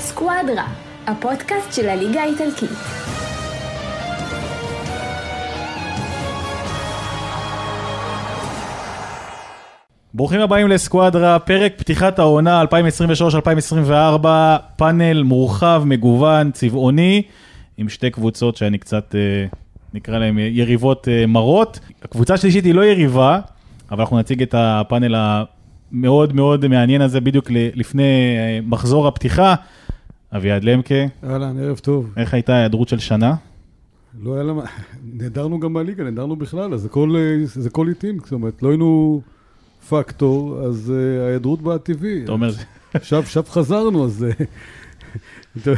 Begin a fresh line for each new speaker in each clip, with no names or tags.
סקואדרה, הפודקאסט של הליגה האיטלקית.
ברוכים הבאים לסקואדרה, פרק פתיחת העונה 2023-2024, פאנל מורחב, מגוון, צבעוני, עם שתי קבוצות שאני קצת, אה, נקרא להן אה, יריבות אה, מרות. הקבוצה השלישית היא לא יריבה, אבל אנחנו נציג את הפאנל המאוד מאוד מעניין הזה בדיוק ל- לפני אה, מחזור הפתיחה. אביעד למקה,
אהלן, ערב טוב.
איך הייתה ההיעדרות של שנה?
לא היה למה... נעדרנו גם מהליגה, נעדרנו בכלל, אז זה כל, אה, זה כל עיתים, זאת אומרת, לא היינו פקטור, אז אה, ההיעדרות באה טבעי.
אתה אומר,
עכשיו, עכשיו חזרנו, אז... אה, טוב,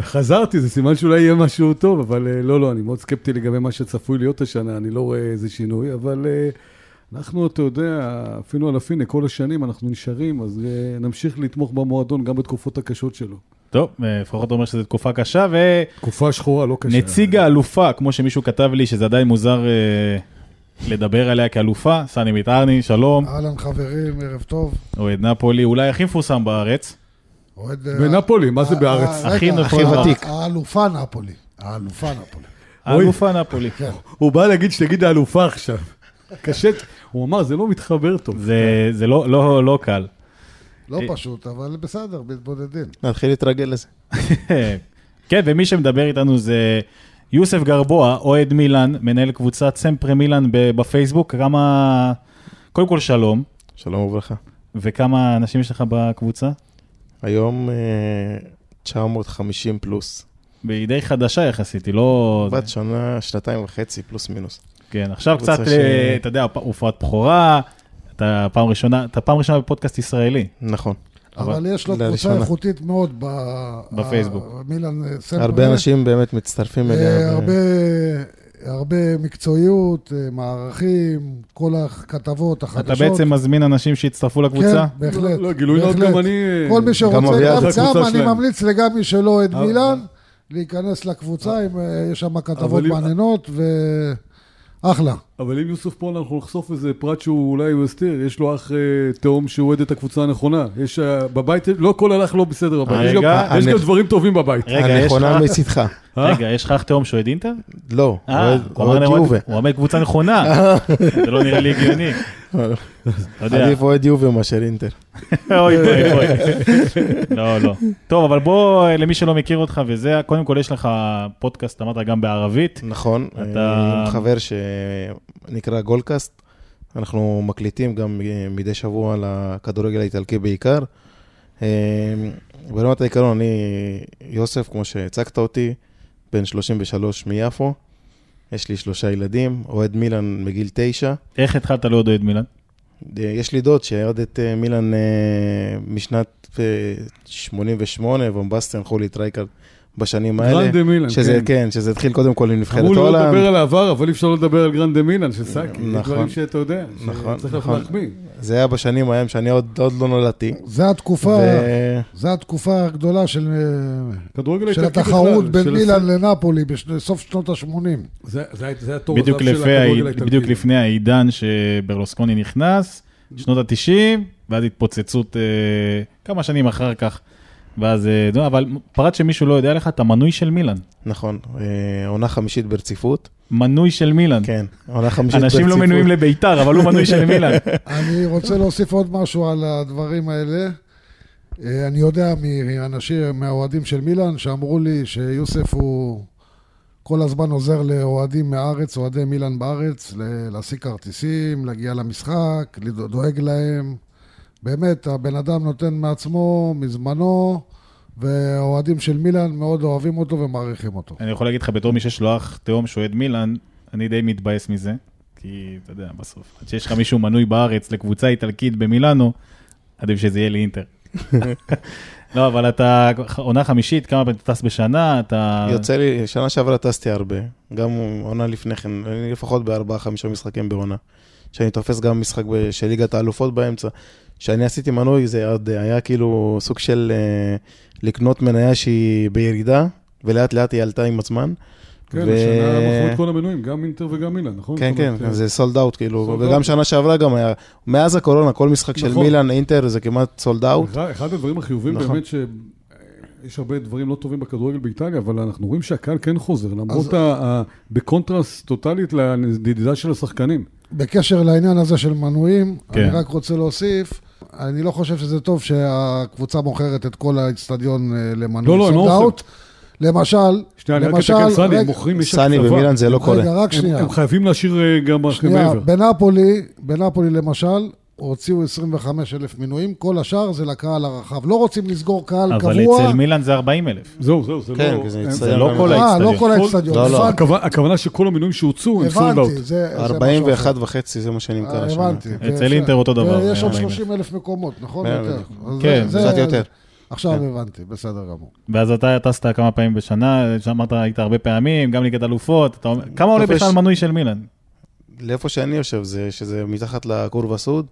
חזרתי, זה סימן שאולי יהיה משהו טוב, אבל אה, לא, לא, אני מאוד סקפטי לגבי מה שצפוי להיות השנה, אני לא רואה איזה שינוי, אבל אה, אנחנו, אתה יודע, אפילו על הפינה, כל השנים אנחנו נשארים, אז אה, נמשיך לתמוך במועדון גם בתקופות הקשות שלו.
טוב, אה, לפחות אתה אומר שזו תקופה קשה, ו...
תקופה שחורה, לא קשה.
נציג האלופה, כמו שמישהו כתב לי, שזה עדיין מוזר אה, לדבר עליה כאלופה, סני מיטרני, שלום,
אהלן חברים, ערב טוב.
אוהד נפולי, אולי הכי מפורסם בארץ.
אוהד...
בנפולי, מה זה
אה,
בארץ?
אה, רגע,
הכי נפולי.
אה,
ותיק.
האלופה נפולי. האלופה נפולי.
אוי.
האלופה נפולי.
כן.
הוא בא להגיד שתגיד האלופה עכשיו. קשה, הוא אמר, זה לא מתחבר טוב.
זה, זה לא, לא, לא קל.
לא
אה,
פשוט, אבל בסדר, מתבודדים.
נתחיל להתרגל לזה.
כן, ומי שמדבר איתנו זה יוסף גרבוע, אוהד מילאן, מנהל קבוצת סמפרה מילאן ב- בפייסבוק, כמה... קודם כל שלום,
שלום וברכה.
וכמה אנשים יש לך בקבוצה?
היום אה, 950 פלוס.
והיא די חדשה יחסית, היא לא...
אוקיי.
בת שנה, שנתיים וחצי, פלוס מינוס.
כן, עכשיו
קבוצה
קצת,
ש-
אה, אתה יודע, הופעת בכורה, אתה פעם ראשונה, אתה פעם ראשונה בפודקאסט ישראלי.
נכון.
כן,
אבל-
אבל יש לו קבוצה
לראשונה.
איכותית מאוד ב-
בפייסבוק.
ה- מילן אה, סמפולי.
הרבה אנשים באמת מצטרפים
אה,
אליה. ו-
הרבה- הרבה מקצועיות, אה, מערכים, כל הכתבות,
אתה
החדשות.
בעצם מזמין אנשים שיצטרפו לקבוצה?
כן, בהחלט.
לא, גילוי נאות
בהחלט.
גם אני...
כל מי שרוצה,
גם אביעד.
גם
זה הקבוצה
גם, אני
שלהם. אה,
ממליץ לגבי מי שלא אוהד
אבל-
מילאן, להיכנס לקבוצה, אם, אה, יש שם כתבות
אבל-
מעניינות, ואחלה.
אבל אם יוסוף פה, אנחנו נחשוף איזה פרט שהוא אולי מסתיר, יש לו אח אה, תאום שאוהד את הקבוצה הנכונה. יש אה, בבית, לא הכל הלך לא בסדר בבית. יש גם-
רגע,
יש גם
אני-
דברים טובים בבית.
רגע, יש
הנכונה
לך-
מצידך.
רגע, יש לך אח תאום שאוהד אינטר?
לא,
אה,
כן. אה? אוהד-
הוא אמר
אוהד
לי,
יובה. אה.
הוא עומד קבוצה נכונה, זה לא נראה לי הגיוני. אתה יודע,
עדיף אוהד יובה מאשר אינטר.
אוי אוי אוי. לא, לא. טוב, אבל בוא, אה, למי שלא מכיר אותך וזה, קודם כל יש לך פודקאסט, אמרת גם בערבית.
נכון,
אתה-
אתה... עם חבר שנקרא גולדקאסט. אנחנו מקליטים גם אה, מדי שבוע על הכדורגל האיטלקי בעיקר. אה, ברמת העיקרון, אני יוסף, כמו שהצגת אותי, בן 33 מיפו. יש לי שלושה ילדים, אוהד מילן מגיל תשע.
איך התחלת להיות אוהד מילאן?
אה, יש לי דוד שאוהד את אה, מילן אה, משנת אה, 88, בומבסטי הלכו להתרייקר בשנים האלה.
גרנדה מילן,
שזה,
כן.
כן, שזה התחיל קדם כל עם נבחרת
אמרו
הולנד.
לי לא לדבר על העבר, אבל אי אפשר לא לדבר על גרנדה מילן של סאקי. יש
נכון.
דברים שאתה יודע,
נכון,
שצריך
נכון.
להחמיא.
זה היה בשנים ההם שאני עוד, עוד לא נולדתי.
זה התקופה,
ו-
זה התקופה הגדולה של, אה,
כדורגל
של
האיטלקי
התחרות
לא בכלל,
בין
של
מילאן
הסאק-
לנפולי בסוף שנות ה-80.
זה זה היה- זה היה תור
בדיוק
הזהב של
לפני
הכדורגל
ה-
האיטלקי.
בדיוק לפני העידן שברלוסקוני נכנס, שנות ה-90, ואז התפוצצות אה, כמה שנים אחר כך. ואז, אה, נו, אבל פרט שמישהו לא יודע לך, אתה מנוי של מילאן.
נכון, אה, עונה חמישית ברציפות.
מנוי של מילאן.
כן, עונה חמישית ברציפות.
אנשים לא מנויים לביתר, אבל הוא מנוי של מילאן.
אני רוצה להוסיף עוד משהו על הדברים האלה. אה, אני יודע מאנשים, מהאוהדים של מילאן, שאמרו לי שיוסף הוא כל הזמן עוזר לאוהדים מהארץ, אוהדי מילאן בארץ, ל- להשיג כרטיסים, להגיע למשחק, לדו- דואג להם. באמת, הבן אדם נותן מעצמו, מזמנו, והאוהדים של מילאן מאוד אוהבים אותו ומעריכים אותו.
אני יכול להגיד לך, בתור מי שיש לו אח תאום שאוהד מילאן, אני די מתבאס מזה. כי, אתה יודע, בסוף, עד שיש לך מישהו מנוי בארץ לקבוצה איטלקית במילאנו, עדיף שזה יהיה לאינטר. לא, אבל אתה עונה חמישית, כמה פעמים אתה טס בשנה, אתה...
יוצא לי, שנה שעברה טסתי הרבה, גם עונה לפני כן, אני לפחות בארבעה, חמישה משחקים בעונה. שאני תופס גם משחק ב- של ליגת האלופות באמצע. כשאני עשיתי מנוי זה עוד היה כאילו סוג של אה, לקנות מניה שהיא בירידה, ולאט לאט היא עלתה עם הזמן.
כן,
ו-
השנה מכרו את כל המנויים, גם אינטר וגם מילן, נכון?
כן,
זאת אומרת,
כן, זה סולד אאוט, כאילו,
sold out.
וגם שנה שעברה גם היה, מאז הקורונה, כל משחק של
נכון.
מילאן, אינטר, זה כמעט סולד אאוט.
אחד, אחד הדברים החיובים
נכון.
באמת ש... יש הרבה דברים לא טובים בכדורגל באיטליה, אבל אנחנו רואים שהקהל כן חוזר, למרות ה... ה... בקונטרסט טוטאלית לנדידה של השחקנים.
בקשר לעניין הזה של מנויים,
כן.
כן. אני רק רוצה להוסיף, אני לא חושב שזה טוב שהקבוצה מוכרת את כל האצטדיון אה, למנוי
לא, הם לא
sold
מוכרים.
out. למשל,
שנייה, אני רק
למשל,
אתקן סני, הם
רג-
מוכרים, יש
סני
הקצבה.
ומילן זה לא
רגע,
קורה.
רק
הם,
שנייה.
הם חייבים להשאיר אה, גם אחרי
שנייה,
מעבר.
בנפולי, בנפולי למשל, הוציאו 25 אלף מינויים, כל השאר זה לקהל הרחב. לא רוצים לסגור קהל
אבל
קבוע.
אצל מילאן זה 40 אלף.
זהו, זהו, זה
כן,
לא...
כי זה
הם-
הצטדיון
לא
גם-
כל
אה, לא
האצטדיון.
כל
כל-
האצטדיון.
לא, לא.
פאק,
הכוו- הכוונה שכל המינויים שהוצאו הם סולד אאוט.
הבנתי, זה... זה משהו אחר.
41 וחצי זה מה שנמכר השנה.
אה, הבנתי.
אצל
זה-
אינטר אותו דבר,
ויש עוד
40,000.
30 אלף מקומות, נכון?
כן,
יותר.
בדיוק.
אז
כן,
זה-
קצת
זה-
יותר. כן.
עכשיו הבנתי, בסדר גמור.
ואז אתה טסת כמה פעמים בשנה, שאמרת היית הרבה פעמים, גם ליגת אלופות, אתה אומר, כמה עולה
טוב, יש-
בכלל מנוי של מילאן?
לאיפה שאני יושב, זה שזה מתחת לקורבה סוד,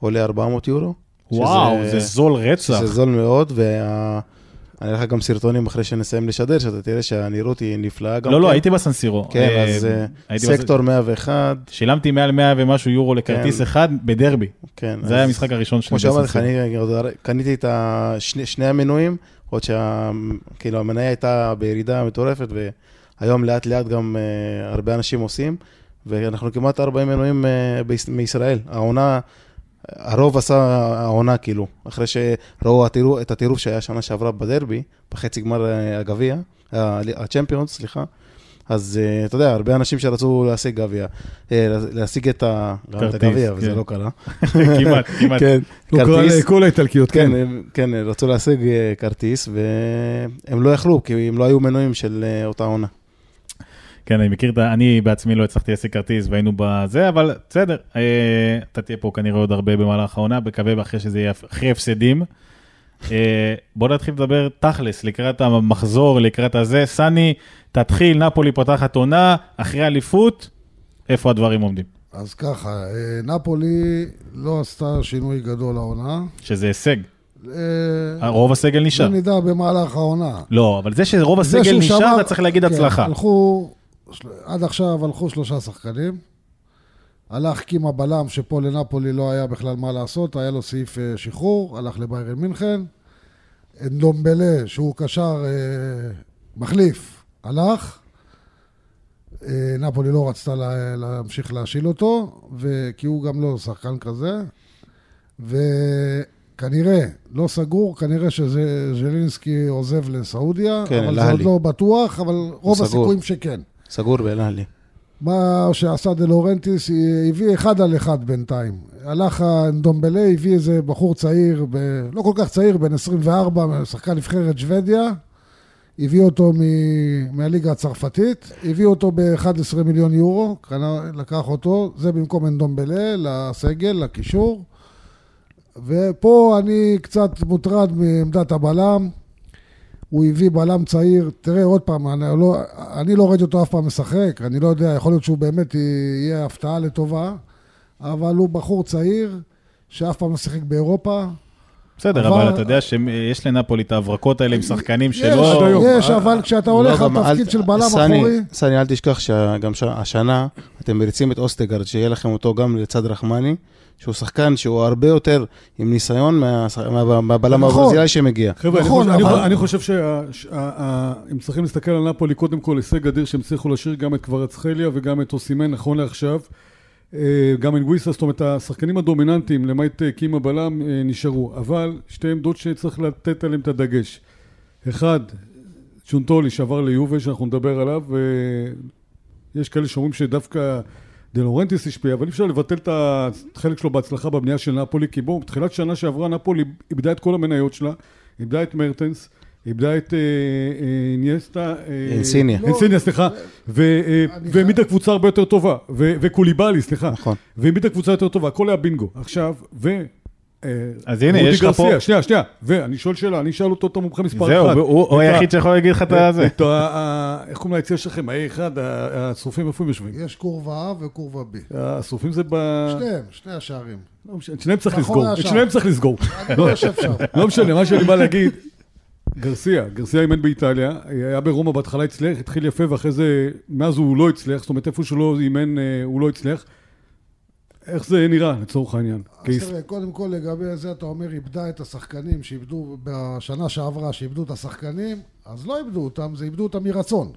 עולה 400 יורו.
וואו,
שזה-
זה זול רצח.
שזה זול מאוד, וה... אני אראה לך גם סרטונים אחרי שנסיים לשדר, שאתה תראה שהנראות היא נפלאה גם.
לא, לא,
כן.
הייתי בסנסירו.
כן, אז אה, סקטור 101,
שילמתי מעל 100 ומשהו יורו לכרטיס
כן.
אחד בדרבי.
כן.
זה היה המשחק הראשון שלי
כמו שאמרתי לך,
בסנסירו.
אני עוד קניתי את ה- שני- שני המנויים, עוד שה... כאילו, המניה הייתה בירידה מטורפת, והיום לאט לאט גם אה, הרבה אנשים עושים, ואנחנו כמעט 40 מנויים אה, ביש- מישראל. העונה, הרוב עשה העונה, כאילו, אחרי שראו הטירוף- את הטירוף שהיה שנה שעברה בדרבי, בחצי גמר אה, הגביע, ה- הצ'מפיונס, סליחה. אז אה, אתה יודע, הרבה אנשים שרצו להשיג גביע, אה, להשיג את ה- גם את
כרטיס,
הגביע, וזה
כן.
לא קרה.
כמעט, כמעט.
כן,
לא קרה
כרטיס.
לכל האיטלקיות, כן.
כן, הם- כן, הם רצו להשיג אה, כרטיס, והם לא יכלו, כי הם לא היו מנויים של אה, אותה עונה.
כן, אני מכיר את ה... אני בעצמי לא הצלחתי להשיג כרטיס והיינו בזה, אבל בסדר, אה, אתה תהיה פה כנראה עוד הרבה במהלך העונה, בקווה אחרי שזה יהיה אחרי הפסדים. אה, בוא נתחיל לדבר תכלס, לקראת המחזור, לקראת הזה. סני, תתחיל, נפולי פותחת עונה, אחרי אליפות, איפה הדברים עומדים?
אז ככה, אה, נפולי לא עשתה שינוי גדול העונה.
שזה הישג,
אה,
רוב הסגל
זה
נשאר.
נדע במהלך העונה.
לא, אבל זה שרוב
זה
הסגל
שהוא
נשאר,
שמר-
אתה צריך להגיד
כן,
הצלחה.
הלכו, של- עד עכשיו הלכו שלושה שחקנים. הלך קימה בלם, שפה לנפולי לא היה בכלל מה לעשות, היה לו סעיף אה, שחרור, הלך לביירן מינכן. נדומבלה, שהוא קשר אה, מחליף, הלך. אה, נפולי לא רצתה לה, להמשיך להשיל אותו, ו... כי הוא גם לא שחקן כזה. וכנראה, לא סגור, כנראה שז'לינסקי עוזב לסעודיה,
כן,
אבל זה
אל-אהלי.
עוד לא בטוח, אבל רוב
סגור.
הסיכויים שכן.
סגור באלהלי.
מה שעשה דה לורנטיס, אה, הביא אחד על אחד בינתיים. הלך אנדומבלה, הביא איזה בחור צעיר, ב... לא כל כך צעיר, בן 24, שחקן נבחרת שוודיה. הביא אותו מ... מהליגה הצרפתית, הביא אותו ב-11 מיליון יורו, קנה, לקח אותו, זה במקום אנדומבלה, לסגל, לקישור. ופה אני קצת מוטרד מעמדת הבלם. הוא הביא בלם צעיר, תראה עוד פעם, אני לא, אני לא ראיתי אותו אף פעם משחק, אני לא יודע, יכול להיות שהוא באמת יהיה הפתעה לטובה, אבל הוא בחור צעיר שאף פעם לא שיחק באירופה.
בסדר,
אבל-
אבל אתה יודע שיש לנפולי את ההברקות האלה עם שחקנים
יש,
שלא...
יש, אבל כשאתה הולך
לא,
על
גם אל-
תפקיד של בלם
סני,
אחורי...
סני, אל תשכח שגם ש- השנה אתם מריצים את אוסטגרד, שיהיה לכם אותו גם לצד רחמני, שהוא שחקן שהוא הרבה יותר עם ניסיון מה- מה- מהבלם
נכון.
הברזילאי שמגיע.
חבר'ה, אני
נכון,
חושב- אני
אבל-
חושב- אני חושב שהם צריכים להסתכל על נפולי, קודם כל הישג אדיר שהם הצליחו להשאיר גם את קוורצחליה וגם את אוסימן נכון לעכשיו. אה, גם אנגוויסה, זאת אומרת, השחקנים הדומיננטיים, למעט אה, קימה בלם, אה, נשארו. אבל שתי עמדות שצריך לתת עליהן את הדגש. אחד, צ'ונטולי שעבר ליובה, שאנחנו נדבר עליו, ויש כאלה שאומרים שדווקא דה לורנטיס השפיע, אבל אי אפשר לבטל את החלק שלו בהצלחה בבנייה של נפולי, כי בואו, בתחילת שנה שעברה נפולי איבדה את כל המניות שלה, איבדה את מרטנס, איבדה את אה, אה, ניאסטה... אה,
אינסיניה.
לא.
אינסיניה, סליחה, ו- אה, והעמידה קבוצה הרבה יותר טובה, ו- וקוליבאלי, סליחה,
נכון.
והעמידה קבוצה יותר טובה, הכל היה בינגו. עכשיו, ו... אה,
אז הנה,
רודי
יש לך פה-
גרסיה, שנייה, שנייה, ואני שואל שאלה, אני אשאל אותו את המומחה מספר
זהו,
אחד.
הוא- הוא
את ה-
היחיד שיכול להגיד לך
אה,
את הזה.
את ה- ה- איך קוראים ליציע שלכם? ה-A1, ה- השרופים, איפה הם יושבים?
יש קורבה A וקורבה B.
השרופים זה ב...
שניהם, שני השערים.
לא משנה, את שניהם צריך
מאחורי
לסגור. את
השער.
שניהם צריך לסגור.
אני לא יושב שם.
לא משנה, מה שאני בא להגיד, גרסיה, גרסיה אימן באיטליה, היה ברומא בהתחלה הצליח, התחיל יפה, ואחרי זה, מאז הוא לא הצליח, זאת אומרת, איפה שהוא לא אימן, אה, הוא לא הצליח. איך זה נראה, לצורך העניין?
אז
כיס-
תראה, קודם כל לגבי זה, אתה אומר, איבדה את השחקנים שאיבדו בשנה שעברה, שאיבדו את השחקנים, אז לא איבדו אותם, זה איבדו אותם מרצון.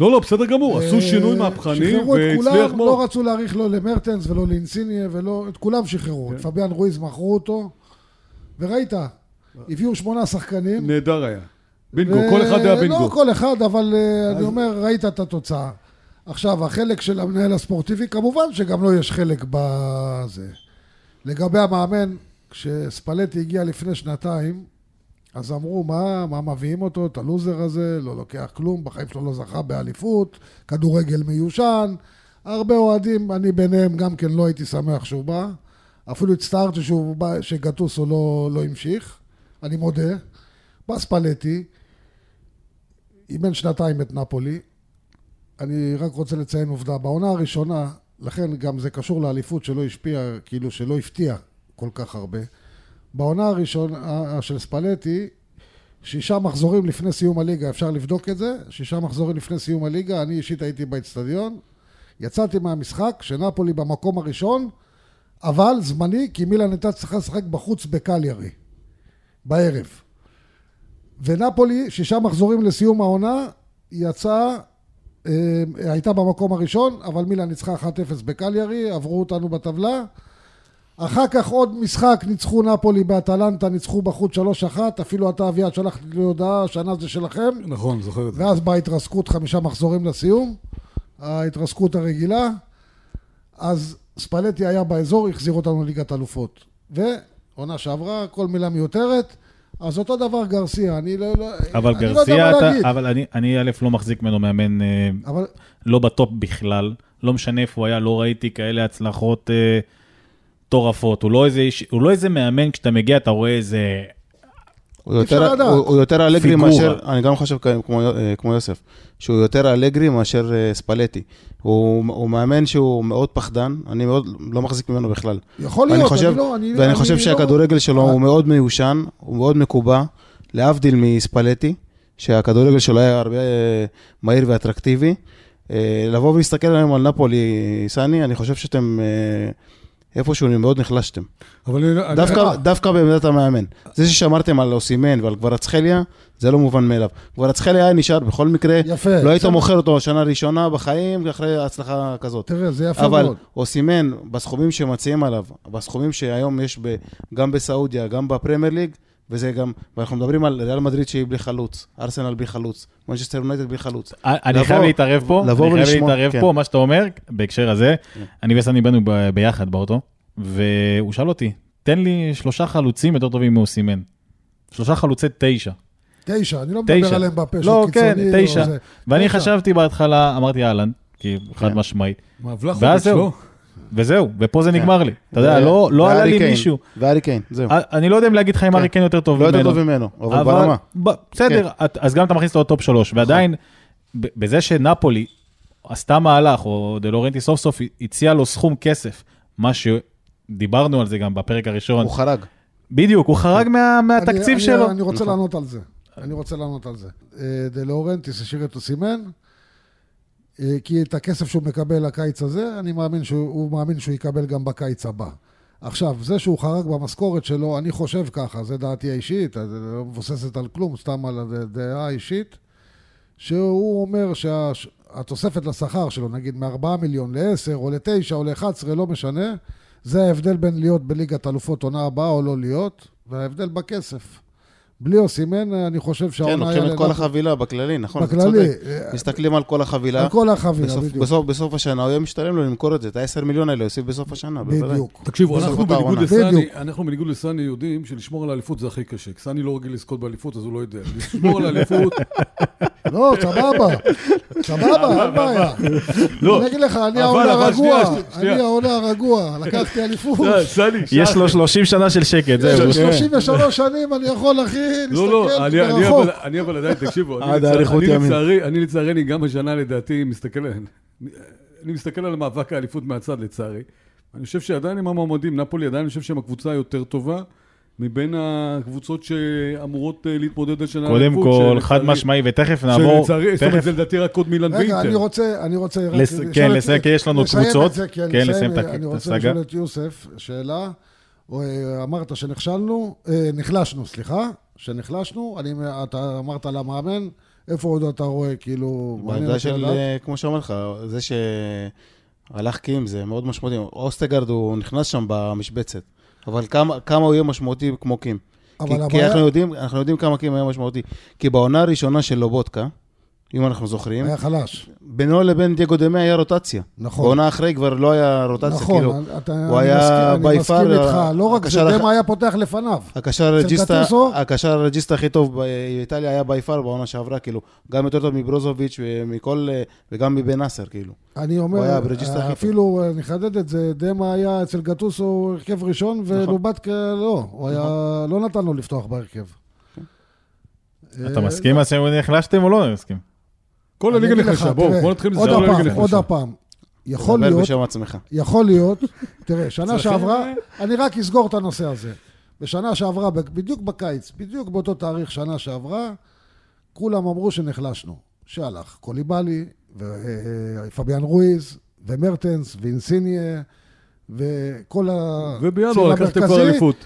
לא, לא, בסדר גמור, עשו שינוי
אה,
מהפכני
שחררו את
והצליח
כולם,
מאוד.
לא רצו להאריך לא למרטנס ולא לאינסיניה ולא, את כולם שחררו. את
כן.
פביאן רויז מכרו אותו, וראית, הביאו שמונה שחקנים.
אה. נהדר היה. בינגו,
ו-
כל אחד היה
לא
בינגו.
כל אחד, אבל אה, אני אומר, ראית את התוצאה. עכשיו, החלק של המנהל הספורטיבי, כמובן שגם לו יש חלק בזה. לגבי המאמן, כשספלטי הגיע לפני שנתיים, אז אמרו, מה, מה מביאים אותו, את הלוזר הזה, לא לוקח כלום, בחיים שלו לא זכה באליפות, כדורגל מיושן. הרבה אוהדים, אני ביניהם גם כן לא הייתי שמח שהוא בא. אפילו הצטערתי שהוא בא, שגטוסו לא, לא המשיך, אני מודה. בא ספלטי, אימן שנתיים את נפולי. אני רק רוצה לציין עובדה. בעונה הראשונה, לכן גם זה קשור לאליפות שלא השפיע, כאילו שלא הפתיע כל כך הרבה. בעונה הראשונה אה, של ספלטי, שישה מחזורים לפני סיום הליגה, אפשר לבדוק את זה, שישה מחזורים לפני סיום הליגה, אני אישית הייתי באצטדיון, יצאתי מהמשחק, שנפולי במקום הראשון, אבל זמני, כי מילן הייתה צריכה לשחק בחוץ בקליירי, בערב. ונפולי, שישה מחזורים לסיום העונה, יצאה, אה, הייתה במקום הראשון, אבל מילאן ניצחה 1-0 בקליירי, עברו אותנו בטבלה. אחר כך עוד משחק, ניצחו נפולי באטלנטה, ניצחו בחוץ 3-1, אפילו אתה אביעד שלחת לי הודעה, שנה זה שלכם,
נכון, זוכר את זה.
ואז באה התרסקות חמישה מחזורים לסיום, ההתרסקות הרגילה, אז ספלטי היה באזור, החזיר אותנו לליגת אלופות. ועונה שעברה, כל מילה מיותרת, אז אותו דבר גרסיה, אני לא, לא,
אבל
אני לא יודע
גרסיה,
מה
אתה-
להגיד.
אבל אני- אני א' לא מחזיק ממנו מאמן אה,
אבל
לא בטופ בכלל, לא משנה איפה הוא היה, לא ראיתי כאלה הצלחות אה, מטורפות. הוא, לא איזה איש- הוא לא איזה מאמן, כשאתה מגיע אתה רואה איזה...
הוא
אפשר
יותר-
לדעת.
הוא- הוא יותר אלגרי
פיגורה.
מאשר, אני גם חושב כ- כמו, אה, כמו יוסף, שהוא יותר אלגרי מאשר אה, ספלטי. הוא, הוא מאמן שהוא מאוד פחדן, אני מאוד לא מחזיק ממנו בכלל.
יכול
ואני
להיות,
חושב,
אני לא... אני,
ואני
אני
חושב
לא-
שהכדורגל שלו הוא מאוד מיושן, הוא מאוד מקובע, להבדיל מספלטי, שהכדורגל שלו היה הרבה אה, מהיר ואטרקטיבי. אה, לבוא ולהסתכל היום על נפולי, סני, אני חושב שאתם אה, איפשהו מאוד נחלשתם.
אבל אני-
אוקיי.
דווקא, דווקא בעמדת המאמן. זה ששמרתם על אוסימן ועל גברצחליה, זה לא מובן מאליו. גברצחליה היה נשאר בכל מקרה,
יפה.
לא היית
בסדר.
מוכר אותו שנה ראשונה בחיים אחרי הצלחה כזאת.
תראה, זה יפה
אבל
מאוד.
אוסימן, בסכומים שמציעים עליו, בסכומים שהיום יש ב, גם בסעודיה, גם בפרמייר ליג, וזה גם, ואנחנו מדברים על ריאל מדריד שהיא בלי חלוץ, ארסנל בלי חלוץ, מנצ'סטר יונייטד בלי חלוץ.
אה, אני
לבוא-
חייב להתערב פה,
לבוא
אני חייב
ולשמוע,
להתערב
כן.
פה, מה שאתה אומר, בהקשר הזה, אני וסני באנו ב- ביחד באוטו, והוא שאל אותי, תן לי שלושה חלוצים יותר טובים מאוסימן. שלושה חלוצי תשע.
תשע, אני לא מדבר
תשע.
עליהם בפה
לא,
שהוא
כן,
קיצוני. או
תשע.
זה.
ואני
תשע.
חשבתי בהתחלה, אמרתי אהלן, כי חד
כן.
משמעית,
מה,
ואז
ולחוביץ',
זהו.
לא?
וזהו, ופה זה נגמר לי. אתה
אה,
יודע, לא לא עלה
כן.
לי מישהו.
והארי קיין, זהו.
אה, אני לא יודע אם להגיד לך אם
כן.
ארי קיין יותר טוב
לא
ממנו.
יותר טוב ממנו, אבל ברמה. כן. נכון.
ב- בסדר, את- אז גם אתה מכניס אותו לטופ שלוש, ועדיין, ב- בזה שנפולי עשתה מהלך, או דלורנטי סוף סוף הציע לו סכום כסף, מה שדיברנו על זה גם בפרק הראשון,
הוא חרג.
בדיוק, הוא חרג מה-
אני-
מהתקציב
אני-
שלו.
אני רוצה לענות על זה. אני רוצה לענות על זה. אה, דה לאורנטיס השאיר את אוסימן, אה, כי את הכסף שהוא מקבל לקיץ הזה, אני מאמין שהוא הוא מאמין שהוא יקבל גם בקיץ הבא. עכשיו, זה שהוא חרג במשכורת שלו, אני חושב ככה, זה דעתי האישית, אה, זה לא מבוססת על כלום, סתם על הד- דעה האישית, שהוא אומר שהתוספת לשכר שלו, נגיד מ-4 מיליון ל-10 או ל-9 או ל-11, לא משנה, זה ההבדל בין להיות בליגת אלופות עונה הבאה או לא להיות, וההבדל בכסף. בלי אוסימן, אני חושב
כן,
שהעונה...
לוקחים
היה
את כל
לנפ-
החבילה בכללי, נכון? אתה
לא בכללי,
צודק.
אה,
מסתכלים על כל החבילה.
על כל החבילה,
בסוף-
בדיוק.
בסוף- בסוף השנה, הוא יהיה משתלם לו למכור את זה, את ה-10 מיליון האלה, יוסיף בסוף השנה, בוודאי.
בדיוק.
תקשיבו,
בסוף
אנחנו
אותה
בניגוד
עונה.
לסני,
בדיוק.
אנחנו בניגוד לסני יודעים שלשמור על האליפות זה הכי קשה. כי סני לא רגיל לזכות באליפות, אז הוא לא יודע. לשמור על האליפות,
לא, סבבה, סבבה, אין בעיה.
לא.
אני אגיד לך, אני
אבל,
העונה
אבל,
הרגוע,
שנייה, שנייה.
אני העונה הרגוע, לקחתי אליפות.
אה, סני, שעה
יש לו 30 שנה של שקט,
יש
זהו.
לי 33 שנים, אני יכול, אחי,
לא, לא,
להסתכל
אני, אני,
מרחוק.
אבל, אני אבל עדיין, תקשיבו, אני,
אה,
עד
לצע-
האריכות
אני
ימים.
לצערי, אני לצערי, אני גם השנה לדעתי מסתכל, על- אני מסתכל על מאבק האליפות מהצד לצערי. אני חושב שעדיין הם המועמדים, נפולי עדיין, אני חושב שהם הקבוצה היותר טובה. מבין הקבוצות שאמורות אה, להתמודד השנה. על
קודם
אליפות,
כל,
שלצערי-
חד משמעי, ותכף נעבור,
שלצערי, זאת אומרת,
תכף
זה לדעתי רק עוד מילן
רגע, אני
ואינטר.
רוצה, אני רוצה... רק
לס-
לשאול
כן,
את-
לסיים, כי יש לנו
לסיים
קבוצות.
את זה, כי
כן,
אני
לסיים
לסיים
את ה-
אני
את
רוצה
הסאגה.
לשאול את יוסף שאלה. הוא, אה, אמרת שנכשלנו, אה, נחלשנו, סליחה, שנחלשנו. אני, אתה אמרת למאמן, איפה עוד אתה רואה, כאילו... מעניין
בעמדה
אותי
של,
לדעת.
אה, כמו שאומר לך, זה שהלך קים זה מאוד משמעותי. אוסטגרד הוא נכנס שם במשבצת, אבל כמה, כמה הוא יהיה משמעותי כמו קים.
אבל
כי, כי
הבעיה-
אנחנו, יודעים, אנחנו יודעים כמה קים היה משמעותי. כי בעונה הראשונה של לובודקה, אם אנחנו זוכרים,
היה חלש.
בינו לבין דייגו דמה היה רוטציה.
נכון.
בעונה אחרי כבר לא היה רוטציה, כאילו.
נכון, אתה-
הוא
אני
היה
מסכים- אני
by
מסכים
far,
איתך, לא רק
הקשר
זה,
הח-
דמה היה פותח לפניו.
הקשר הרג'יסטה,
קטוסו?
הקשר הרג'יסטה הכי טוב באיטליה היה בי פאר בעונה שעברה, כאילו, גם יותר טוב מברוזוביץ' ומכל, אה, וגם מבן אסר, כאילו.
אני
הוא היה
אומר,
הבריג'יסט הכי טוב.
אפילו אה, נחדד את זה, דמה היה אצל גטוסו הרכב ראשון,
נכון.
ולובטקה לא, הוא היה, לא נתן לו לפתוח בהרכב.
אתה
אה,
מסכים מה שנחלשתם או לא מסכים?
כל
אני
הליגה
אגיד לך,
נחלשה, בואו,
תראה,
בואו נתחיל
עוד
לסדר על הליגה
הפעם, עוד
נחלשה.
הפעם, יכול
דבר
להיות,
בשם עצמך.
יכול להיות, תראה, שנה
אה?
שעברה, אני רק אסגור את הנושא הזה. בשנה שעברה, בדיוק בקיץ, בדיוק באותו תאריך שנה שעברה, כולם אמרו שנחלשנו. שהלך קוליבאלי, ופביאן רואיז, ומרטנס, ואינסיניה, וכל ה...
ובינואר
ציל
לקחתם כבר
המרכזי,
אליפות.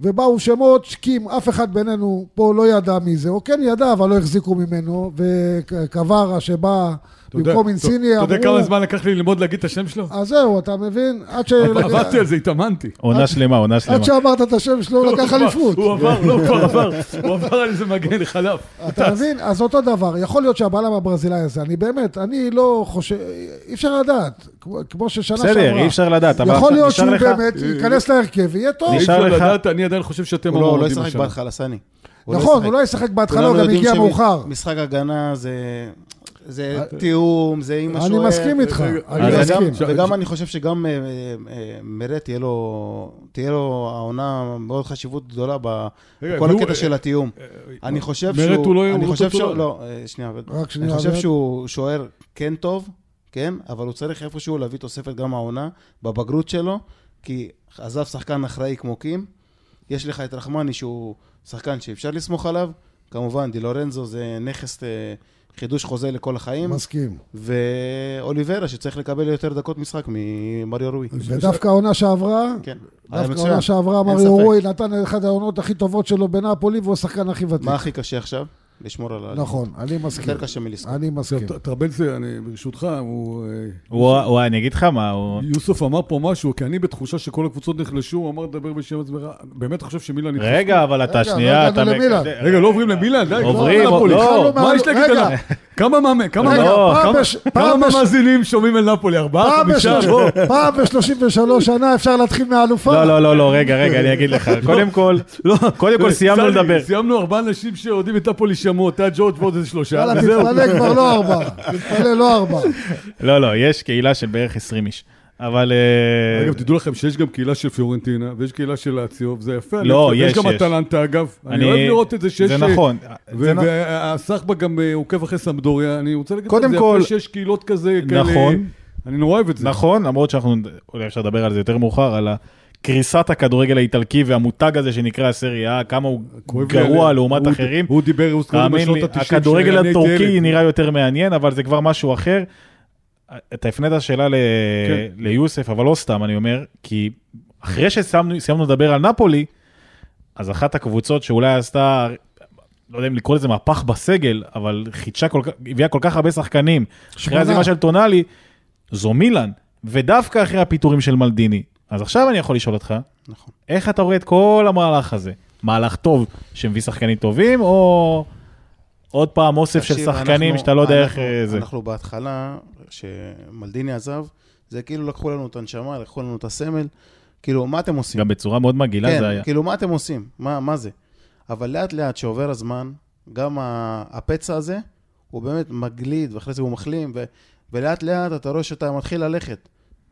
ובאו שמות שקים, אף אחד בינינו פה לא ידע מי זה, או כן ידע, אבל לא החזיקו ממנו, וקווארה שבא
אתה יודע-
במקום
אתה-
אינסיניה,
אתה
אמרו... אה,
יודע כמה זמן לקח לי ללמוד להגיד את השם שלו?
אז זהו, אתה מבין? עד ש...
עבדתי על זה, התאמנתי.
אה,
עונה שלמה, עונה
עד
שלמה.
שאמרת את השם שלו, הוא לקח אליפות.
הוא עבר, לא, הוא כבר עבר. הוא עבר על איזה מגן, חלף.
אתה מבין? אז אותו דבר, יכול להיות שהבלם הברזילאי הזה, אני באמת, אני לא חושב, אי אפשר לדעת, כמו- כמו ששנה שעברה.
בסדר, אי אפשר לדעת, אבל
יכול
עכשיו
להיות
נשאר
שהוא
לך-
באמת ייכנס להרכב ויהיה טוב.
אי
נשאר
אפשר
לך-
לדעת, אני עדיין חושב שאתם
הוא לא- הוא לא
המועמדים
ישחק
השנה.
בהתחלה, סני.
נכון, הוא לא ישחק בהתחלה, הוא
כולנו
גם
יודעים
הגיע
שמ-
מאוחר. אה,
משחק הגנה זה... זה תיאום, זה עם
אני
השוער.
מסכים איתך, אני
אז
וגם-
מסכים.
וגם אני חושב שגם אה, אה, אה, מרט, תהיה לו תהיה לו העונה מאוד חשיבות גדולה
רגע,
בכל
והוא-
הקטע של התיאום.
אה,
אני חושב שהוא...
מרט הוא לא-
אני
הוא
חושב שהוא...
טוטולר.
לא, אה, שנייה. אבל-
רק שנייה,
אני חושב
אבל-
שהוא שוער כן טוב, כן, אבל הוא צריך איפשהו להביא תוספת גם העונה, בבגרות שלו, כי עזב שחקן אחראי כמו קים. יש לך את רחמני שהוא שחקן שאפשר לסמוך עליו. כמובן, דילורנזו זה נכס, אה, חידוש חוזה לכל החיים.
מסכים.
ואוליברה, שצריך לקבל יותר דקות משחק ממריו רוי.
ודווקא העונה שעברה,
כן. היה
דווקא לא
מצוין.
העונה שעברה,
אין
מריו
ספק.
רוי נתן אחת העונות הכי טובות שלו בנאפולי, והוא השחקן הכי ותיק.
מה הכי קשה עכשיו? לשמור על ה...
נכון, אני מסכים.
יותר קשה מלסקור.
אני מסכים.
טוב, ת- טרבלסה, אני, ברשותך, הוא... אה,
הוא- הוא- אני אגיד לך מה, הוא...
יוסוף אמר פה משהו, כי אני בתחושה שכל הקבוצות נחלשו, הוא אמר, דבר בשם עצמך, באמת אתה חושב שמילן...
אה,
התחשבו?
רגע, אבל אתה
רגע, לא
שנייה,
הגענו
אתה...
למילן.
מקדם-
רגע, לא עוברים למילן, די,
עוברים,
כבר נפולי.
לא.
מה יש להגיד
רגע.
עליו? כמה מאמן, כמה
רגע,
לא,
פעם
כמה-
בש-
כמה
פעם בש-
מאזינים שומעים אל נפולי? ארבעה,
פעם
חמישה,
בשלוש-
בוא.
פעם ב-33 שנה אפשר להתחיל מהאלופה.
לא, לא, לא, לא, רגע, רגע, אני אגיד לך.
לא.
קודם כל, קודם כל סיימנו
סלי,
לדבר.
סיימנו ארבעה אנשים שאוהדים את נפולי שמעו, אתה ג'ורג' ועוד איזה שלושה,
יאללה,
וזהו.
תתפלא כבר לא ארבע. תתפלא לא ארבע.
לא, לא, יש קהילה של בערך 20 איש. אבל... אה,
אגב, תדעו לכם שיש גם קהילה של פיורנטינה, ויש קהילה של לאציו, וזה יפה.
לא,
אני-
יש,
יש גם
יש.
אטלנטה, אגב. אני
אני-
אוהב לראות את זה שיש...
זה נכון. זה נ-
והסחבא גם אה, עוקב אחרי סמדוריה, אני רוצה להגיד
קודם
לכם, זה
כל-
יפה שיש קהילות כזה, כאלה...
נכון.
אני נורא אוהב את זה.
נכון, למרות שאנחנו, אולי אפשר לדבר על זה יותר מאוחר, על קריסת הכדורגל האיטלקי והמותג הזה שנקרא הסריה, A, כמה הוא
כואב לי
גרוע
עליה.
לעומת
הוא-
אחרים.
הוא דיבר, הוא הוזכר
תאמין לי,
בשנות ה-90.
הכדורגל הטורקי נראה יותר מעניין, אבל זה כבר משהו אחר. אתה הפנית שאלה ל...
כן.
ליוסף, אבל לא סתם, אני אומר, כי אחרי שסיימנו סיימנו לדבר על נפולי, אז אחת הקבוצות שאולי עשתה, לא יודע אם לקרוא לזה מהפך בסגל, אבל חידשה כל כך, הביאה כל כך הרבה שחקנים, אחרי
שמונה.
העזיבה של טונאלי, זו מילאן, ודווקא אחרי הפיטורים של מלדיני. אז עכשיו אני יכול לשאול אותך,
נכון.
איך אתה רואה את כל המהלך הזה? מהלך טוב שמביא שחקנים טובים, או עוד פעם אוסף של
תקשיב,
שחקנים
אנחנו-
שאתה לא יודע איך
אנחנו-
אה, זה?
אנחנו בהתחלה, כשמלדיני עזב, זה כאילו לקחו לנו את הנשמה, לקחו לנו את הסמל. כאילו, מה אתם עושים?
גם בצורה מאוד מגעילה זה היה.
כן, כאילו, מה אתם עושים? מה, מה זה? אבל לאט-לאט, שעובר הזמן, גם ה- הפצע הזה, הוא באמת מגליד, ואחרי זה הוא מחלים, ו, ולאט-לאט אתה רואה שאתה מתחיל ללכת.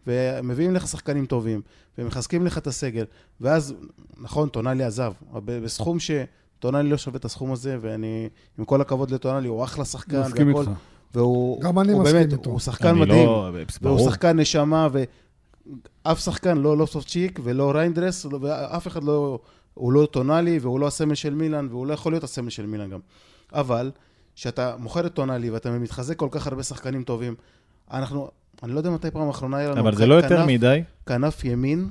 ומביאים לך שחקנים טובים, ומחזקים לך את הסגל, ואז, נכון, טונאלי עזב, אבל ב- בסכום שטונאלי לא שווה את הסכום הזה, ואני, עם כל הכבוד לטונאלי, הוא אחלה שחקן,
מסכים
והכל,
איתך.
והוא,
גם אני
הוא
מסכים
באמת,
איתו.
הוא שחקן
אני
מדהים.
לא- ברור.
והוא שחקן נשמה, ואף שחקן, לא לופסופצ'יק ולא ריינדרס, ולא- ואף אחד לא... הוא לא טונאלי והוא לא הסמל של מילאן, והוא לא יכול להיות הסמל של מילאן גם. אבל, כשאתה מוכר את טונאלי ואתה מתחזק כל כך הרבה שחקנים טובים, אנחנו, אני לא יודע מתי פעם האחרונה היה לנו...
אבל זה
כ-
לא יותר
כנף-
מדי.
כנף ימין,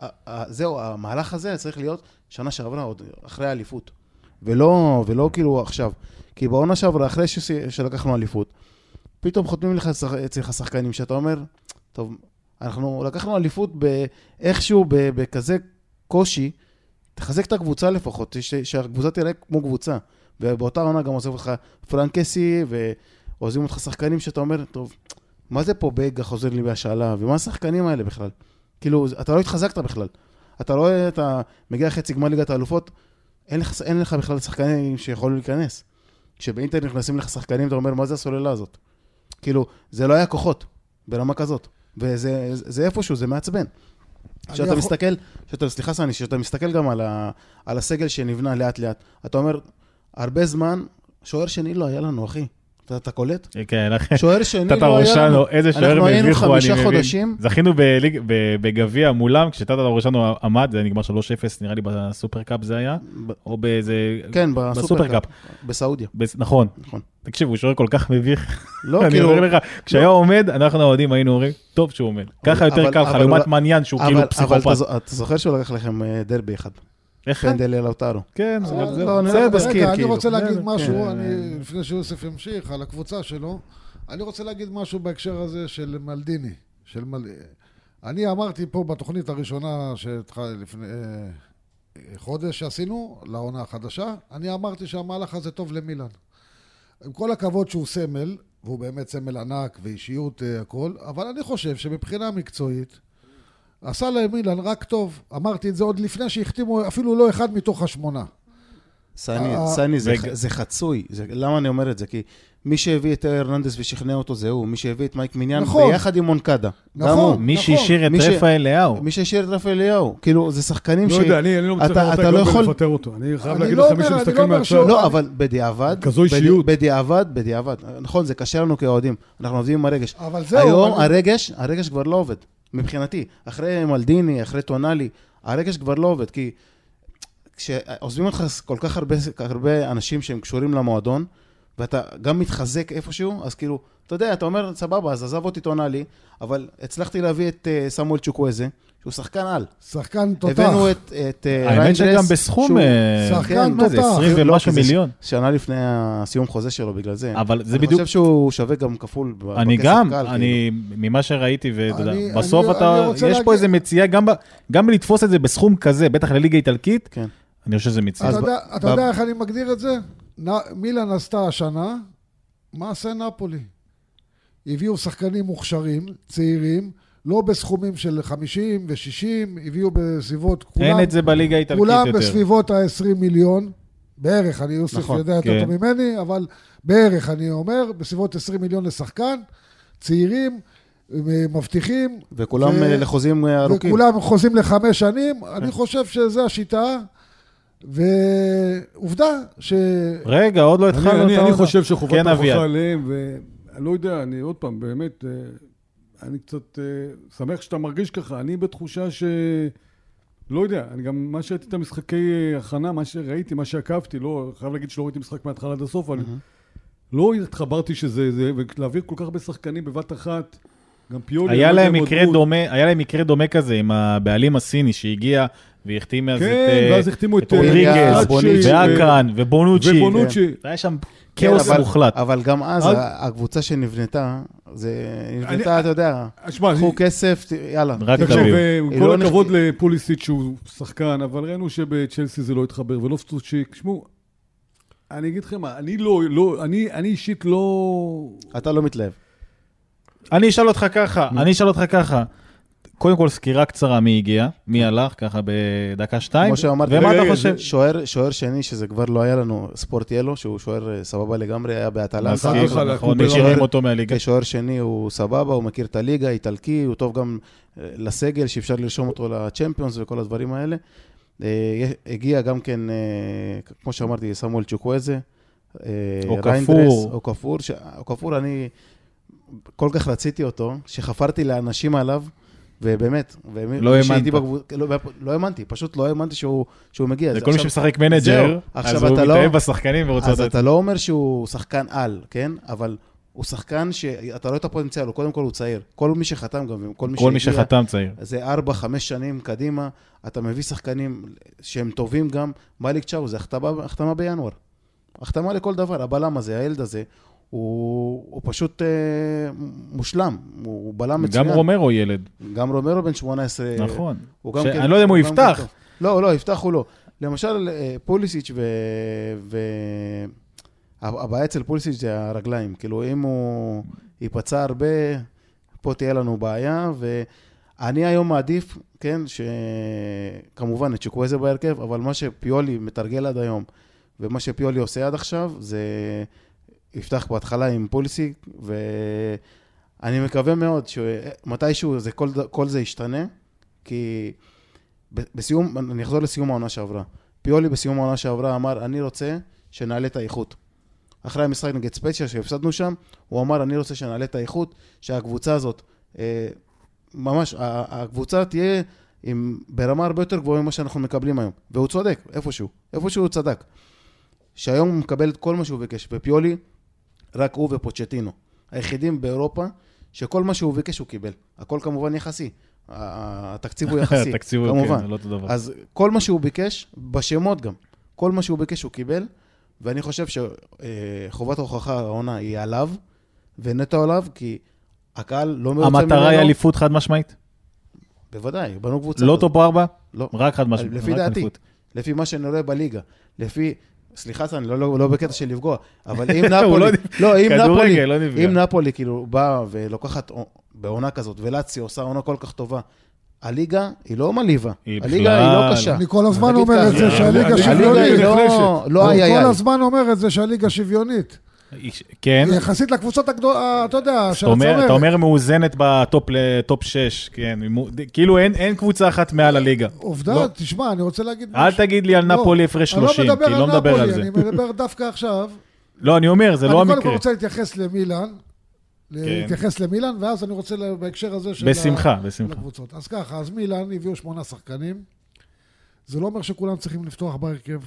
ה- ה- זהו, המהלך הזה צריך להיות שנה שעברה, עוד אחרי האליפות. ולא, ולא כאילו עכשיו. כי בעונה שעברה, אחרי ש... שלקחנו אליפות, פתאום חותמים לך שח... אצלך שחקנים שאתה אומר, טוב, אנחנו לקחנו אליפות ב... איכשהו ב... בכזה קושי, תחזק את הקבוצה לפחות, ש... שהקבוצה תראה כמו קבוצה. ובאותה עונה גם עוזב לך פרנקסי, ועוזבים אותך שחקנים שאתה אומר, טוב, מה זה פה בגה חוזר לי בהשאלה, ומה השחקנים האלה בכלל? כאילו, אתה לא התחזקת בכלל. אתה רואה, אתה מגיע חצי גמר ליגת האלופות, אין לך, אין לך בכלל שחקנים שיכולו להיכנס. כשבאינטר נכנסים לך שחקנים, אתה אומר, מה זה הסוללה הזאת? כאילו, זה לא היה כוחות, ברמה כזאת. וזה זה, זה איפשהו, זה מעצבן. כשאתה
יכול-
יכול... מסתכל, כשאתה, סליחה סני, כשאתה מסתכל גם על, ה, על הסגל שנבנה לאט-לאט, אתה אומר, הרבה זמן, שוער שני לא היה לנו, אחי. אתה, אתה קולט?
כן,
שוער שני
טאטה
לא היה לנו.
ראשנו, איזה שוער
אנחנו היינו
מביכו, אני
חמישה
מבין.
חודשים.
זכינו בליג- ב- בגביע מולם, כשטאטה ראשנו עמד, זה נגמר 3-0, נראה לי בסופרקאפ זה היה,
ב-
או באיזה...
כן,
בסופרקאפ.
בסופרקאפ. בסעודיה,
בס- נכון.
נכון.
תקשיב, הוא שוער כל כך מביך.
לא,
אני
כאילו,
אומר לך, כשהיה עומד, אנחנו האוהדים היינו אומרים, טוב שהוא עומד. ככה יותר
אבל-
קל לך,
אבל-
לעומת
אבל-
מעניין שהוא
אבל-
כאילו
אבל אתה
פסיכופת.
זו- אתה זוכר שהוא לקח לכם אה, דרבי אחד,
איך?
פנדל לאוטרו.
כן, זה-
אבל-
זה-
לא, אני
זה
רק
מזכיר,
רגע, אני
כאילו.
רוצה להגיד
כן,
משהו,
כן.
אני- לפני שיוסף ימשיך, על הקבוצה שלו. אני רוצה להגיד משהו בהקשר הזה של מלדיני. של מל... אני אמרתי פה בתוכנית הראשונה שהתחל לפני אה, חודש שעשינו, לעונה החדשה, אני אמרתי שהמהלך הזה טוב למילן. עם כל הכבוד שהוא סמל, והוא באמת סמל ענק ואישיות אה, הכל, אבל אני חושב שמבחינה מקצועית, עשה למילן רק טוב. אמרתי את זה עוד לפני שהחתימו אפילו לא אחד מתוך השמונה.
סני,
אה,
סני, זה,
וג-
זה חצוי. זה, למה אני אומר את זה? כי מי שהביא את הרננדס ושכנע אותו זה הוא, מי שהביא את מייק מניין,
נכון.
ביחד עם מונקדה.
נכון.
גם הוא.
מי
נכון.
שהשאיר את
מי ש-
רפאל לאהו.
מי שהשאיר את רפי אליהו. כאילו, זה שחקנים
לא יודע, אני אני לא מצליח
אתה-
לראות את
אתה לא
הגלובל
יכול-
ולפטר אותו. אני חייב
אני
להגיד
לא
לך,
אומר-
מי
אני לא
שמסתכל
אומר
מהצד,
שהוא-
לא, אבל בדיעבד...
כזו
בדי-
אישיות.
בדיעבד, בדיעבד. נכון, זה קשה לנו כאוהדים. אנחנו עובדים עם הרגש.
אבל זהו,
היום
אבל-
הרגש, הרגש כבר לא עובד, מבחינתי. אחרי מלדיני, אחרי טונאלי, הרגש כבר לא עובד, כי כשעוזבים אותך כל כך הרבה, הרבה אנשים שהם קשורים למועדון, ואתה גם מתחזק איפשהו, אז כאילו, אתה יודע, אתה אומר, סבבה, אז עזב אותי טונאלי, אבל הצלחתי להביא את uh, סמואל צ'וקוויזה, שהוא שחקן על.
שחקן תותח.
הבאנו את, את uh,
האמת שגם בסכום, אה,
שחקן
כן, מה זה,
תותח.
20
לא,
ומשהו
כי זה
מיליון.
שנה לפני הסיום חוזה שלו, בגלל זה.
אבל זה
אני
בדיוק,
חושב שהוא שווה גם כפול ב-
אני
בכסף
גם,
קל, כאילו.
אני, ממה שראיתי, ואתה יודע,
אני-
בסוף
אני-
אתה,
אני רוצה
יש
להגיד-
פה איזה מציאה, גם ב- גם בלתפוס את זה בסכום כזה, בטח לליגה איטלקית,
כן.
אני חושב שזה
אתה
מציאה.
אז
יודע-
ב-
אתה
ב-
יודע איך אני מגדיר את זה? נ- מילאן עשתה השנה מעשה נפולי. הביאו שחקנים מוכשרים, צעירים, לא בסכומים של 50 ו-60, הביאו בסביבות, כולם,
אין את זה בליגה האיטלקית
כולם
יותר.
בסביבות ה-20 מיליון, בערך, אני יוסף
נכון,
יודע יותר
כן.
טוב ממני, אבל בערך, אני אומר, בסביבות 20 מיליון לשחקן, צעירים, מבטיחים,
וכולם
ו-
אה, לחוזים אה, ארוכים.
וכולם חוזים לחמש שנים,
כן.
אני חושב שזו השיטה, ועובדה ש...
רגע, עוד לא
אני-
התחלנו את
אני- אני
העונה.
חושב שחובת
כן, אביעד.
ההוכחה עליהם, ואני לא יודע, אני עוד פעם, באמת, אה, אני קצת אה, שמח שאתה מרגיש ככה. אני בתחושה ש... לא יודע, אני גם, מה שראיתי את המשחקי אה, הכנה, מה שראיתי, מה שעקבתי, לא, חייב להגיד שלא ראיתי משחק מההתחלה עד הסוף, אבל
Mm-hmm.
לא התחברתי שזה, זה, ולהעביר כל כך הרבה שחקנים בבת אחת, גם פיולי.
היה
אני לא יודע
להם
אם עוד
מקרה
הוא-
דומה, היה להם מקרה דומה כזה עם הבעלים הסיני שהגיע והחתים אז את
כן,
אה,
ואז החתימו את, אה,
רודריגז,
אה, בונוצ'י,
ואקרן, ובונוצ'י.
ובונוצ'י.
היה שם
כן,
כאוס
אבל-
מוחלט.
אבל גם אז
אז-
ה- הקבוצה שנבנתה, זה
אני-
נבנתה, אתה יודע,
כן.
אה, שמע,
קחו כסף, ת- יאללה.
רק
תקשיב,
תביאו.
אה, עם
היא
כל
לא נכ-
הכבוד לפוליסיץ' שהוא שחקן, אבל ראינו שבצ'לסי זה לא התחבר, ולופטוצ'יק, שמעו, אני אגיד לכם מה, אני לא, לא, אני אני אישית לא...
אתה לא מתלהב.
אני אשאל אותך ככה, אני אשאל אותך ככה. קודם כל סקירה קצרה מי הגיע, מי הלך, ככה בדקה שתיים.
כמו שאמרתי,
ומה
רגע,
אתה
רגע,
חושב?
זה-
שוער- שוער שני, שזה כבר לא היה לנו, ספורטיאלו, שהוא שוער אה, סבבה לגמרי, היה באטלנטה.
מסכים.
נכון,
נכון,
נכון,
הוא
משאירים
ברמה-
אותו מהליגה.
כשוער שני הוא סבבה, הוא מכיר את הליגה, איטלקי, הוא טוב גם אה, לסגל, שאפשר לרשום אותו לצ'מפיונס וכל הדברים האלה. אה, יה- הגיע גם כן, אה, כמו שאמרתי, סמואל צ'וקוויזה, אה,
אוקפור.
ריינדרס, אוקפור, ש- אוקפור, אני כל כך רציתי אותו, שחפרתי לאנשים עליו, ובאמת, ומי-
לא
כשהייתי
האמנת.
בקבוצ- לא, לא האמנתי, פשוט לא האמנתי שהוא, שהוא מגיע.
זה
אז
כל מי
עכשיו-
שמשחק
זהו,
מנג'ר,
עכשיו
אז הוא
אתה לא-
מתאהב בשחקנים ורוצה
אז
לתת.
אתה לא אומר שהוא שחקן על, כן? אבל הוא שחקן שאתה רואה את הפוטנציאל, הוא קודם כל הוא צעיר. כל מי שחתם גם, כל מי
כל מי
שהגיע,
שחתם צעיר.
זה ארבע, חמש שנים קדימה, אתה מביא שחקנים שהם טובים גם. מאליק צ'או זה החתמה, החתמה בינואר. החתמה לכל דבר, הבלם הזה, הילד הזה, הוא, הוא פשוט אה, מושלם, הוא, הוא בלם מצוין.
גם רומרו ילד,
גם רומרו בן 18.
נכון.
הוא גם
ש-
כן-
אני לא יודע אם הוא
גם כן
יפתח.
טוב. לא, לא, יפתח הוא לא. למשל, אה, פוליסיץ' ו... ו... הב- הבעיה אצל פוליסיץ' זה הרגליים. כאילו, אם הוא ייפצע הרבה, פה תהיה לנו בעיה. ואני היום מעדיף, כן, שכמובן את שקוויזה בהרכב, אבל מה שפיולי מתרגל עד היום, ומה שפיולי עושה עד עכשיו, זה יפתח בהתחלה עם פוליסיץ', ואני מקווה מאוד שמתישהו זה, כל, ד- כל זה ישתנה, כי ב- בסיום, אני אחזור לסיום העונה שעברה. פיולי בסיום העונה שעברה אמר, אני רוצה שנעלה את האיכות. אחרי המשחק נגד ספציה שהפסדנו שם, הוא אמר, אני רוצה שנעלה את האיכות, שהקבוצה הזאת, אה, ממש, ה- ה- הקבוצה תהיה עם, ברמה הרבה יותר גבוהה ממה שאנחנו מקבלים היום. והוא צודק, איפשהו, איפשהו הוא צדק. שהיום הוא מקבל את כל מה שהוא ביקש, ופיולי, רק הוא ופוצ'טינו. היחידים באירופה שכל מה שהוא ביקש הוא קיבל. הכל כמובן יחסי. ה- ה- התקציב הוא יחסי,
התקציב הוא,
כמובן.
כן, זה לא אותו דבר.
אז כל מה שהוא ביקש, בשמות גם, כל מה שהוא ביקש הוא קיבל, ואני חושב שחובת ההוכחה העונה היא עליו, ונטו עליו, כי הקהל לא מרוצה ממנו.
המטרה היא אליפות חד משמעית?
בוודאי, בנו קבוצה.
לא
כזאת.
טופ ארבע?
לא.
רק חד משמעית.
לפי
רק
דעתי,
אליפות.
לפי מה שאני רואה בליגה, לפי... סליחה, סן, לא, לא, לא בקטע של לפגוע, אבל אם
הוא לא
נפולי,
נפגע.
לא, אם
כדורגל,
נפולי,
לא נפגע.
אם נפולי כאילו באה ולוקחת עו- בעונה כזאת, ולאצי עושה עונה כל כך טובה, הליגה היא לא מלאיבה,
היא
הליגה היא
בכלל-
לא קשה.
אני כל הזמן
נגיד
אומר את
ככה.
זה
הליגה
שהליגה
היא
הליגה היא
שוויונית.
לא- לא
אני
איי איי
כל
איי.
הזמן אומר את זה שהליגה שוויונית.
איש- כן.
יחסית לקבוצות הגדולות, אתה יודע,
אתה אומר, אתה
שהצמרת.
אומר מאוזנת בטופ 6, כן, מו- ד- כאילו אין, אין קבוצה אחת מעל הליגה.
עובדה, תשמע, אני רוצה להגיד
לא. אל
משהו.
תגיד לי על
לא,
נפולי הפרש
אני
30, כי
מדבר
לא מדבר על
נפולי,
זה.
אני מדבר דווקא עכשיו.
לא, אני אומר, זה לא
אני קודם כל
המקרה. כן.
רוצה להתייחס למילן, להתייחס למילן, ואז אני רוצה לה- בהקשר הזה של... ה-
בשמחה,
של
בשמחה.
הקבוצות. אז ככה, אז מילן הביאו שמונה שחקנים. זה לא אומר שכולם צריכים לפתוח בהרכב.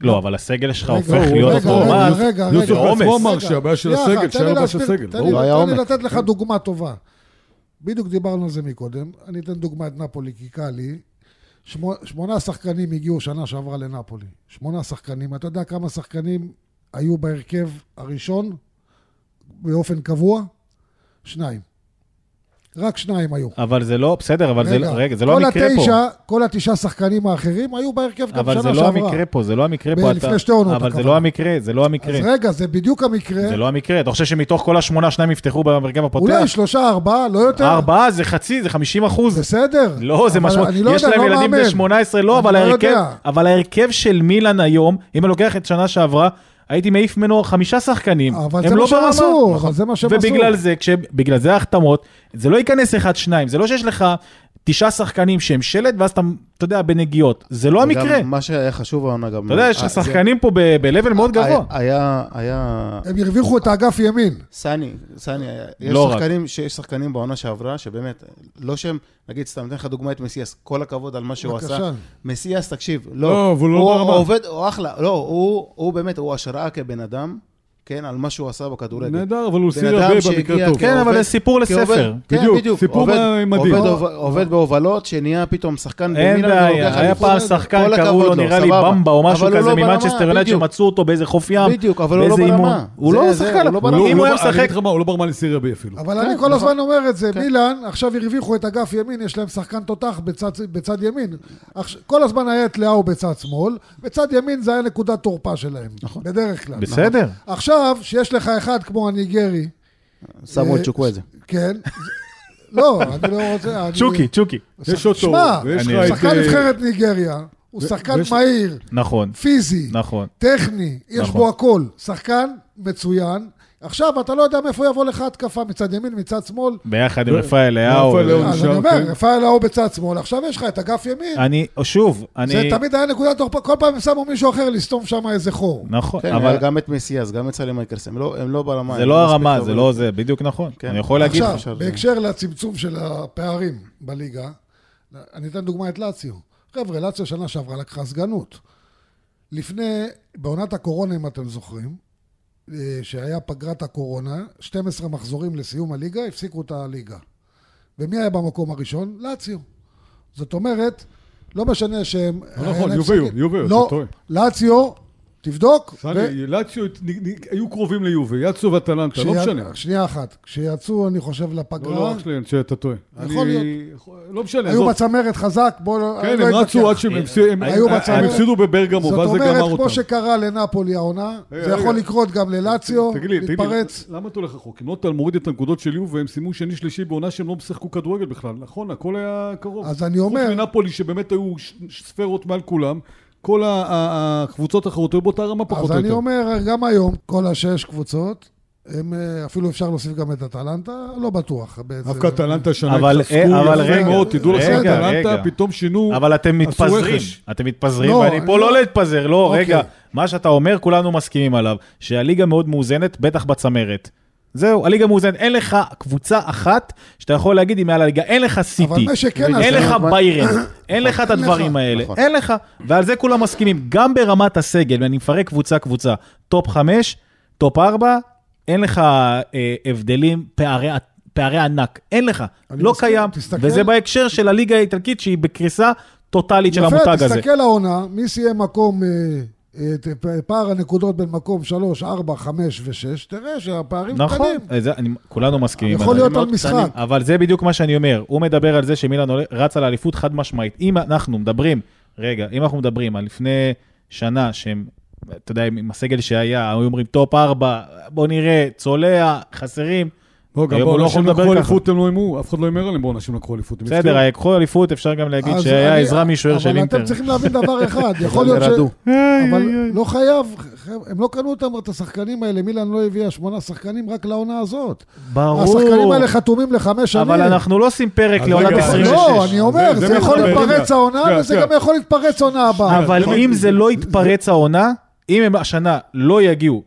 לא, אבל הסגל שלך
רגע,
הופך
הוא-
להיות
רגע,
מועמד
רגע, רגע,
זה
רגע.
עומס.
הוא אמר
רגע,
שהבעיה של
שנייה
הסגל,
אחת, תן
שהיה
לי
לו בעיה של
להסביר,
הסגל.
תן
לא,
לי-
הוא היה
תן לי
עומק.
לתת לך דוגמה טובה. בדיוק דיברנו על זה מקודם. אני אתן דוגמה את נפולי, כי קל לי. שמו- שמונה שחקנים הגיעו שנה שעברה לנפולי. שמונה שחקנים. אתה יודע כמה שחקנים היו בהרכב הראשון באופן קבוע? שניים. רק שניים היו.
אבל זה לא, בסדר, אבל זה לא- רגע, זה לא
כל
המקרה פה.
התשע, כל התשעה שחקנים האחרים היו בהרכב גם
אבל
שנה
זה
שעברה.
לא המקרה פה, זה לא המקרה
ב-
פה.
לפני
אתה-
שתי עונות,
אבל זה
הכוונה.
לא המקרה, זה לא המקרה.
אז רגע, זה בדיוק המקרה.
זה לא המקרה. אתה חושב שמתוך כל השמונה, שניים יפתחו בהרכב הפותח?
אולי שלושה, ארבעה, לא יותר.
ארבעה זה חצי, זה 50 אחוז.
בסדר.
לא, זה
אבל אני
משמעותי.
לא
יש
יודע,
להם
לא
ילדים
מאמן.
בני 18, לא,
אני
אבל
לא
ההרכב,
יודע.
אבל ההרכב של מילאן היום, אם אני לוקח את שנה שעברה, הייתי מעיף ממנו חמישה שחקנים.
אבל
הם
זה
לא
מה שהם
ברמה.
עשו, אבל זה מה שהם עשו.
ובגלל זה, כש- בגלל זה ההחתמות, זה לא ייכנס אחד-שניים, זה לא שיש לך תשעה שחקנים שהם שלד, ואז אתה, אתה יודע, בנגיעות. זה לא
וגם
המקרה.
מה שהיה חשוב העונה גם...
אתה יודע, יש
אה,
לך
זה- אה,
שחקנים פה ב- ב-level מאוד גבוה.
היה- היה, היה...
הם הרוויחו את האגף ימין.
סני, סני, יש
לא רק.
שחקנים, שיש שחקנים בעונה שעברה, שבאמת, לא שהם, נגיד, סתם אתן לך דוגמא את מסיאס, כל הכבוד על מה שהוא
בבקשה.
עשה. מסיאס, תקשיב,
לא,
לא,
אבל הוא לא
הוא
ברמה.
עובד, הוא אחלה, לא, הוא- הוא באמת, הוא השראה כבן אדם, כן, על מה שהוא עשה בכדורגל.
נהדר, אבל הוא
בן
סיר
אדם
הרבה
שהגיע-
במקרה טוב.
כן, אבל
כעובד-
זה סיפור
כעובד-
לספר.
כן,
בדיוק, סיפור
עובד-
מדהים.
עובד- עובד בהובלות, שנהיה פתאום שחקן
אין
במילה,
בעיה, היה פעם שחקן, קראו
לא,
לו נראה לי במבה או משהו כזה ממנצ'סטר יונייט שמצאו אותו באיזה חוף ים.
בדיוק, אבל הוא לא
באיזה
ברמה.
אימון. הוא
זה-
לא
זה,
שחקן,
הוא לא
הוא לא-
ברמה.
אם
הוא
הוא
לא-
היה
אני אגיד
משחק...
לך מה, הוא לא ברמה לסיר הרבה אפילו.
אבל
כן,
אני
נכון.
כל הזמן אומר את זה, מילאן, עכשיו הרוויחו את אגף ימין, יש להם שחקן תותח בצד- בצד ימין. עכש- כל הזמן היה את לאהו בצד שמאל, בצד ימין זה היה נקודת תורפה שלהם, בדרך כלל.
נכון. בסדר.
עכשיו, שיש לך אחד כמו הניגרי,
שמו את צ'וקוויזה.
כן, לא, אני לא רוצה... אני-
צ'וקי, צ'וקי.
יש אותו,
שמע,
ויש לך
אני-
את...
שחקן
אה,
נבחרת ניגריה, הוא שחקן
ויש-
מהיר,
נכון,
פיזי,
נכון.
טכני, יש
נכון.
בו הכל. שחקן מצוין, עכשיו, אתה לא יודע מאיפה יבוא לך התקפה, מצד ימין, מצד שמאל.
ביחד עם
לא.
רפאל אליהו.
רפאל אליהו
אז
לא,
נשאר,
אני
כן.
אומר, רפאל ההוא בצד שמאל, עכשיו יש לך את אגף ימין.
אני, שוב, אני...
זה תמיד היה נקודת תורפה, כל פעם הם שמו מישהו אחר לסתום שם איזה חור.
נכון,
כן,
אבל
אבל... גם את מסיאס, גם את סלי מייקרס, הם לא, הם לא ברמה.
זה
הם
לא
מספיק
הרמה, זה
טובים.
לא זה, בדיוק נכון.
כן.
אני יכול להגיד לך.
עכשיו,
אה,
למשל,
בהקשר לצמצום של הפערים בליגה, אני אתן דוגמא את לאציו. חבר'ה, לאציו שנה שעברה לקחה סגנות. לפני, בעונת הקורונה, אם אתם זוכרים, אה, שהיה פגרת הקורונה, 12 מחזורים לסיום הליגה, הפסיקו את הליגה. ומי היה במקום הראשון? לאציו. זאת אומרת, לא משנה שהם... היה
נכון,
להם
יוביו,
סגן-
יוביו, אתה
לא,
טועה.
לאציו, תבדוק. ו-
סני, לאציו הת- נ- נ- היו קרובים ליובי, יאצו ואטלנטה, לא
כשיה-
משנה.
שנייה אחת. כשיצאו, אני חושב,
לא, לא,
לפגרה,
אח שלי, שאתה טועה.
יכול
אני- לא משנה,
היו
עזוב.
בצמרת חזק, בואו לא...
כן,
לא
הם רצו
אתווכח.
עד שהם הפסידו- הם- אה,
היו
הם
בצמרת.
הפסידו בברגמו, ואז זה
זאת
גמר
אומרת, כמו
אותם.
שקרה לנפולי העונה,
רגע,
זה יכול
רגע.
לקרות גם ללאציו,
תגיד לי, תגיד לי,
להתפרץ.
למה אתה הולך רחוק? אם לא אתה מוריד את הנקודות של יובה, הם סיימו שני שלישי בעונה שהם לא משחקו כדורגל בכלל, נכון? הכל היה קרוב.
אז אני אומר-
חוץ מנפולי, שבאמת היו ש- ש- ספרות מעל כולם, כל ה- ה- הקבוצות האחרות היו באותה רמה פחות
אז
או יותר.
אני אומר, גם היום, כל השש קבוצות, הם, אה, אפילו אפשר להוסיף גם את אטלנטה, לא בטוח בעצם.
דווקא אטלנטה השנה
אבל-
התחזקו
אה, אבל
יפה
רגע,
מאוד, תדעו לכם,
רגע,
אטלנטה
רגע.
פתאום שינו...
אבל אתם
עשו
מתפזרים,
רכש.
אתם מתפזרים,
לא,
ואני
אני
פה
לא-
לא להתפזר, לא,
אוקיי.
רגע, מה שאתה אומר כולנו מסכימים עליו, שהליגה מאוד מאוזנת, בטח בצמרת. זהו, הליגה מאוזנת, אין לך קבוצה אחת שאתה יכול להגיד היא מעל הליגה, אין לך סיטי,
מה שכן
אין
עשה-
לך
נכון.
ביירן, אין לך את
אין
הדברים
לך.
האלה,
נכון.
אין לך, ועל זה כולם מסכימים, גם ברמת הסגל, ואני מפרק קבוצה-קבוצה, טופ 5, טופ 4, אין לך אה, הבדלים, פערי... פערי ענק, אין לך,
אני
לא
מסכים,
קיים,
תסתכל.
וזה בהקשר של הליגה האיטלקית שהיא בקריסה טוטאלית של המותג
יפה,
הזה.
תסתכל העונה, מי סיים מקום, אה, אה, ת- פ- פער הנקודות בין מקום 3, 4, 5 ו-6, תראה שהפערים
נכון,
קטנים.
אה, זה- אני- כולנו מסכימים.
יכול
על זה.
להיות על
מאוד
משחק.
קטנים.
אבל זה בדיוק מה שאני אומר, הוא מדבר על זה שמילן עולה- רץ על האליפות חד משמעית. אם אנחנו מדברים, רגע, אם אנחנו מדברים על לפני שנה שהם, אתה יודע, עם הסגל שהיה, היו אומרים טופ 4, בוא נראה, צולע, חסרים.
לא, גם
היום הוא לא
בעונה
יכול
שהם
לדבר
לקחו
ככה.
אליפות הם לא הימרו, אף אחד לא הימר עליהם בעונה שהם לקחו אליפות. הם הפסידו.
בסדר, אה, לקחו אליפות, אפשר גם להגיד
אז
שהיה
אני-
עזרה משוער של
אבל
אינטר.
אתם צריכים להבין דבר אחד, יכול להיות ש...
ירדו.
אבל לא חייב, הם לא קנו אותם, את השחקנים האלה, מילן לא הביאה שמונה שחקנים רק לעונה הזאת. השחקנים
ברור,
האלה חתומים לחמש שנים.
אבל אנחנו לא עושים פרק
אז
לעונת
רגע,
26.
לא, אני אומר,
זה-
זה,
זה
יכול
מחבר.
להתפרץ
רגע,
העונה,
כן,
שנייה,
וזה
שנייה.
גם יכול להתפרץ העונה הבאה.
אבל
זה
אם
מה-
זה לא יתפרץ העונה, אם הם השנה לא יגיעו,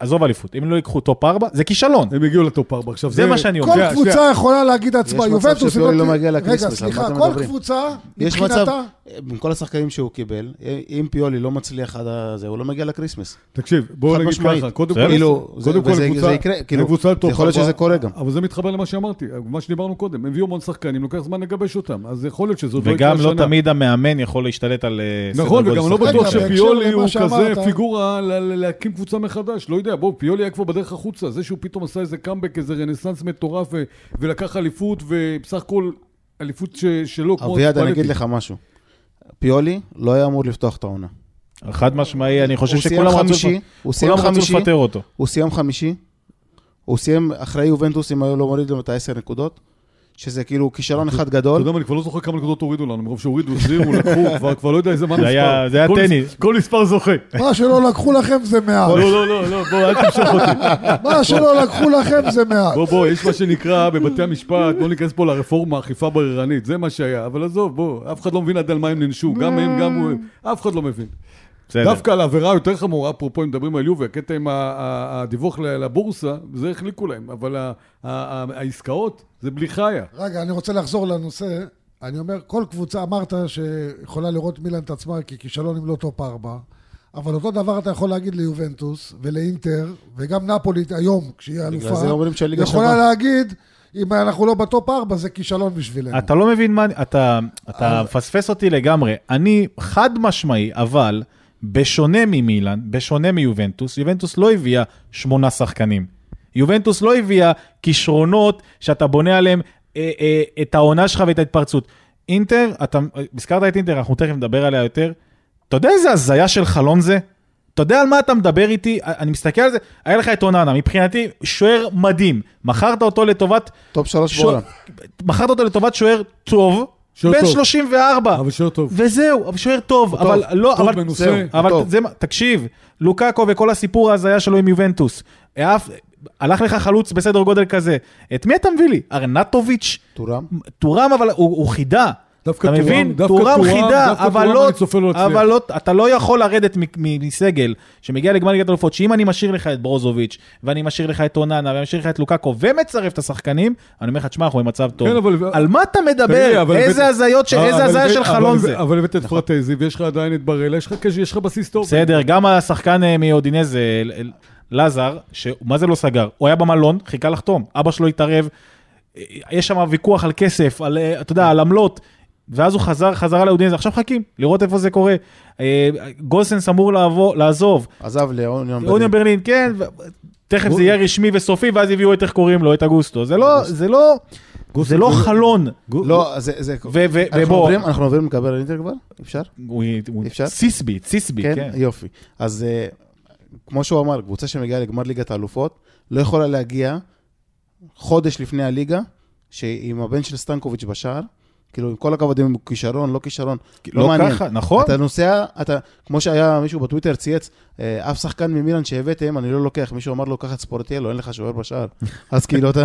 עזוב אליפות, אם לא ייקחו טופ 4, זה כישלון.
הם הגיעו לטופ ארבע. עכשיו
זה מה שאני אומר.
כל
שנייה,
קבוצה
שנייה.
יכולה להגיד עצמה,
כן, מצב
יובנטוס...
שפיולי
היא
לא מגיע
רגע,
לקריסמס, על מה
סליחה,
אתם
כל
מדברים?
קבוצה,
יש מצב,
מבחינתה...
עם כל השחקנים שהוא קיבל, אם פיולי לא מצליח עד הזה, הוא לא מגיע לקריסמס.
תקשיב, בואו
חד
נגיד
משמעית.
ככה, קודם
בסדר.
כל,
כאילו, זה-
קודם כל
וזה-
הקבוצה-
זה יקרה, כאילו,
הקבוצה טופ
יכול להיות
ארבע,
שזה קורה גם.
אבל זה מתחבר למה שאמרתי, מה שדיברנו קודם, הביאו המון שחקנים, לוקח זמן לגבש אותם, אז יכול להיות שזה עוד לא יקרה
וגם לא
השנה.
תמיד המאמן יכול להשתלט על אה, סדר
נכון,
גודל
וגם לא
שחקנים.
בטוח
רגע, בהקשר
שפיולי
למה
הוא כזה
שאמרת-
פיגורה ל- ל- להקים קבוצה מחדש, לא יודע, בואו, פיולי היה כבר בדרך החוצה, זה שהוא פתאום עשה איזה קאמבק, איזה רנסאנס מטורף, ו- ולקח אליפות, ובסך הכל אליפות ש- שלו, כמו...
אביעד, אני
ספלטי.
אגיד לך משהו. פיולי לא היה אמור לפתוח את העונה.
חד משמעי, אני חושב
הוא סיים
שכולם רצו
חמישי,
לפ-
הוא סיים
כולם רצו
חמישי,
לפטר אותו.
הוא סיים חמישי, הוא סיים אחרי יובנטוס, אם היו לא מוריד לו את ה-10 נקודות, שזה כאילו כישלון אחד
אתה
גדול.
יודע מה, אני כבר לא זוכר כמה נקודות הורידו לנו, מרוב שהורידו, החזירו, לקחו, כבר- כבר לא יודע איזה מה
זה היה-
מספר.
זה היה
כל מס-
טניס.
כל מספר זוכה.
מה שלא לקחו לכם זה מעט.
לא, לא, לא, לא, בוא, אל תמשוך אותי.
מה שלא לקחו לכם זה מעט.
בוא, בוא, יש מה שנקרא בבתי המשפט, בוא ניכנס פה לרפורמה, אכיפה בררנית, זה מה שהיה. אבל עזוב, בוא, אף אחד לא מבין עד על מה הם ננשו, גם הם, גם הוא, אף אחד לא מבין.
בסדר.
דווקא על העבירה היותר חמורה, אפרופו, אם מדברים על יובי, הקטע עם ה- ה- הדיווח ל- לבורסה, זה החליקו להם, אבל ה- ה- ה- העסקאות, זה בלי חיה.
רגע, אני רוצה לחזור לנושא. אני אומר, כל קבוצה, אמרת שיכולה לראות מילאן את עצמה ככישלון אם לא טופ ארבע, אבל אותו דבר אתה יכול להגיד ליובנטוס ולאינטר, וגם נפולי היום, כשהיא אלופה,
זה אומרים שהליגה
יכולה
שווה.
להגיד, אם אנחנו לא בטופ ארבע, זה כישלון בשבילנו.
אתה לא מבין מה, אני- אתה, אתה מפספס אותי לגמרי. אני חד משמעי, אבל בשונה ממילן, בשונה מיובנטוס, יובנטוס לא הביאה שמונה שחקנים. יובנטוס לא הביאה כישרונות שאתה בונה עליהם אה, אה, את העונה שלך ואת ההתפרצות. אינטר, אתה הזכרת את אינטר, אנחנו תכף נדבר עליה יותר. אתה יודע איזה הזיה של חלון זה? אתה יודע על מה אתה מדבר איתי? אני מסתכל על זה, היה לך את אוננה, מבחינתי שוער מדהים. מכרת אותו לטובת
טופ שלוש
שוער-
בעולם.
מכרת אותו לטובת שוער טוב,
שוער
בן
טוב.
34.
אבל שוער טוב.
וזהו, אבל שוער טוב, אבל לא,
טוב,
אבל...
מנוסה,
זהו, אבל
טוב.
זה מה- תקשיב, לוקאקו וכל הסיפור ההזיה שלו עם יובנטוס. אף... הלך לך חלוץ בסדר גודל כזה, את מי אתה מביא לי? ארנטוביץ'?
טורם?
טורם, אבל הוא, הוא חידה.
דווקא
אתה
טורם-
מבין?
דווקא טורם-
חידה,
דווקא
אבל
טורם
לא,
אני צופה לו להצליח.
אבל לא, אתה לא יכול לרדת מ- מ- מסגל שמגיע לגמר ליגת אלופות, שאם אני משאיר לך את ברוזוביץ', ואני משאיר לך את אוננה, ואני משאיר לך את לוקקו, ומצרף את השחקנים, אני אומר לך, תשמע, אנחנו במצב טוב.
כן, אבל-
על מה אתה
תגיד,
מדבר?
אבל
איזה
הבאת-
הזיות, ש-
אבל-
איזה הזיה
אבל-
של
אבל-
חלון זה?
אבל הבאת את פרטזי, ויש לך עדיין את בראלה, יש לך קש- יש לך בסיס טוב.
בסדר, גם השחקן אה, מאודינזה, אל- אל- לזר, שמה זה לא סגר? הוא היה במלון, חיכה לחתום, אבא שלו התערב, אה, יש שם ויכוח על כסף, על, אה, אתה יודע, על עמלות, ואז הוא חזר חזרה לאודינזה, עכשיו מחכים, לראות איפה זה קורה. אה, גולסנס אמור לעבור- לעזוב,
עזב לאוניון
אוניון
ברלין.
ברלין, כן, ו- תכף זה יהיה רשמי וסופי, ואז יביאו את איך קוראים לו, את אגוסטו. זה לא, זה לא, זה לא חלון.
לא, זה... זה-
ו- ו-
אנחנו
ובוא-
עוברים- אנחנו עוברים לקבל אינטר כבר? אפשר?
הוא- הוא-
אפשר?
סיסבי, סיסבי,
כן,
כן.
יופי. אז אה, כמו שהוא אמר, קבוצה שמגיעה לגמר ליגת האלופות, לא יכולה להגיע חודש לפני הליגה, שעם הבן של סטנקוביץ' בשער, כאילו, עם כל הכבוד, אם הוא כישרון, לא כישרון, לא
לא
מעניין.
ככה, נכון.
אתה נוסע, אתה, כמו שהיה מישהו בטוויטר צייץ, אה, אף שחקן ממילן שהבאתם, אני לא לוקח. מישהו אמר לו, קח את ספורטיאלו, אין לך שוער בשער. אז כאילו אתה...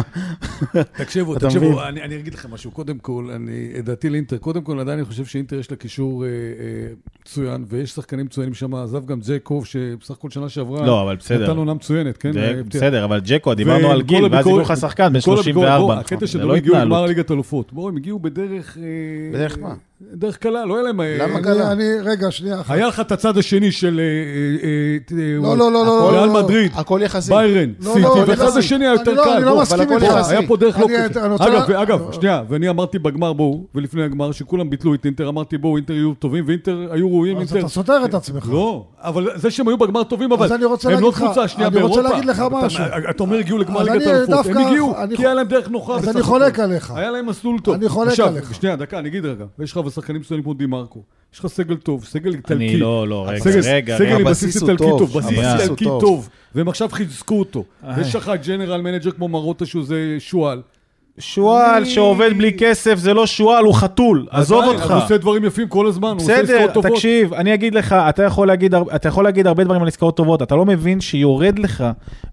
תקשיבו,
אתה
תקשיבו,
מבין?
אני, אני אגיד לכם משהו. קודם כל, אני, דעתי לאינטר, קודם כל, עדיין אני חושב שאינטר יש לה קישור אה, אה, מצוין, ויש שחקנים מצוינים שם, עזב גם ג'ייקוב, שבסך הכל שנה שעברה,
לא, אבל בסדר.
נתן עונה מצוינת, כן?
זה-
אה,
בסדר, אבל ג'קו, דיברנו על
וכל
גיל, ואז הביאו
הביקורת-
לך שחקן בן
כל הביקורת, בוא,
34.
הקטע
זה
שהם לא
לא
הגיעו לגמר
התנהלות.
ליגת אלופות. בואו, הם הגיעו בדרך... אה,
בדרך מה?
דרך קלה, לא היה להם... אה,
למה
אה,
קלה?
אני, אני, רגע, שנייה אחת.
היה לך את הצד השני של... אה, אה, אה,
לא, לא, לא, לא,
הכל-
לא,
ריאל
לא.
מדריד,
הכל יחסי.
ביירן,
לא,
סיטי,
לא, אני לא
והצד
מסכים.
השני היה יותר
אני
קל.
לא- אני לא
בוא,
מסכים
אבל הכל
איתך.
יחסי. היה פה דרך לא
אני-
קשה.
אני רוצה
אגב,
לה-
ואגב,
לא.
שנייה, ואני אמרתי בגמר, בואו, ולפני הגמר, שכולם ביטלו את אינטר, אמרתי בואו, אינטר יהיו טובים, ואינטר היו ראויים,
אז
אינטר...
אתה סותר את עצמך.
לא, אבל זה שהם היו בגמר טובים, אבל
נכון. אני רוצה
הם
להגיד
לא
לך-
קבוצה שנייה
אני
באירופה.
רוצה להגיד לך
אתה-
משהו.
אתה אומר הגיעו לגמר
אז
ליגת
אני
האלופות, הם
דווקא-
הגיעו,
אני
כי
חו-
היה להם דרך נוחה.
אז
בסך
אני
הכל.
חולק עליך.
היה להם מסלול טוב.
אני חולק
עכשיו,
עליך.
שנייה, דקה, אני אגיד רגע, יש לך שחקנים מצוינים כמו די מרקו, יש לך סגל טוב, סגל איטלקי.
אני לא, לא, רגע,
סגל,
רגע,
סגל
רגע.
עם
הבסיס
בסיס
הוא
איטלקי
טוב,
טוב, בסיס
הבסיס הוא
איטלקי
טוב.
טוב, והם עכשיו חיזקו אותו. ויש לך ג'נרל מנג'ר כמו מרוטה שהוא זה שועל.
שועל שעובד בלי כסף זה לא שועל, הוא חתול, עזוב
עדיין, אבל
אותך.
הוא עושה דברים יפים כל הזמן, הוא עושה
בסדר,
עסקאות טובות.
תקשיב, אני אגיד לך, אתה יכול להגיד, הר- אתה יכול להגיד הרבה דברים על עסקאות טובות, אתה לא מבין שיורד לך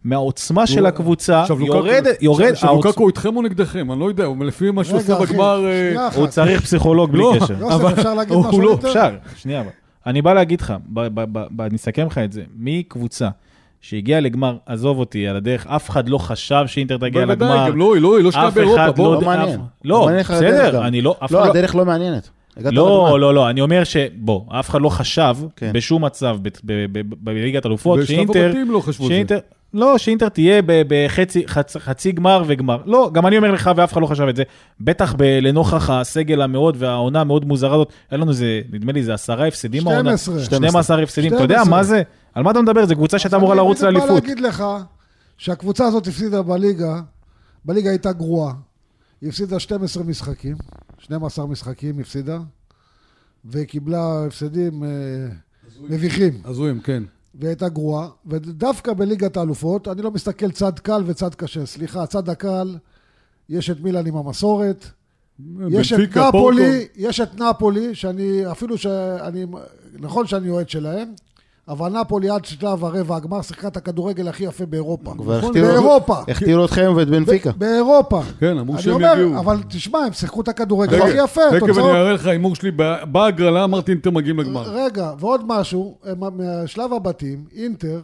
מהעוצמה של הקבוצה,
עכשיו, לוקקו-
אה, יורד, יורד,
עכשיו,
העוצ-
לוקקו איתכם או נגדכם? אני לא יודע, הוא לפי מה שהוא
רגע,
עושה
אחי,
בגמר... אה,
שנייה אחת.
הוא צריך פסיכולוג בלי
לא,
קשר.
יוסף,
אבל-
אפשר להגיד
הוא
משהו
לא-
על אינטר?
אפשר, שנייה, אבל. אני בא להגיד לך, ב- ב- ב- ב- אני אסכם לך את זה, מקבוצה שהגיעה לגמר, עזוב אותי, על הדרך, אף אחד לא חשב שאינטר תגיע
בוודאי,
לגמר.
גם לא, היא לא- היא לא שקיעה
אף
באירופה,
אחד
בוא.
לא
לא
אף-
מעניין.
לא,
מעניין לך הדרך
בסדר,
גם.
אני לא, אף
לא,
אחד לא...
הדרך לא מעניינת. הגעת לגמר.
לא, לא, לא, אני אומר ש... בוא, אף אחד לא חשב
כן.
בשום מצב ב- ב- ב- ב- בליגת אלופות
בשלב
שאינטר...
הבתים לא חשבו את זה.
שאינטר- לא, שאינטר תהיה ב- בחצי חצ- חצי גמר וגמר. לא, גם אני אומר לך, ואף אחד לא חשב את זה. בטח ב- לנוכח הסגל המאוד והעונה המאוד מוזרה הזאת, היה לנו איזה, נדמה לי, זה עשרה הפסדים העונה.
12.
12 הפסדים. אתה יודע
12.
מה זה? על מה אתה מדבר? זו קבוצה שהייתה אמורה לרוץ
אני בדיוק
לאליפות.
בא להגיד לך שהקבוצה הזאת הפסידה בליגה, בליגה הייתה גרועה. היא הפסידה 12 משחקים, 12 משחקים הפסידה, וקיבלה הפסדים אה, מביכים,
הזויים, כן.
והיא הייתה גרועה. ודווקא בליגת האלופות, אני לא מסתכל צד קל וצד קשה, סליחה, הצד הקל, יש את מילאן עם המסורת, יש את
בנפיקה, פורטו.
נפולי, יש את נפולי, שאני, אפילו שאני, נכון שאני אוהד שלהם, אבל נפולי עד שלב הרבע הגמר שיחקה את הכדורגל הכי יפה באירופה.
כבר
נכון?
הכתירו-
באירופה.
הכתירו אתכם ואת בנפיקה.
ב- באירופה.
כן, אמרו
אני
שהם
אומר,
יגיעו.
אבל תשמע, הם שיחקו את הכדורגל
רגע,
הכי יפה,
תכף אני
תוצאות...
אראה לך הימור שלי, ב- בהגרלה אמרתי אינטר מגיעים לגמר.
רגע, ועוד משהו, הם- משלב הבתים, אינטר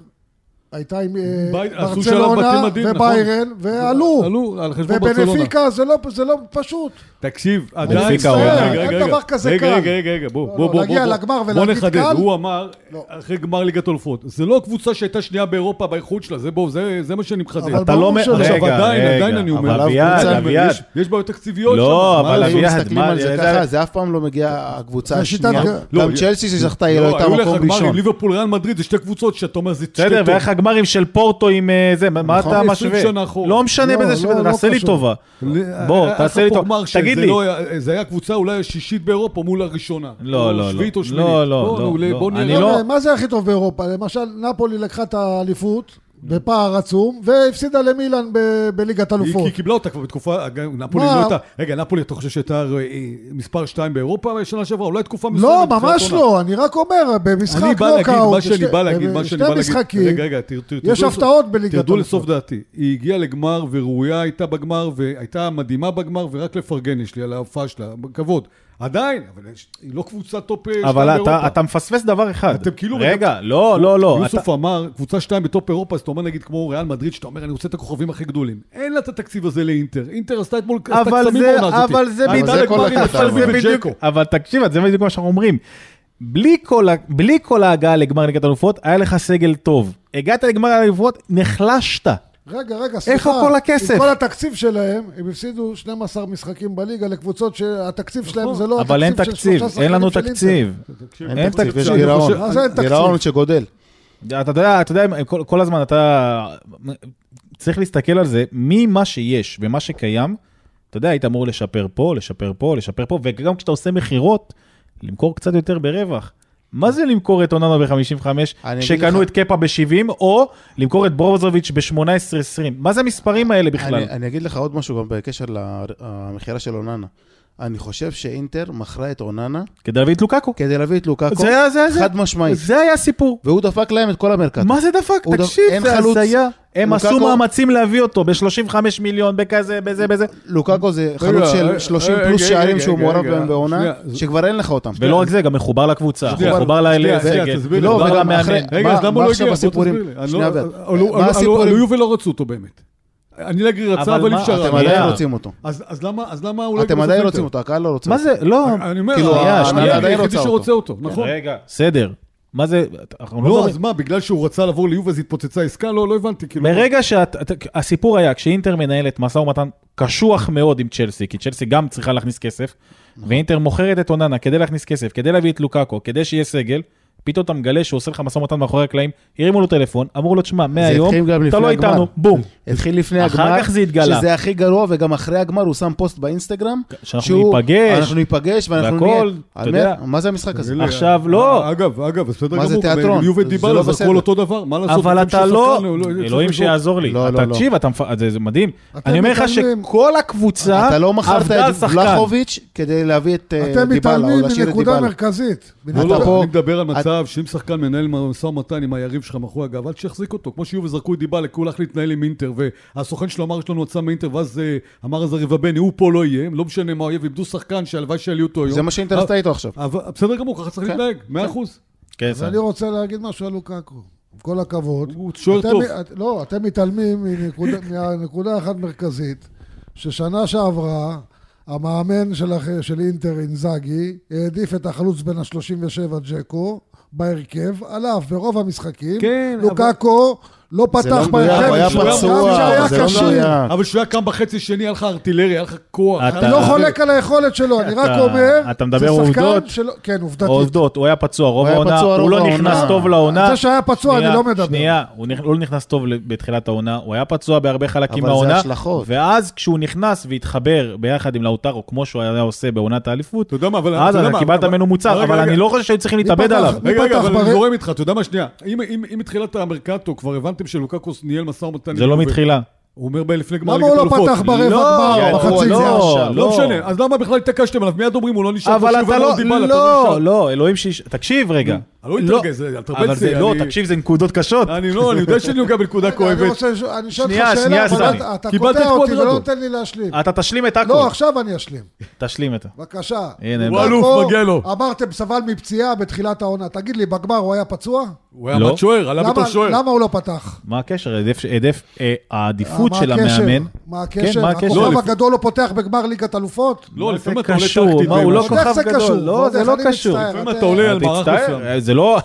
הייתה עם אה,
בית- עשו שלב בתים
ברצלונה
מדהים, נכון.
וביירן, ועלו.
עלו, על חשבון ברצלונה.
ובנפיקה זה לא- זה לא פשוט.
תקשיב, עדיין...
בנפיקה הוא
רגע,
עלה.
רגע,
אין
רגע.
דבר כזה
רגע,
קל.
רגע, רגע, רגע, בוא,
לא,
בוא,
לא,
בוא.
להגיע
בוא.
לגמר
בוא
ולהגיד
נחדד,
קל?
הוא אמר,
לא.
אחרי גמר ליגת עולפות, זה לא קבוצה שהייתה שנייה באירופה באיכות שלה, זה בוא, זה- זה מה שאני מחדד.
אבל
אתה לא...
ברור
מ-
שלא.
עכשיו
רגע,
עדיין,
רגע,
עדיין אני אומר,
אבל
יש-
אביעד, אביעד.
יש בעיות תקציביות
לא,
שם, מה
אבל
לעשות?
אנחנו
אביעד,
מסתכלים
מה,
על זה
אתה יודע-
ככה, זה אף פעם לא מגיע הקבוצה
זה שיטת
השנייה.
ג-
גם
לא,
צ'לסי שזכתה, היא לא
לא,
הייתה
היו לך
מקום
גמרים,
ראשון.
ליברפול, ריאל מדריד, זה שתי קבוצות שאתה אומר, זה שתי
בסדר,
טוב.
והיה לך גמרים של פורטו עם אה, זה, מה מה
נכון.
אתה
20
משווה?
שנה אחורה.
לא משנה
לא,
בזה,
לא,
ש-
לא
תעשה לי
קשור.
טובה.
ל-
בוא,
היה
תעשה
לך
לי
אה, פה
טוב.
גמר שזה
תגיד לי.
לא היה- זה היה הקבוצה אולי השישית באירופה מול הראשונה.
לא,
או
לא, לא.
שביעית או
לא,
שמינית.
לא,
בוא,
לא,
נו,
לא.
בוא נראה.
אני לא-
מה זה הכי טוב באירופה? למשל, נפולי לקחה את האליפות, בפער עצום, והפסידה למילאן ב- בליגת
היא
אלופות.
היא קיבלה אותה כבר בתקופה, גם נפולי
מה?
לא הייתה, רגע, נפולי, אתה חושב שהייתה אה, אה, מספר 2 באירופה שנה שעברה? אולי תקופה
לא,
מסוימת.
ממש
בתחילת עונה.
לא, אני רק אומר, במשחק
אני בא להגיד
נוקאוט,
מה שאני
בשתי-
בא להגיד, מה שאני בא
בשתי
להגיד.
משחקים,
רגע, רגע, תר- תר- תרדו
יש
לסוף-
הפתעות בליגת
תרדו
אלופות.
לסוף דעתי. היא הגיעה לגמר וראויה הייתה בגמר, והייתה מדהימה בגמר, ורק לפרגן יש לי על ההופעה שלה, כבוד. עדיין, אבל יש- היא לא קבוצה טופ אה, שתיים
אבל
באירופה.
אתה, אתה מפספס דבר אחד.
אתם כאילו...
רגע, לא, לא, לא.
יוסוף
אתה-
אמר, קבוצה שתיים בטופ אירופה, אז אתה אומר נגיד כמו ריאל מדריד, שאתה אומר, אני רוצה את הכוכבים הכי גדולים. אין לה את התקציב הזה לאינטר. אינטר עשתה אתמול, עשתה
אבל
קסמים
זה-
בעונה הזאת.
אבל זה
עלתה
בדיוק-
לגמר עם
אבל
הסלבי
זה
בדיוק,
וג'קו.
אבל תקשיב, זה בדיוק מה שאנחנו אומרים. בלי כל, ה- בלי כל ההגעה לגמר ליגת אלופות, היה לך סגל טוב. הגעת לגמר אלופות, נחלשת.
רגע, רגע, סליחה.
כל הכסף?
עם כל התקציב שלהם, הם הפסידו 12 משחקים בליגה לקבוצות שהתקציב שלהם זה לא
אבל אין
התקציב של
תקציב,
שלושה שחקנים
אין לנו
של אינטר.
תקציב. אין תקציב,
יש
אני
גירעון.
חושב-
מה לא, זה אין תקציב?
גירעון שגודל.
אתה יודע, אתה יודע, הם- כל, כל הזמן אתה צריך להסתכל על זה ממה שיש ומה שקיים. אתה יודע, היית אמור לשפר פה, לשפר פה, לשפר פה, וגם כשאתה עושה מכירות, למכור קצת יותר ברווח. מה זה למכור את אוננה ב-55,
אני אגיד
כשקנו
לך-
את קפה ב-70, או למכור את ברוזוביץ' ב-18-20? מה זה המספרים האלה בכלל? לא.
אני, אני אגיד לך עוד משהו גם בקשר למכירה של אוננה. אני חושב שאינטר מכרה את אוננה
כדי להביא את לוקאקו.
כדי להביא את לוקאקו,
זה היה, זה היה, זה
חד משמעית.
זה היה הסיפור.
והוא דפק להם את כל המרקט.
מה זה דפק?
הוא דפ-
תקשיב,
אין
זה
חלוץ.
הזיה. הם
לוקאקו-
עשו מאמצים להביא אותו ב-35 מיליון, בכזה, בזה, בזה.
לוקאקו זה
רגע,
חלוץ
רגע,
אה,
של 30
רגע,
פלוס
רגע,
שערים
רגע,
שהוא
רגע,
מעורב
רגע,
בהם בעונה,
שנייה, זה-
שכבר אין לך אותם.
ולא רק זה, גם מחובר לקבוצה,
שנייה,
מחובר
שנייה, שנייה,
לסגל,
תסביר לי,
לא,
מחובר
וגם
למאמן.
אחרי-
רגע,
מה-
אז למה
מה
לא
עכשיו
הגיע? בוא
הסיפורים?
תסביר לי. אני
שנייה,
לא- אה,
אבל-
עלו- עלו-
מה
עלו-
הסיפורים?
עלו ולא רצו אותו באמת. אני להגיד רצה,
אבל
אבל אי
מה,
אפשר.
אתם
היה.
עדיין
שנייה.
רוצים אותו.
אז אז למה אז למה הוא לא
אתם
הגיע
עדיין
בסוף
רוצים
אינטר?
אותו, הקהל לא רוצה
מה
אותו.
זה? לא.
אני אומר,
כאילו,
ה-
שנייה,
הנהלה
עדיין
היחידי
רוצה
שרוצה אותו, נכון.
רגע, בסדר. מה זה? אנחנו לא
לא, אז
מדברים.
מה, בגלל שהוא רצה לעבור ליובה אז התפוצצה עסקה? לא, לא הבנתי, כאילו.
ברגע שהסיפור היה, כשאינטר מנהלת משא ומתן קשוח מאוד עם צ'לסי, כי צ'לסי גם צריכה להכניס כסף,
נכון.
ואינטר מוכרת את אוננה כדי להכניס כסף, כדי להביא את לוקאקו, כדי שיהיה סגל, פתאום אתה מגלה שהוא עושה לך משא ומתן מאחורי הקלעים, הרימו לו טלפון, אמרו לו, תשמע, מהיום,
התחיל גם
אתה
לפני
לא
הגמר."
איתנו, בום.
התחיל לפני
אחר
הגמר,
כך זה התגלה.
שזה הכי גרוע, וגם אחרי הגמר הוא שם פוסט באינסטגרם,
שאנחנו
שהוא-
ניפגש.
אנחנו ניפגש, ואנחנו
והכל,
נהיה,
אתה
על
יודע.
מה- מה זה המשחק הזה?
תגיד לי,
עכשיו,
אה,
לא.
אגב, אגב, אז בסדר
מה זה
גמור.
תיאטרון?
יובל
זה
דיבל,
לא
אז
בסדר.
הכל אותו דבר, מה לעשות?
אבל
לפעמים
אתה
שהשחקן
לא,
הוא לא-
אלוהים
צריך
שיעזור לי,
לא, לא,
אתה-
לא.
תקשיב, אתה מפ- זה זה מדהים.
אתם
אני אומר לך
מתעלמים.
שכל הקבוצה
אתה לא מכרת
עבדה על
את
שחקן.
ולחוביץ' כדי להביא את אה,
אתם
דיבלה, או
מתעלמים
להשאיר את
מנקודה
דיבלה.
מרכזית.
לא,
אתה
לא,
פה-
אני מדבר על
את-
מצב שאם שחקן מנהל משא ומתן עם היריב שלך מאחורי הגב, אל תחזיק אותו. כמו שיובל זרקו את דיבה, כי הוא הלך להתנהל עם אינטר, והסוכן שלו אמר, יש לנו הצעה מאינטר, ואז אה, אמר אז הריב הבני, הוא פה לא יהיה, לא משנה מה האויב, איבדו שחקן שהלוואי שיעלו אותו היום.
זה מה שאינטר עשתה
אבל-
איתו עכשיו.
אבל- אה, בסדר גמור, ככה צריך
כן.
להתנהג, מאה אחוז.
כן,
אז אני רוצה להגיד משהו על לוקקו. עם כל הכבוד.
הוא שוער
אתם-
טוב.
את- לא, אתם מתעלמים מנקודה- מהנקודה אחת מרכזית, ששנה שעברה המאמן של הח- של אינטר אינזאגי העדיף את החלוץ בין ה-37 ג'קו בהרכב, עליו ברוב המשחקים.
כן, אבל-
לוקקו לא
זה לא
פתח
מדויק,
בהרכב.
הוא היה
שהוא היה
פצוע,
גם כשהיה
זה לא
קשה.
מדויק.
אבל כשהוא היה קם בחצי שני, היה לך ארטילריה, היה לך כוח. אה,
אתה-
אני לא חולק על היכולת שלו, אני רק
אתה-
אומר,
אתה מדבר
זה שחקן
עובדות?
שלא- כן, עובדתית.
עובדות, הוא היה פצוע רוב
היה
העונה,
פצוע
הוא
רוב
לא
העונה.
נכנס טוב לעונה.
זה שהיה פצוע, אני
שנייה,
לא מדבר.
שנייה, הוא נכ- לא נכנס טוב ל- בתחילת העונה, הוא היה פצוע בהרבה חלקים
אבל זה
מהעונה.
השלכות.
ואז כשהוא נכנס והתחבר ביחד עם לאוטרו, כמו שהוא היה עושה בעונת האליפות,
אתה יודע מה, אבל...
אז
יודע
אתה
מה,
קיבלת
אבל-
ממנו מוצר,
רגע,
אבל
רגע.
אני לא חושב שהיו צריכים להתאבד
פתח?
עליו.
מי
רגע, רגע,
פתח
אבל אני
בר-
זורם איתך, אתה יודע מה, שנייה, אם- אם אם מתחילת המרקטו כבר הבנתם שלוקקוס ניהל משא ומתן...
זה
עם
לא
יובל,
מתחילה.
הוא אומר ב- לפני גמר
למה
ליגת
הוא לא
אלופות.
פתח ברבע
לא,
גמר,
כן,
בחצי
לא,
גמר?
עכשיו,
לא משנה, אז למה בכלל התעקשתם עליו? מיד אומרים, הוא לא נשאר.
אבל
פה,
אתה
שיובל
לא,
דיבל, אתה
לא,
נשאר.
לא, אלוהים שיש... תקשיב רגע.
אני לא מתרגז, אל תרבה
אבל
את זה,
זה לא,
אני-
תקשיב, זה נקודות קשות.
אני לא, אני יודע שאני נוגע בנקודה
רגע, אני
כואבת.
רוצה לשאול- אני שואל
שנייה,
אותך
שנייה,
שאלה, אבל
סמי.
אתה- אתה
קיבלת את
קוטע אותי ולא
קוודרדו.
נותן לי להשלים.
אתה תשלים את הכול.
לא, עכשיו אני אשלים.
תשלים את ה...
בבקשה.
הנה,
הוא אלוף,
פה
מגיע לו.
אמרתם סבל מפציעה בתחילת העונה. תגיד לי, בגמר הוא היה פצוע?
הוא היה
לא.
בת שוער, עלה
למה-
בתור שוער.
למה הוא לא פתח?
מה הקשר? העדף- העדף אה, העדיפות
מה
של
הקשר?
המאמן.
מה
כן,
הקשר?
מה הקשר?
הכוכב הגדול לא פותח בגמר ליגת אלופות?
לא,
מה
לפעמים
זה
אתה עולה
קשור?
טקטית.
מה, הוא
בין-
לא
ועוד
כוכב
איך זה
גדול.
קשור,
לא,
ועוד
זה
איך
לא
אני
קשור.
מצטער,
לפעמים אתה
אתם-
עולה
אל
על מערך
תצטער,
מסוים.
זה לא,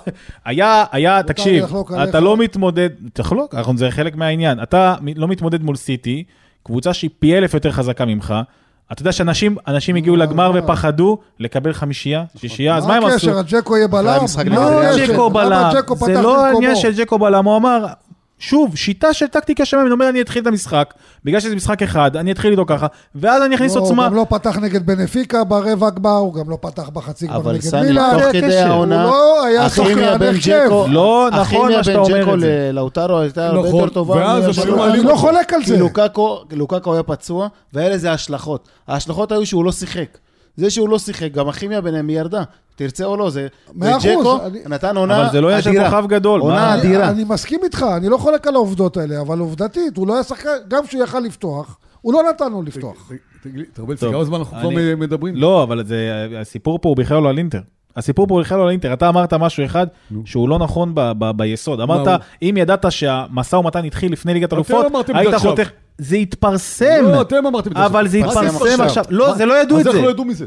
היה, היה, תקשיב,
לחלוק
אתה
עליך.
לא מתמודד, תחלוק, אנחנו- זה חלק מהעניין. אתה מ- לא מתמודד מול סיטי, קבוצה שהיא פי אלף יותר חזקה ממך. אתה יודע שאנשים אנשים הגיעו לגמר ופחדו לקבל חמישייה, שישייה, אז מה הם
מה
עשו?
הקשר? הג'קו יהיה בלם?
המשחק
מה
נגד
לא
היה
הקשר?
ג'קו
למה
בלם,
ג'קו
זה
פתח
לא
במקומו?
העניין של ג'קו בלם, הוא אמר, שוב, שיטה של טקטיקה שלהם, אני אומר, אני אתחיל את המשחק, בגלל שזה משחק אחד, אני אתחיל איתו ככה, ואז אני אכניס
לא, הוא
עוצמה.
גם לא פתח נגד בנפיקה ברבע הגמר, הוא גם לא פתח בחצי גמר
אבל
נגד
סני,
מילאן.
תוך
היה
כדי
כן,
קשר, הוא
העונה,
לא היה
הכימיה
שחקן
בין
הרכב.
ג'קו-
לא, נכון
הכימיה
מה שאתה
בין
אומר
ג'קו
את זה.
ל- לאוטרו הייתה הרבה
נכון,
יותר טובה.
ואז
ממה
הם
שהיא
היו
הייתה.
אני
מעלים
לא חולק על
כי
זה.
לוקאקו, לוקאקו היה פצוע, והיה לזה השלכות. ההשלכות היו שהוא לא שיחק. זה שהוא לא שיחק, גם הכימיה ביניהם היא ירדה. תרצה או לא, זה...
מאה אחוז,
וג'קו
אני-
נתן עונה אדירה.
אבל זה לא עניין של כוכב גדול,
עונה
לא,
מה?
אני-
אדירה.
אני מסכים איתך, אני לא חולק על העובדות האלה, אבל עובדתית, הוא לא היה שחקן, גם כשהוא יכל לפתוח, הוא לא נתן לו לפתוח.
תגיד לי, תרבל,
טוב,
כמה זמן אנחנו כבר
אני-
מדברים?
לא, אבל זה, הסיפור פה הוא בכלל לא על אינטר. הסיפור פה הוא בכלל לא על אינטר. אתה אמרת משהו אחד שהוא לא נכון ב- ב- ביסוד.
הוא? לא
אמרת, אם ידעת שהמשא ומתן התחיל לפני ליגת אלופות,
אמרתם את זה
היית
עכשיו.
חותך... זה התפרסם.
לא, אתם אמרתם את זה
אבל זה
עכשיו.
מה זה
התפרסם
עכשיו?
עכשיו. לא, זה לא ידעו את
אז איך
זה.
לא ידעו מזה?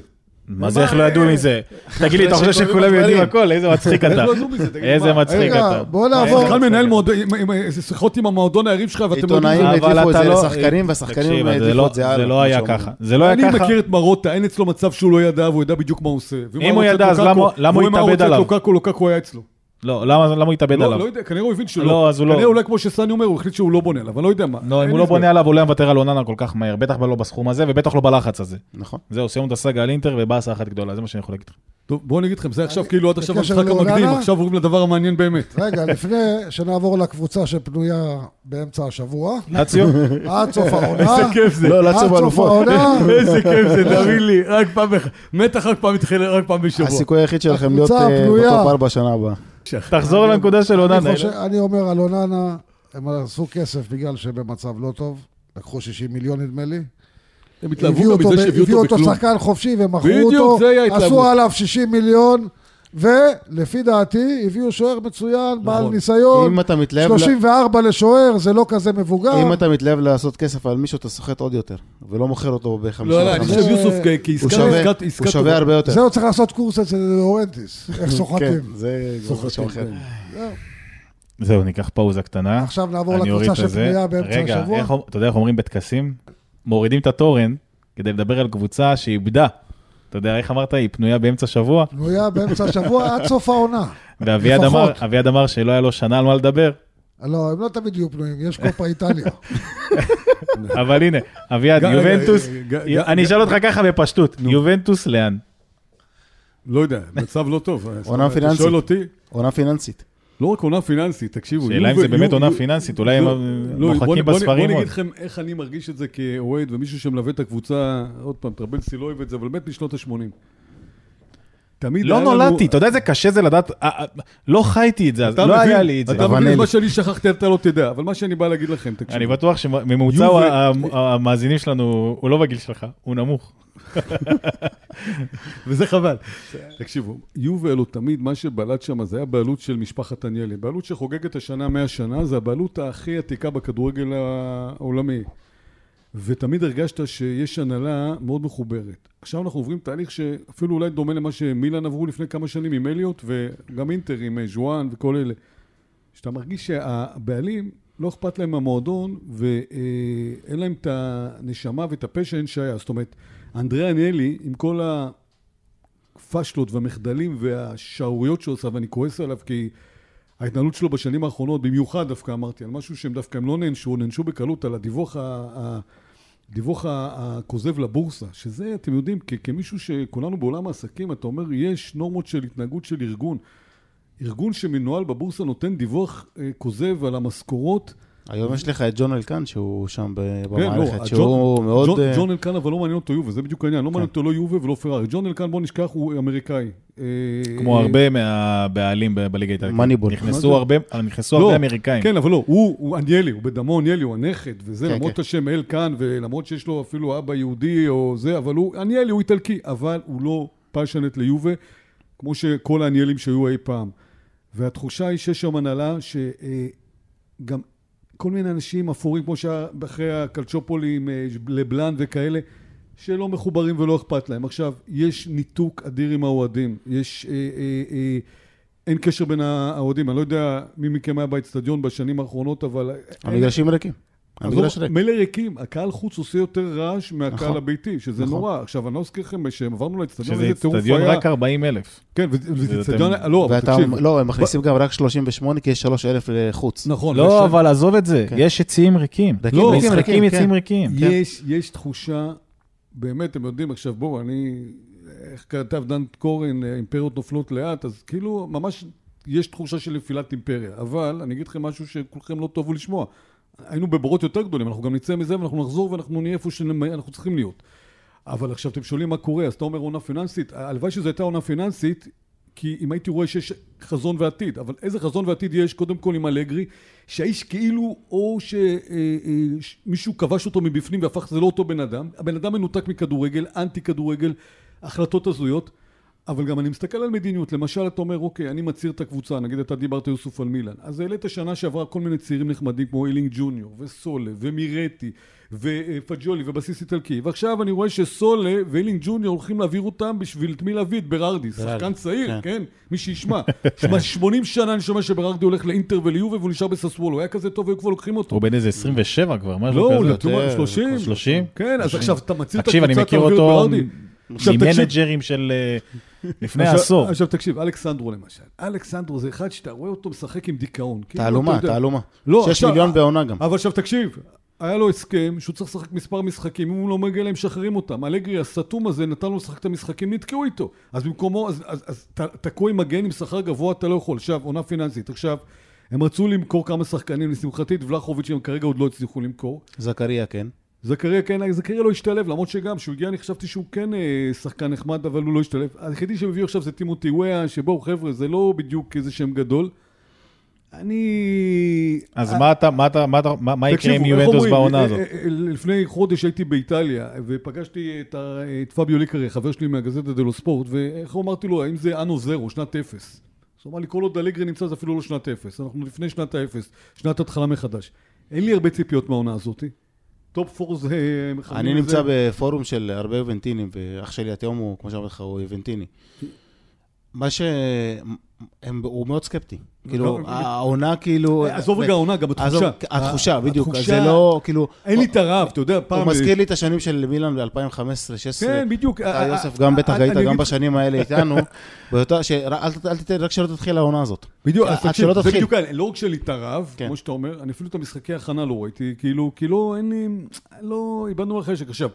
מה זה איך לא
אה,
ידעו מזה? תגיד לי, אתה חושב
שקוראים
שכולם יודעים
הדברים.
הכל? איזה מצחיק
איך
אתה.
לא ידעו מזה? תגיד לי,
איזה
מה?
מצחיק
רגע,
אתה. אה,
בוא
איזה
נעבור.
מצחיק
בכלל מנהל
אתה.
מועדון- עם- עם- עם- שיחות עם המועדון היריב שלך, ואתם לא יודעים
עיתונאים
את זה.
העיתונאים
אבל
העדיפו את
אתה
זה
לא...
לשחקנים, והשחקנים
תקשיב, זה
העדיפו
לא-
את זה הלאה,
זה
כמו
לא היה
שאומרים.
ככה. זה לא היה ככה.
אני מכיר את מרוטה, אין אצלו מצב שהוא לא ידע, והוא ידע בדיוק מה הוא עושה. ואם
הוא
היה
ידע,
רוצה
אז
את לוקקו,
למה- למה הוא
ואם היה
התאבד
רוצה את
עליו?
לוקקו, לוקקו היה אצלו.
לא, למה למה הוא התאבד
לא,
עליו?
לא יודע, כנראה הוא הבין שלא.
לא, אז הוא לא.
כנראה אולי כמו שסני אומר, הוא החליט שהוא לא בונה עליו, אני לא יודע מה.
לא, אם
אין
הוא
לי
לא
הסבר.
בונה עליו, הוא לא היה מוותר על אוננה כל כך מהר. בטח לא בסכום הזה, ובטח לא בלחץ הזה.
נכון.
זהו, סיימנו את הסאגה על אינטר ובאסה אחת גדולה, זה מה שאני יכול להגיד לך.
טוב, בואו אני אגיד לכם, זה עכשיו כאילו עד עכשיו
בקשר
המשחק
לאוננה?
המקדים, עכשיו עוברים לדבר המעניין באמת.
רגע, לפני שנעבור לקבוצה שפנויה באמצע השבוע,
לאציו?
עד סוף העונה. איזה
כיף זה.
לא,
עד
לצום
סוף
אלופות.
העונה,
איזה כיף זה, תאמין לי, רק פעם אחת, מתח רק פעם מתחיל, רק פעם בשבוע.
הסיכוי היחיד שלכם להיות
הקבוצה
אה,
הפנויה.
בטופ ארבע שנה הבאה.
תחזור לנקודה של אוננה.
אני חושב- אני אומר על אוננה, הם עשו כסף בגלל שבמצב לא טוב, לקחו 60 מיליון נדמה לי.
הם
הביאו
התלהבו גם
אותו,
מזה
הביאו
שהביאו אותו בכלום.
שחקן חופשי ומכרו
בדיוק,
אותו,
זה היה ההתלהבות.
עשו עליו 60 מיליון, ולפי דעתי הביאו שוער מצוין, בעל ניסיון,
נכון. אם אתה מתלהב... ל-
34 לשוער, זה לא כזה מבוגר.
אם אתה מתלהב לעשות כסף על מישהו, אתה סוחט עוד יותר, ולא מוכר אותו ב-55.
לא, לא, אני חושב
זה-
יוסוף כ-
הוא
כעסקה,
שווה-
עסקת- עסקת
הוא שווה
טובה.
הרבה יותר.
זהו, צריך לעשות קורס אצל אורנטיס, איך
כן,
סוחטים.
זה כבר משהו אחר.
כן.
זהו, ניקח פאוזה קטנה.
עכשיו נעבור
אני אוריד
לקבוצה
את זה.
שפנויה באמצע
רגע,
השבוע.
איך אומ- אתה יודע איך אומרים בטקסים? מורידים את התורן כדי לדבר על קבוצה שאיבדה. אתה יודע איך אמרת? היא פנויה באמצע השבוע?
פנויה באמצע השבוע עד סוף העונה.
ואביעד
לפחות.
אמר- אביעד אמר שלא היה לו שנה על מה לדבר.
לא, הם לא תמיד יהיו פנויים, יש קופה איטליה.
אבל הנה, אביעד,
רגע,
יובנטוס,
רגע, רגע,
אני אשאל אותך ככה בפשטות, יובנטוס לאן?
לא יודע, מצב לא טוב.
עונה
אתה
פיננסית.
שואל אותי,
עונה פיננסית.
לא רק עונה פיננסית, תקשיבו.
שאלה אם
יובה-
זה באמת
יו-
עונה
יו-
פיננסית, אולי הם
לא, לא,
מוחקים
בוא- בוא-
בספרים
בוא אני
עוד.
אגיד לכם איך אני מרגיש את זה כאוהד ומישהו שמלווה את הקבוצה, עוד פעם, טרבלסי לא אוהב את זה, אבל באמת משנות ה-80. תמיד
לא
היה לנו-
נולדתי, אתה יודע איזה קשה זה לדעת, אה, אה, לא חייתי את זה, אז
אתה
לא
מבין?
היה לי את זה.
אתה
אבל
מבין,
אין
מה
לי.
שאני שכחתי אתה לא תדע, אבל מה שאני בא להגיד לכם, תקשיבו.
אני בטוח שממוצע
יובל-
ה- ה- המאזינים שלנו, הוא לא בגיל שלך, הוא נמוך.
וזה חבל. תקשיבו, יובל הוא תמיד, מה שבלט שם זה היה בעלות של משפחת עניאלי. בעלות שחוגגת השנה 100 שנה, זה הבעלות הכי עתיקה בכדורגל העולמי. ותמיד הרגשת שיש הנהלה מאוד מחוברת. עכשיו אנחנו עוברים תהליך שאפילו אולי דומה למה שמילאן עברו לפני כמה שנים עם אליוט, וגם אינטר עם אה, ז'ואן וכל אלה. שאתה מרגיש שהבעלים, לא אכפת להם מהמועדון, ואין להם את הנשמה ואת הפשן שהיה. זאת אומרת, אנדרי עניאלי, עם כל הפשלות והמחדלים והשערוריות שהוא עשה, ואני כועס עליו כי ההתנהלות שלו בשנים האחרונות, במיוחד דווקא אמרתי, על משהו שהם דווקא הם לא נענשו, נענשו בקלות על הדיווח ה... ה- הדיווח ה- הכוזב לבורסה, שזה, אתם יודעים, כ- כמישהו שכולנו בעולם העסקים, אתה אומר, יש נורמות של התנהגות של ארגון. ארגון שמנוהל בבורסה נותן דיווח אה, כוזב על המשכורות.
היום יש לך את ג'ון אלקן, שהוא שם ב-
כן, לא,
במערכת,
הג'ון-
שהוא מאוד...
ג'ון-
אה, כן.
ג'ון אלקן, אבל לא מעניין אותו יובה, זה בדיוק העניין. לא מעניין אותו לא יובה ולא פרארי. ג'ון אלקן, בוא נשכח, הוא אמריקאי. אה,
כמו
אה,
הרבה מהבעלים ב- בליגה האיטלקית.
מניבול.
נכנסו
מה זה?
הרבה- אה, נכנסו
לא,
הרבה אמריקאים.
כן, אבל לא, הוא הוא עניאלי, הוא בדמו עניאלי, הוא הנכד, וזה,
כן,
למרות
כן.
השם אלקן, ולמרות שיש לו אפילו אבא יהודי או זה, אבל הוא עניאלי, הוא איטלקי, אבל הוא לא פאשנט ליובה, כמו שכל העניאלים שהיו אי פעם. והתחושה היא שיש שם הנהלה שגם כל מיני אנשים אפורים, כמו שהיה אחרי הקלצ'ופולים, אה, לבלן וכאלה, שלא מחוברים ולא אכפת להם. עכשיו, יש ניתוק אדיר עם האוהדים. יש... אה, אה, אה, אין קשר בין האוהדים. אני לא יודע מי מכם היה באצטדיון בשנים האחרונות, אבל... אה,
המגרשים ריקים. המגרש
עזוב,
ריק.
מילא ריקים, הקהל חוץ עושה יותר רעש מהקהל
נכון.
הביתי, שזה
נכון.
נורא. עכשיו, אני לא אזכיר לכם שעברנו לאצטדיון,
שזה
לא, איזה טירוף
אצטדיון
היה.
רק 40 אלף.
כן, וזה- וזה
אתם-
אצטדיון, לא, אבל
ואתה,
תקשיב.
לא, הם מכניסים גם רק 38, כי יש 3,000 לחוץ.
נכון.
לא,
ויש-
אבל עזוב את זה,
כן.
יש יציאים ריקים.
ריקים,
לא,
משחקים,
ריקים,
יציאים
כן.
ריקים.
כן.
יש, יש תחושה, באמת, אתם יודעים, עכשיו בואו, אני, איך כתב דן קורן, אה, אימפריות נופלות לאט, אז כאילו, ממש יש תחושה של נפילת אימפריה. אבל אני אגיד לכם משהו שכולכם לא טובו לשמוע. היינו בבורות יותר גדולים, אנחנו גם נצא מזה ואנחנו נחזור ואנחנו נהיה איפה שאנחנו צריכים להיות. אבל עכשיו אתם שואלים מה קורה, אז אתה אומר עונה פיננסית, הלוואי שזו הייתה עונה פיננסית, כי אם הייתי רואה שיש חזון ועתיד, אבל איזה חזון ועתיד יש קודם כל עם אלגרי, שהאיש כאילו, או שמישהו כבש אותו מבפנים והפך, זה לא אותו בן אדם, הבן אדם מנותק מכדורגל, אנטי כדורגל, החלטות הזויות, אבל גם אני מסתכל על מדיניות, למשל אתה אומר, אוקיי, אני מצהיר את הקבוצה, נגיד אתה דיברת יוסוף על מילן, אז העלית שנה שעברה כל מיני צעירים נחמדים כמו אילינג ג'וניור, וסולה, ומירטי, ופג'ולי, ובסיס איטלקי, ועכשיו אני רואה שסולה ואילינג ג'וניור הולכים להעביר אותם בשביל את מי להביא? את ברארדי, שחקן צעיר,
כן.
כן, מי שישמע. שמע, 80 שנה אני שומע שברארדי הולך לאינטר וליובה והוא נשאר בססוולו, הוא היה כזה טוב, היו כבר לוקחים אותו.
הוא בן איזה 27 כבר, משהו
לא,
כזה.
הוא לתומר
יותר,
30.
30?
כן, אז עכשיו אתה מצהיר את
תקשיב, אני
הקבוצה,
מכיר
אתה מביא את
אותו
ברארדי. עכשיו, תקשיב,
ממנג'רים של אה, לפני
עכשיו-
עשור.
עכשיו תקשיב, אלכסנדרו למשל. אלכסנדרו זה אחד שאתה רואה אותו משחק עם דיכאון. כאילו,
תעלומה,
אתה יודע.
תעלומה.
לא,
6
עכשיו-
מיליון בעונה גם.
אבל עכשיו תקשיב, היה לו הסכם שהוא צריך לשחק מספר משחקים, אם הוא לא מגיע להם משחררים אותם. אלגרי הסתום הזה נתן לו לשחק את המשחקים, נתקעו איתו. אז במקומו, אז, אז, אז ת- תקוע עם מגן עם שכר גבוה, אתה לא יכול. עכשיו, עונה פיננסית. עכשיו, הם רצו למכור כמה שחקנים, לשמחתי, את ולחוביץ' הם כרגע עוד לא הצליחו למכור.
זכריה, כן.
זכריה כן, זכריה לא השתלב, למרות שגם, כשהוא הגיע אני חשבתי שהוא כן אה, שחקן נחמד, אבל הוא לא השתלב. היחידי שהם הביאו עכשיו זה טימותי וואה, שבואו חבר'ה, זה לא בדיוק איזה שם גדול. אני...
אז מה אתה, מה אתה, מה אתה- מה מה יקרה עם
תקשיבו, איך
יובנטוס
אומרים?
בעונה
אה,
הזאת?
אה, אה, לפני חודש הייתי באיטליה, ופגשתי את ה- את פביו ליקרי, חבר שלי מהגזטה דלו ספורט, ואיך אמרתי לו, האם זה אנו זרו, שנת אפס? אז הוא אמר לי, כל עוד אלגרי נמצא זה אפילו לא שנת אפס, אנחנו לפני שנת האפס, שנת התחלה מחדש. אין לי הרבה ציפיות מהעונה הזאת. טופ פור זה... מכוונים
אני
לזה.
נמצא בפורום של הרבה יובנטינים, ואח שלי התהום הוא, כמו שאמרתי לך, הוא יובנטיני. מה ש... הם, הוא מאוד סקפטי. כאילו, העונה כאילו...
לא, עזוב רגע העונה, גם
עזוב,
התחושה.
התחושה, בדיוק. אז
התחושה-
זה לא, כאילו...
אין לי את הרעב, אתה יודע, פעם... אה,
הוא מזכיר לי את השנים של מילאן ב-2015-2016.
כן, בדיוק.
אתה,
אה,
יוסף,
אה,
גם בטח
אני
היית,
אגיד
גם
לך-
בשנים האלה איתנו. באותה ש- רק- אל ת- אל תיתן, רק שלא תתחיל העונה הזאת.
בדיוק, אז
עד
תקשיב,
אה, שלא
זה
תתחיל.
בדיוק, העניין. לא רק של התערב,
כן.
כמו שאתה אומר, אני אפילו את המשחקי הכנה לא ראיתי, כאילו, כי לא, אין לי, לא, איבדנו על חשק. עכשיו,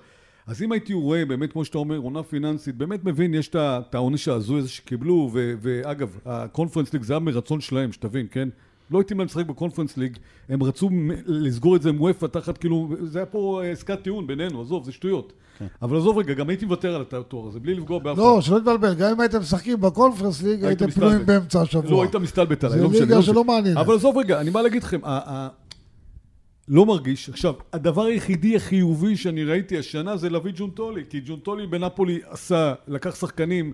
אז אם הייתי רואה, באמת, כמו שאתה אומר, עונה פיננסית, באמת מבין, יש את ה- את העונש ההזוי הזה שקיבלו, ו- ואגב, הקונפרנס ליג זה היה מרצון שלהם, שתבין, כן? לא הייתי להם לשחק בקונפרנס ליג, הם רצו מ- לסגור את זה עם וופא תחת, כאילו, זה היה פה אה, עסקת טיעון בינינו, עזוב, זה שטויות.
כן.
אבל עזוב רגע, גם הייתי מוותר על התואר הזה, בלי לפגוע באף אחד.
לא, שלא תתבלבל, גם אם הייתם משחקים בקונפרנס ליג,
הייתם
הייתם פנויים
מסתלבט.
באמצע השבוע.
לא, היית מסתלבט עליי,
זה
לא משנה.
ליגה שלא
משנה.
מעניינת.
אבל עזוב רגע, אני בא להגיד לכם, ה- ה- לא מרגיש. עכשיו, הדבר היחידי החיובי שאני ראיתי השנה זה להביא ג'ונטולי, כי ג'ונטולי בנפולי עשה, לקח שחקנים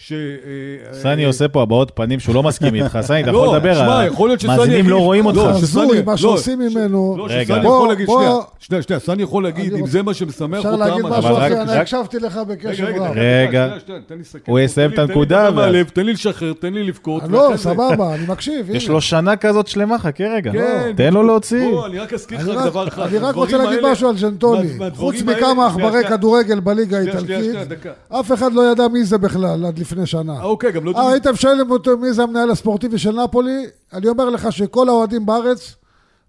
ש... אה,
סני
אה,
עושה פה הבעות פנים שהוא לא מסכים איתך, סני, אתה
לא,
יכול לדבר,
שמע, יכול להיות שסני
המאזינים
יגיד-
לא רואים אותך.
לא, ש-
הזוי,
שסני-
מה
לא,
שעושים ממנו.
לא,
רגע.
שסני
בוא-
יכול להגיד,
בוא-
שנייה, שנייה, שנייה, סני יכול להגיד,
אני
אם
רוצה-
זה מה שמשמח
אפשר
אותם...
להגיד
אז-
משהו
אבל רק-
אחר, אני
רק-
הקשבתי לך בקשב
רגע,
רב.
רגע.
שנייה, שנייה, תן לי לסכם.
הוא
פה,
יסיים
תן לי-
את
תן לי
הנקודה,
לדבר
ואז-
מהלב, תן לי לשחרר, תן לי לבכות.
לא,
ואחרי זה-
סבבה, אני מקשיב,
יש
הנה.
לו שנה כזאת שלמה, חכה רגע.
כן,
לא, תן לו
בדיוק.
להוציא.
בוא, אני רק אזכיר לך
אני רק-
דבר אחד.
אני רק רוצה
הדברים
להגיד
האלה-
משהו על ג'נטוני.
מה- מהדברים
חוץ
האלה-
מכמה עכברי
שנייה,
כדורגל בליגה
שנייה, שנייה,
האיטלקית,
שנייה, דקה.
אף אחד לא ידע מי זה בכלל עד לפני שנה.
אה, אוקיי, גם לא
אה,
יודעים.
הייתם שואלים אותו מי זה המנהל הספורטיבי של נפולי, אני אומר לך שכל האוהדים בארץ,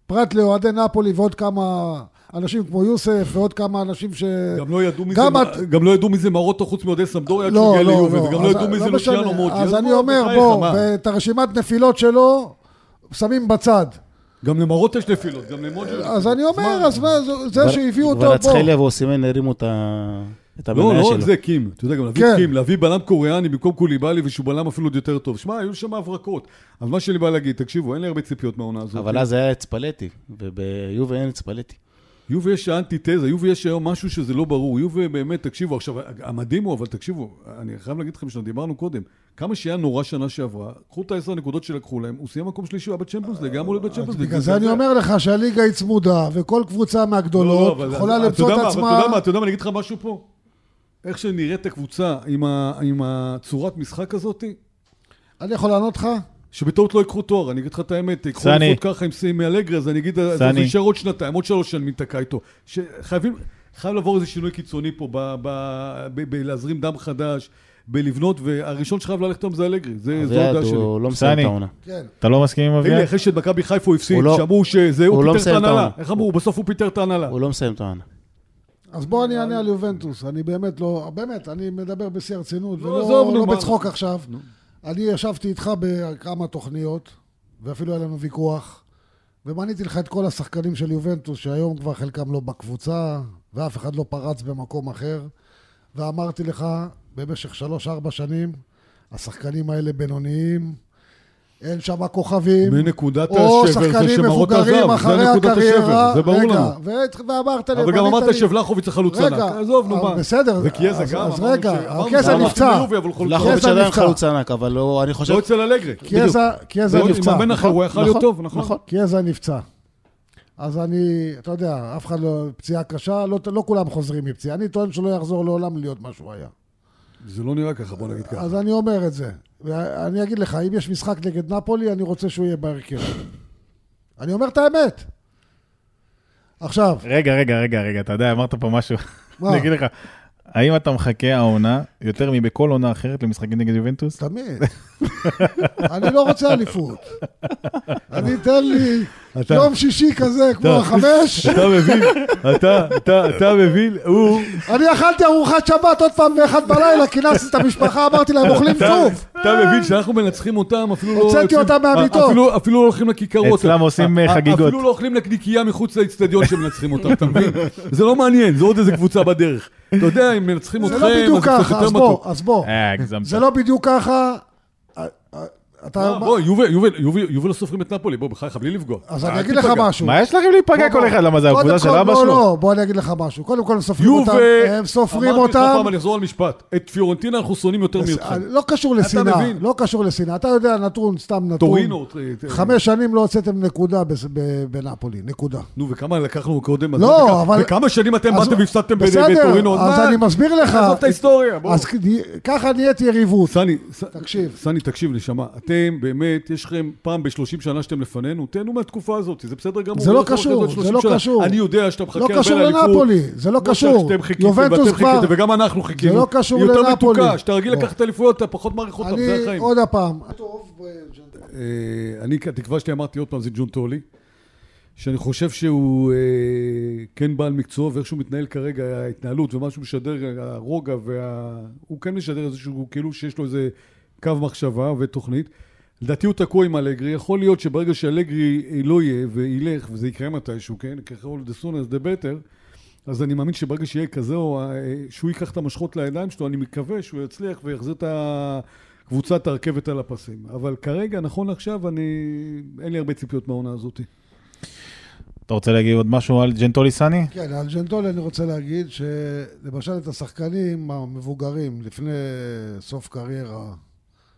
פרט לאוהדי נפולי ועוד כמה אנשים כמו יוסף ועוד כמה אנשים ש...
גם לא ידעו מי
גם
זה-
את-
גם לא ידעו מי זה מרוטו חוץ מאודי סמדוריה, עד שהוא
לא,
הגיע
לא,
ליובל, וגם לא
לא,
ידעו מי
אז-
זה
לא
לוציאנו
משנה.
מוטי.
אז אני
בוא,
אומר,
בחייך,
בוא,
מה?
ואת הרשימת נפילות שלו שמים בצד.
גם למרוטו יש נפילות, גם למוטי. יש
אז
נפילות.
אני אומר, אז מה, זה- זה שהביאו אותו, בוא.
ורצחליה ואוסימן הרימו את ה- את
לא,
המניה
לא רק
שלו.
זה, קים. אתה יודע, גם להביא
כן.
קים, להביא בלם קוריאני במקום קוליבאלי, ושהוא בלם אפילו עוד יותר טוב. שמע, היו שם הברקות. אז מה שאני בא להגיד, תקשיבו, אין לי הרבה ציפיות מהעונה הזאת.
אבל אז היה את ספלטי, וביובה אין את ספלטי.
יובי יש האנטיתזה, יובי יש היום משהו שזה לא ברור. יובי באמת, תקשיבו, עכשיו, המדהים הוא, אבל תקשיבו, אני חייב להגיד לכם שדיברנו קודם, כמה שהיה נורא שנה שעברה, קחו את העשר הנקודות שלקחו להם, הוא סיים מקום שלישי, הוא היה בצ'מפיונס ליג, היה אמור להיות בצ'מפיונס ליג.
אה, בגלל זה אני אומר לך שהליגה היא צמודה, וכל קבוצה
לא,
מהגדולות
אבל-
יכולה
אתה
למצוא
יודע מה,
את
אבל אתה
עצמה.
יודע מה, אתה יודע מה, אני אגיד לך משהו פה? איך שנראית הקבוצה עם ה- עם הצורת משחק הזאת,
אני יכול לענות לך?
שבטעות לא יקחו תואר, אני אגיד לך את האמת, יקחו
סני.
אליפות ככה עם סיימי אלגרי, אז אני אגיד, אז
סני.
הוא יישאר עוד שנתיים, עוד שלוש שנים ניתקע איתו. שחייבים, חייב לעבור איזה שינוי קיצוני פה, ב- ב- ב- בלהזרים דם חדש, בלבנות, והראשון שחייב ללכת היום זה אלגרי, זה זו
אביעד,
ההודעה שלי.
הוא לא מסיים את
סני.
העונה.
כן.
אתה לא מסכים עם אביעד?
הנה, אחרי שאת מכבי חיפה הוא הפסיד,
הוא לא-
שאמרו שזה,
הוא
הוא
לא
פיטר את
מסיים את
ההנהלה.
העונה.
איך אמרו? בסוף הוא פיטר את ההנהלה.
הוא לא מסיים את העונה.
אז בואו
אה,
אני אענה על יובנטוס. אני באמת לא, באמת, אני מדבר בשיא הרצינות,
לא, עזוב,
ולא
נו,
לא
מה-
בצחוק עכשיו. אני ישבתי איתך בכמה תוכניות, ואפילו היה לנו ויכוח, ומניתי לך את כל השחקנים של יובנטוס, שהיום כבר חלקם לא בקבוצה, ואף אחד לא פרץ במקום אחר, ואמרתי לך, במשך שלוש-ארבע שנים, השחקנים האלה בינוניים, אין שם
לא-
כוכבים.
מנקודת
או
השבר זה
שחקנים
שמרות
מבוגרים
עזב,
אחרי
זה נקודת
הקריירה.
השבר, זה ברור
רגע,
לנו.
ואת- ואמרת לי...
אבל גם
בנית
אמרת
לי-
שבלחוביץ זה חלוץ
רגע,
ענק. עזוב, נו
אבל
מה.
אה, בסדר,
זה קיאזה
אז-
גם,
אז
אמרנו
רגע,
ש- אמרנו
קיאזה
שאמרנו
נפצע. נכון.
שביובי, אבל הוא חלוץ ענק.
לחוביץ'
קזע
עדיין
נפצע.
חלוץ ענק, אבל לא- אני חושב...
לא אצל אלגרי. בדיוק. נכון,
קיאזה, קיאזה
זה
נפצע. נכון,
מאמן אחר, הוא יכול להיות טוב, נכון?
קיאזה נפצע. אז אני, אתה יודע, אף אחד לא, פציעה קשה, לא, לא כולם חוזרים מפציעה. אני טוען שלא יחזור לעולם להיות מה שהוא היה.
זה לא נראה ככה, בוא נגיד ככה.
אז אני אומר את זה. ואני אגיד לך, אם יש משחק נגד נפולי, אני רוצה שהוא יהיה בהרכב. אני אומר את האמת. עכשיו,
רגע, רגע, רגע, רגע, אתה יודע, אמרת פה משהו.
מה?
אני אגיד לך, האם אתה מחכה העונה יותר מבכל עונה אחרת למשחקים נגד יובנטוס?
תמיד. אני לא רוצה אליפות. אני, תן לי
אתה-
יום שישי כזה, כמו
לא,
טוב.
החמש,
אתה מבין, אתה, אתה, אתה מבין, הוא,
אני אכלתי ארוחת שבת עוד פעם באחד בלילה, כינסתי את המשפחה, אמרתי להם, אוכלים צוף.
אתה מבין שאנחנו מנצחים אותם, אפילו לא...
הוצאתי
יוצאים-
אותם מהמיטות.
אפילו- אפילו לא הולכים לכיכרות.
אצלם עושים, אה, חגיגות.
אפילו לא הולכים לקניקייה מחוץ לאצטדיון שמנצחים אותם, אתה מבין? זה לא מעניין, זה עוד איזה קבוצה בדרך. אתה יודע, אם מנצחים אתכם,
זה לא בדיוק
אז זה קצת
ככה,
יותר
אז בוא,
מתוק.
אז בוא.
אה, הגזמת.
זה לא בדיוק ככה. אה, אה, אתה...
אה, בוא, יובל- יובל- יובל- יובל לא סופרים את נפולי, בוא, בחייך, בלי לפגוע.
אז
אל
אני אגיד לך
תיפגע.
משהו.
מה יש לכם
לא,
להיפגע כל אחד? למה זה
קודם
הקבוצה של
כל,
אבא
לא,
שלו?
לא, בוא אני אגיד לך משהו. קודם כל, הם סופרים אותם.
יובה,
הם סופרים
אמרתי לך
אותם.
פעם, אני אחזור על משפט. את פיורנטינה אנחנו שונאים יותר מאתכם.
לא קשור
אתה
לשנאה,
מבין?
לא קשור לשנאה. אתה יודע, נתון, סתם נתון.
טורינו. אה,
לא- חמש שנים לא הוצאתם נקודה בס- ב- בנפולי, נקודה.
נו, וכמה לקחנו קודם? אז
לא,
וכמה-
אבל-
וכמה שנים אתם
אז-
באתם והפסדתם ב-
בסדר,
בטורינו?
אז
מה?
אני מסביר לך.
עזוב את ההיסטוריה, בוא.
אז כ- ככה נהיית יריבות.
סני, ס-
תקשיב.
סני, תקשיב, נשמה. אתם, באמת, יש לכם פעם ב-30 שנה שאתם לפנינו, תהנו מהתקופה הזאת, זה בסדר גמור.
זה לא
אנחנו
קשור,
עוד
זה
30
לא
שנה.
קשור.
אני יודע שאתה מחכה
לא
הרבה לאליפות.
קשור לנפולי, זה לא
כמו
קשור.
שאתם חיכיתם
יובנטוס
ואתם
כבר-
חיכיתם, וגם אנחנו חיכינו.
לא קשור
היא יותר
לנפולי.
מתוקה, שאתה רגיל
בוא.
לקחת אליפויות, אתה פחות מעריך אותם, זה
אני,
החיים.
עוד הפעם,
אה, אני, התקווה שלי, אמרתי עוד פעם, זה ג'ון טולי, שאני חושב שהוא אה, כן בעל מקצוע, ואיך שהוא מתנהל כרגע, ההתנהלות ומה שהוא משדר, הרוגע, וה... הוא כן משדר איזשהו, כאילו שיש לו איזה קו מחשבה ותוכנית. לדעתי הוא תקוע עם אלגרי, יכול להיות שברגע שאלגרי לא יהיה וילך, וזה יקרה מתישהו, כן? ככל the sooner the better, אז אני מאמין שברגע שיהיה כזה, או אה, שהוא ייקח את המושכות לידיים שלו, אני מקווה שהוא יצליח ויחזיר את קבוצת הרכבת על הפסים. אבל כרגע, נכון לעכשיו, אני... אין לי הרבה ציפיות מהעונה הזאת.
אתה רוצה להגיד עוד משהו על ג'נטולי סני?
כן, על ג'נטולי אני רוצה להגיד שלמשל את השחקנים המבוגרים לפני סוף קריירה,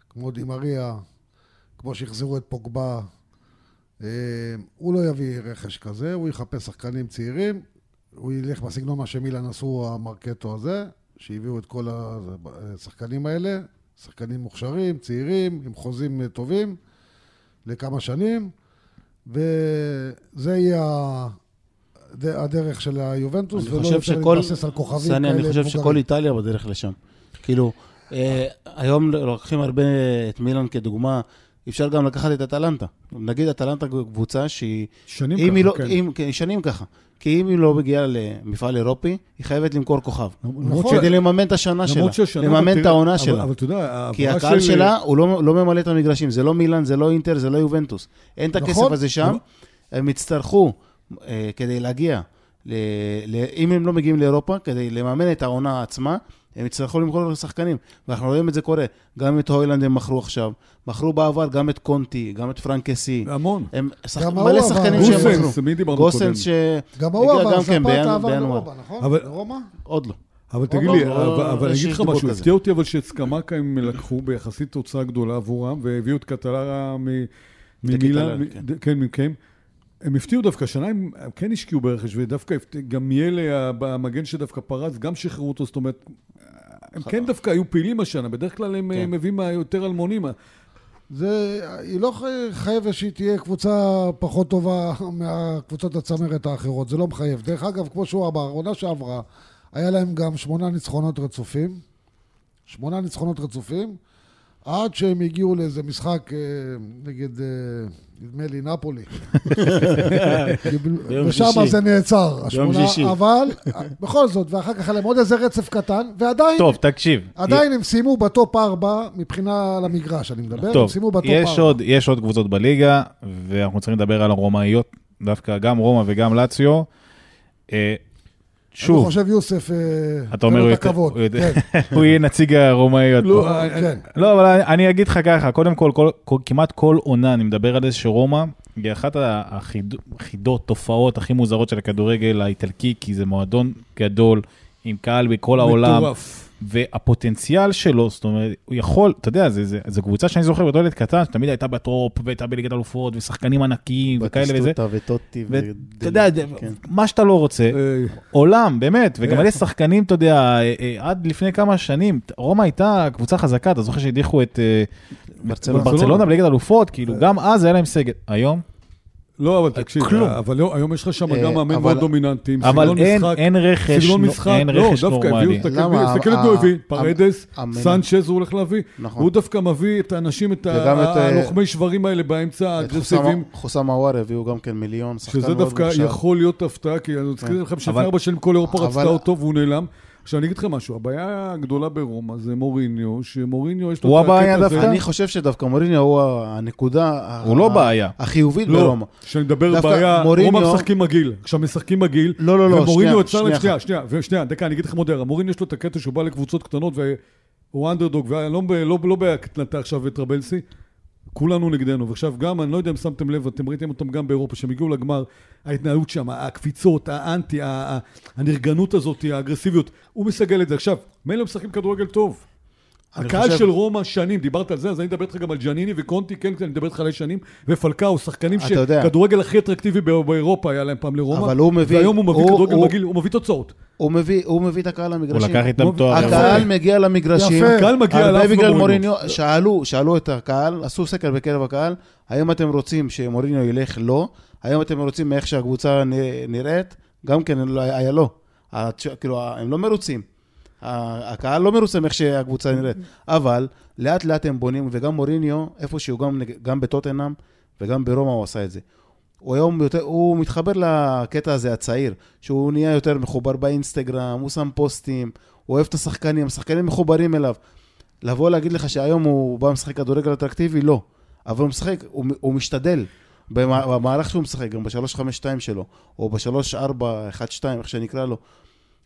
כמו דימריה, כמו שהחזירו את פוגבה, אה, הוא לא יביא רכש כזה, הוא יחפש שחקנים צעירים, הוא ילך בסגנון מה שמילן עשו, המרקטו הזה, שהביאו את כל השחקנים אה, האלה, שחקנים מוכשרים, צעירים, עם חוזים אה, טובים, לכמה שנים, וזה יהיה ה- הד- הדרך של היובנטוס,
אני
לא
ולא
חושב
יותר
שכל-
להתבסס על כוכבים כאלה
סני, אני חושב
מבוגרים.
שכל איטליה בדרך לשם. כאילו, אה, היום לוקחים הרבה את מילאן כדוגמה, אפשר גם לקחת את אטלנטה. נגיד אטלנטה קבוצה שהיא...
שנים
אם היא
ככה,
לא,
כן.
אם, כן, שנים ככה. כי אם היא לא מגיעה למפעל אירופי, היא חייבת למכור כוכב.
למרות
כדי לממן את השנה שלה,
נכון. למרות שהשנה... אתה
לממן
תראה-
את העונה
אבל-
שלה.
אבל אתה יודע, העברה
כי הקהל שלה, הוא לא, לא ממלא את המגרשים, זה לא מילאן, זה לא אינטר, זה לא יובנטוס. אין את הכסף
נכון.
הזה שם, הם יצטרכו אה, כדי להגיע, ל, ל, אם הם לא מגיעים לאירופה, כדי לממן את העונה עצמה, הם יצטרכו למכור לשחקנים. ואנחנו רואים את זה קורה, גם את הוילנד הם מכרו עכשיו, מכרו בעבר גם את קונטי, גם את פרנקסי.
המון.
הם שח...
גם
מלא
ההוא
שחקנים
עבר.
שהם
גוסנס,
מכרו.
מי דיברנו קודם?
גוסנס ש...
גם ההוא
הגיע
עבר,
גם כן,
ספאטה
בינואר-
עבר
בינואר.
לרומה, נכון?
אבל-
לרומא?
עוד לא.
אבל תגיד
לא,
לי,
לא,
אבל-
לא,
אבל אני
יש
אגיד לך
דיבור
משהו,
כזה.
הפתיע אותי אבל שאת סקמקה הם לקחו ביחסית תוצאה גדולה עבורם, והביאו את קטלרה מ- ממילאן,
דקטלרה,
מ-
כן.
ד- כן, מכם. הם הפתיעו דווקא, השנה הם הם כן השקיעו ברכש, ודווקא הפת- גם מיאלה, המגן שדווקא פרץ, גם שחררו אותו, זאת אומרת, הם כן דווקא היו פעילים השנה, בדרך כלל הם
כן.
אה, מביאים מהיותר אלמונים.
זה, היא לא חי- חייבת שהיא תהיה קבוצה פחות טובה מהקבוצות הצמרת האחרות, זה לא מחייב. דרך אגב, כמו שהוא אמר, העונה שעברה, היה להם גם שמונה ניצחונות רצופים. שמונה ניצחונות רצופים, עד שהם הגיעו לאיזה משחק אה, נגד, אה, נדמה לי, נפולי.
ביום
ושם
שישי.
זה נעצר, השמונה,
שישי.
אבל אה, בכל זאת, ואחר כך היה להם עוד איזה רצף קטן, ועדיין...
טוב, תקשיב.
עדיין הם סיימו בטופ 4 מבחינה למגרש, אני מדבר, הם
טוב,
סיימו בטופ 4.
יש עוד, יש עוד קבוצות בליגה, ואנחנו צריכים לדבר על הרומאיות, דווקא גם רומא וגם לאציו. אה,
אני
שוב,
חושב, יוסף, אה,
אתה אומר,
תן
הוא
לו את
יותר-
הכבוד.
הוא יותר-
כן,
הוא יהיה נציג הרומאיות. פה.
לא,
כן.
לא, אבל אני, אני אגיד לך ככה, קודם כל, כל, כל, כמעט כל עונה אני מדבר על זה שרומא היא אחת ה- החיד- החידות, תופעות הכי מוזרות של הכדורגל האיטלקי, כי זה מועדון גדול, עם קהל בכל העולם,
מטורף.
והפוטנציאל שלו, זאת אומרת, הוא יכול, אתה יודע, זה- זה- זו קבוצה שאני זוכר בתור ילד קטן, שתמיד הייתה בטופ, והייתה בליגת אלופות, ושחקנים ענקיים, וכאלה וזה,
בטיסטוטה וטוטי.
ואתה
ודל-
יודע,
כן.
מה שאתה לא רוצה,
אה,
עולם, באמת,
כן.
וגם אלה שחקנים, אתה יודע, אה, אה, עד לפני כמה שנים, רומא הייתה קבוצה חזקה, אתה זוכר שהדיחו את אה,
ברצלונה.
ברצלונה בליגת אלופות,
אה.
כאילו, גם אז היה להם סגל, היום,
לא, אבל תקשיב,
כלום.
אבל לא, היום יש לך שם
אה,
גם מאמן
אבל-
מאוד דומיננטי, עם
אבל
סגנון
אין-
משחק.
אין רכש,
סגנון
נו-
משחק,
אין
לא,
רכש
דווקא הביאו,
נורמלי.
תסתכל
למה?
תסתכל את
ה-
מי הוא הביא,
ה-
פרדס,
המנ-
סנצ'ז הוא הולך להביא,
נכון.
הוא דווקא מביא את האנשים, את
וגם את,
ה-
אה,
הלוחמי שברים האלה באמצע
את חוסם-
האגרסיביים,
חוסם עוואר הביאו גם כן מיליון, שחקן
שזה
מאוד
דווקא
מוכשר.
יכול להיות הפתעה, כי אני מזכיר לכם שלפני
אבל-
ארבע שנים כל אירופה רצתה
אבל-
אותו והוא נעלם. עכשיו אני אגיד לכם משהו, הבעיה הגדולה ברומא זה מוריניו, שמוריניו יש לו
הוא
את הקטע
הבעיה
הזה-
דווקא?
אני חושב שדווקא מוריניו הוא הנקודה ה-
הוא לא
ה-
בעיה.
החיובית
לא,
ברומא.
כשאני מדבר
דווקא
בעיה,
מוריניו-
רומא משחקים מגעיל. עכשיו משחקים מגעיל,
לא, לא, לא,
ומוריניו
שנייה,
יצא להם,
שנייה
שנייה, שנייה, ושנייה, דקה, אני אגיד לכם עוד הערה. מוריניו יש לו את הקטע שהוא בא לקבוצות קטנות והוא אנדרדוג, ולא ב- לא- לא בהקטנתה עכשיו את רבלסי, כולנו נגדנו. ועכשיו גם, אני לא יודע אם שמתם לב, אתם ראיתם אותם גם באירופה, שהם הגיעו לגמר, ההתנהלות שם, הקפיצות, האנטי, ה- ה- הנרגנות הזאת, האגרסיביות, הוא מסגל את זה. עכשיו, מילא הם משחקים כדורגל טוב.
אני
הקהל
חושב-
של רומא שנים, דיברת על זה, אז אני מדבר איתך גם על ג'ניני וקונטי, כן, אני מדבר איתך על שנים, ופלקאו, שחקנים
אתה יודע.
שכדורגל הכי אטרקטיבי בא- באירופה היה להם פעם לרומא,
אבל הוא מביא-
והיום הוא מביא
הוא-
כדורגל
הוא-
מגעיל, הוא מביא תוצאות.
הוא מביא- הוא מביא את הקהל
הוא
למגרשים.
לקח איתם
לא,
תואר.
הקהל מגיע למגרשים.
יפה.
הקהל מגיע
הרבה
אליו
בגלל
כמו
מוריניו, שאלו, שאלו את הקהל, עשו סקר בקרב הקהל, האם אתם רוצים שמוריניו ילך? לא. האם אתם רוצים מאיך שהקבוצה נ- נראית? גם כן לא- היה לא. התש- כאילו, הם לא מרוצים. ה- הקהל לא מרוצה מאיך שהקבוצה נראית. אבל לאט לאט הם בונים, וגם מוריניו, איפשהו, גם, נג- גם בטוטנאם וגם ברומא הוא עשה את זה. הוא היום יותר, הוא מתחבר לקטע הזה הצעיר, שהוא נהיה יותר מחובר באינסטגרם, הוא שם פוסטים, הוא אוהב את השחקנים, השחקנים מחוברים אליו. לבוא להגיד לך שהיום הוא בא משחק כדורגל אטרקטיבי, לא. אבל הוא משחק, הוא, הוא משתדל. במה- במהלך שהוא משחק, גם ב-352 שלו, או ב-3412, איך שנקרא לו,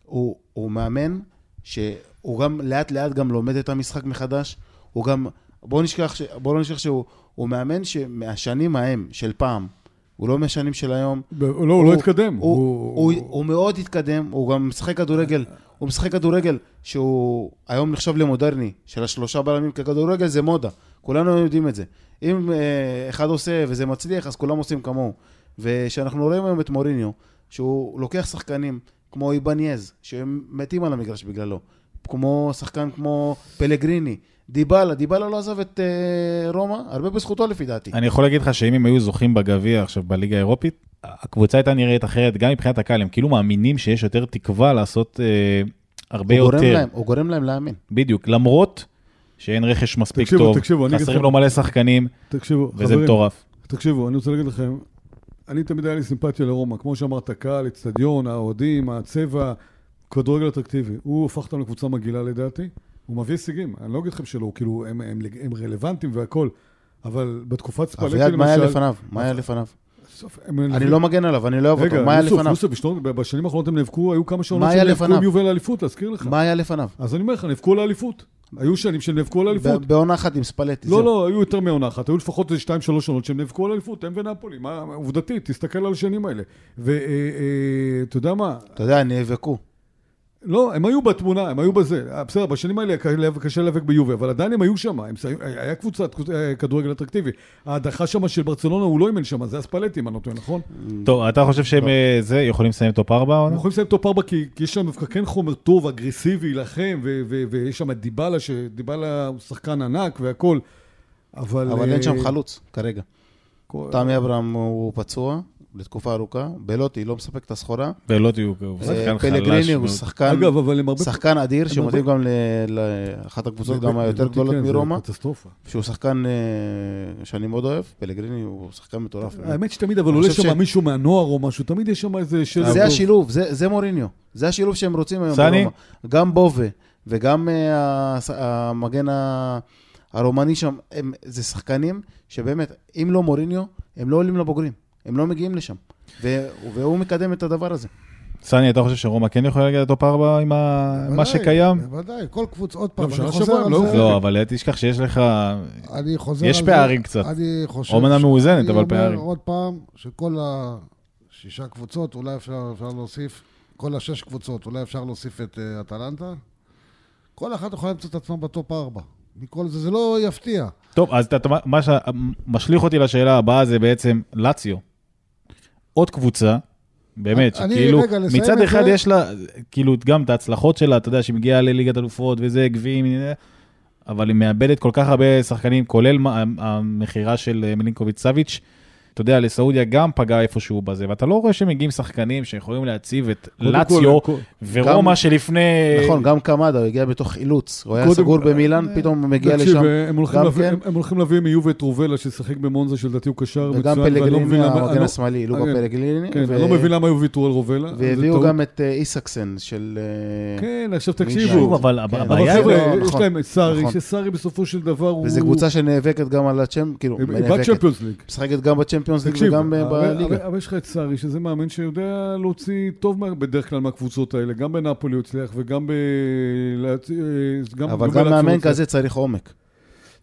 הוא, הוא מאמן שהוא גם לאט לאט גם לומד את המשחק מחדש, הוא גם, בואו נשכח, ש, בוא לא נשכח שהוא הוא מאמן שמהשנים ההם, של פעם, הוא לא מהשנים של היום.
ב- לא, הוא לא התקדם.
הוא, הוא, הוא, הוא מאוד התקדם, הוא גם משחק כדורגל, הוא משחק כדורגל שהוא היום נחשב למודרני, של השלושה בלמים, כי כדורגל זה מודה, כולנו יודעים את זה. אם אה, אחד עושה וזה מצליח, אז כולם עושים כמוהו. וכשאנחנו רואים היום את מוריניו, שהוא לוקח שחקנים כמו איבניאז, שהם מתים על המגרש בגללו, כמו שחקן כמו פלגריני, דיבלה, דיבלה לא עזב את אה, רומא, הרבה בזכותו לפי דעתי.
אני יכול להגיד לך שאם הם היו זוכים בגביע עכשיו בליגה האירופית, הקבוצה הייתה נראית אחרת, גם מבחינת הקהל, הם כאילו מאמינים שיש יותר תקווה לעשות אה, הרבה
הוא גורם,
יותר.
להם, הוא גורם להם להאמין.
בדיוק, למרות שאין רכש מספיק
תקשיבו,
טוב,
תקשיבו, אני אגיד
חסרים
לכם-
לו מלא שחקנים,
תקשיבו,
וזה
חברים,
מטורף.
תקשיבו, אני רוצה להגיד לכם, אני תמיד היה לי סימפתיה לרומא, כמו שאמרת, קהל, אצטדיון, האוהדים, הצבע, כדורגל אטרקטיבי. הוא הפך אותם לקבוצה מגעילה לדעתי, הוא מביא הישגים, אני לא אגיד לכם שלא, כאילו, הם, הם, הם רלוונטיים והכול, אבל בתקופת ספלטי
אביעד,
למשל...
מה היה לפניו? מה היה לפניו?
בסוף, הם-
אני לא מגן עליו, אני לא אוהב אותו. מה היה
רגע,
לפניו?
יוסוף, יוסוף, בשנות- בשנים האחרונות הם נאבקו, היו כמה
מה
שעונות
היה
שהם נאבקו
לפניו?
עם יובל לאליפות, להזכיר לך.
מה היה לפניו?
אז אני אומר לך, נאבקו על האליפות. היו שנים שהם נאבקו על האליפות.
ב- בעונה אחת עם ספלטי.
לא,
זהו.
לא, היו יותר מעונה אחת, היו לפחות איזה שתיים, שלוש עונות שהם נאבקו על אליפות, הם ונפולי, מה, עובדתית, תסתכל על השנים האלה. ואתה יודע מה,
אתה יודע, נאבקו.
לא, הם היו בתמונה, הם היו בזה. אה, בסדר, בשנים האלה קשה- קשה להיאבק ביובי, אבל עדיין הם היו שם, הם היו- היה קבוצת אה, כדורגל אטרקטיבי. ההדחה שם של ברצלונה, הוא לא אימן שם, זה הספלטי, אם אני לא טועה, נכון?
טוב, אתה חושב
לא.
שהם אה, זה, יכולים לסיים טופ 4
אנחנו
עונה?
יכולים לסיים טופ 4 כי כי יש שם דווקא כן חומר טוב, אגרסיבי, להילחם, ו- ו- ויש שם את דיבלה, שדיבלה הוא שחקן ענק והכול. אבל...
אבל
אה,
אין שם חלוץ כרגע.
כל-
תמי אברהם הוא פצוע לתקופה ארוכה, בלוטי לא מספק את הסחורה.
ולא תהיו, הוא שחקן
אה,
חלש.
פלגריני הוא
מאוד.
שחקן,
אגב, אבל הם הרבה...
שחקן אדיר,
הם
שמתאים
הרבה-
גם ל- לאחת הקבוצות גם
ב-
היותר
בלוטי,
גדולות
כן, זה
מרומא,
קטסטרופה.
שהוא שחקן אה, שאני מאוד אוהב, פלגריני הוא שחקן מטורף.
אה, האמת שתמיד, אבל
אני
עולה
חושב
שם
ש-
מישהו מהנוער או משהו, תמיד יש שם איזה של...
זה השילוב, זה זה מוריניו. זה השילוב שהם רוצים היום.
סני?
ברומא. גם בובה וגם אה, הס- המגן ה- הרומני שם, הם- זה שחקנים שבאמת, אם לא מוריניו, הם לא עולים לבוגרים. הם לא מגיעים לשם. ו- והוא מקדם את הדבר הזה.
סני, אתה חושב שרומא כן יכולה להגיע לטופ 4 עם ה- מה
בוודאי,
שקיים?
בוודאי, כל קבוצה, עוד פעם,
גם
אני
שנה
חוזר
שעברה הם
על
לא
זה.
הוכרעו.
לא, אבל תשכח שיש לך...
אני חוזר
יש
על
פערים
זה,
קצת.
אני חושב...
אומנה
ש-
מאוזנת, אבל
אני
פערים.
אומר עוד פעם, שכל השישה קבוצות, אולי אפשר, אפשר להוסיף, כל השש קבוצות, אולי אפשר להוסיף את אה, אטלנטה, כל אחת יכולה למצוא את עצמה בטופ ארבע. מכל זה, זה לא יפתיע.
טוב, אז אתה- אתה- מה שמשליך אותי לשאלה הבאה זה בעצם לאציו. עוד קבוצה, באמת,
אני-
שכאילו,
רגע, לסיים
מצד
את
אחד
זה.
יש לה, כאילו, גם את ההצלחות שלה, אתה יודע, שהיא מגיעה לליגת אלופות וזה, גביעים, אה, אבל היא מאבדת כל כך הרבה שחקנים, כולל מה- המכירה של אה, מלינקוביץ' סביץ'. אתה יודע, לסעודיה גם פגע איפשהו בזה, ואתה לא רואה שמגיעים שחקנים שיכולים להציב את
קודם כל,
לאציו
כל-
ורומא
גם-
שלפני...
נכון, גם קמדה, הוא הגיע בתוך אילוץ. הוא היה
אה, קודם- אה,
סגור במילאן, פתאום הוא מגיע
תקשיב, אה,
לשם.
הם הולכים
גם
להביא-
כן.
הם- הם הולכים להביא מיובה את רובלה, ששיחק במונזה, שלדעתי הוא קשר מצוין,
וגם
ואני לא מבין
פלגריני,
למה- אני
המגן
לא-
השמאלי, לוקה
כן,
פלגריני.
כן,
ו-
אני לא מבין למה היו ויתרו על רובלה. זה
והביאו
טעות.
גם את אה, איסקסן של... אה,
כן, עכשיו
שוב,
תקשיבו.
אבל
כן,
אבל
הבעיה היא...
חבר'ה,
לא,
יש
נכון,
להם את סארי,
נכון.
שסארי בסופו של דבר הוא...
וזו קבוצה שנאבקת גם על הצ'מפ... כאילו,
היא
נאבקת.
בצ'מפיונס ליג.
משחקת גם בצ'מפיונס ליג
תקשיב,
וגם אה,
אבל-
בליגה.
אבל- אבל יש לך את סארי, שזה מאמן שיודע להוציא טוב מה- בדרך כלל מהקבוצות האלה, גם בנאפולי הוא הצליח וגם ב... לאצ- אה,
אבל
בלאציו
גם
הוא
מאמן
הצליח.
כזה צריך עומק.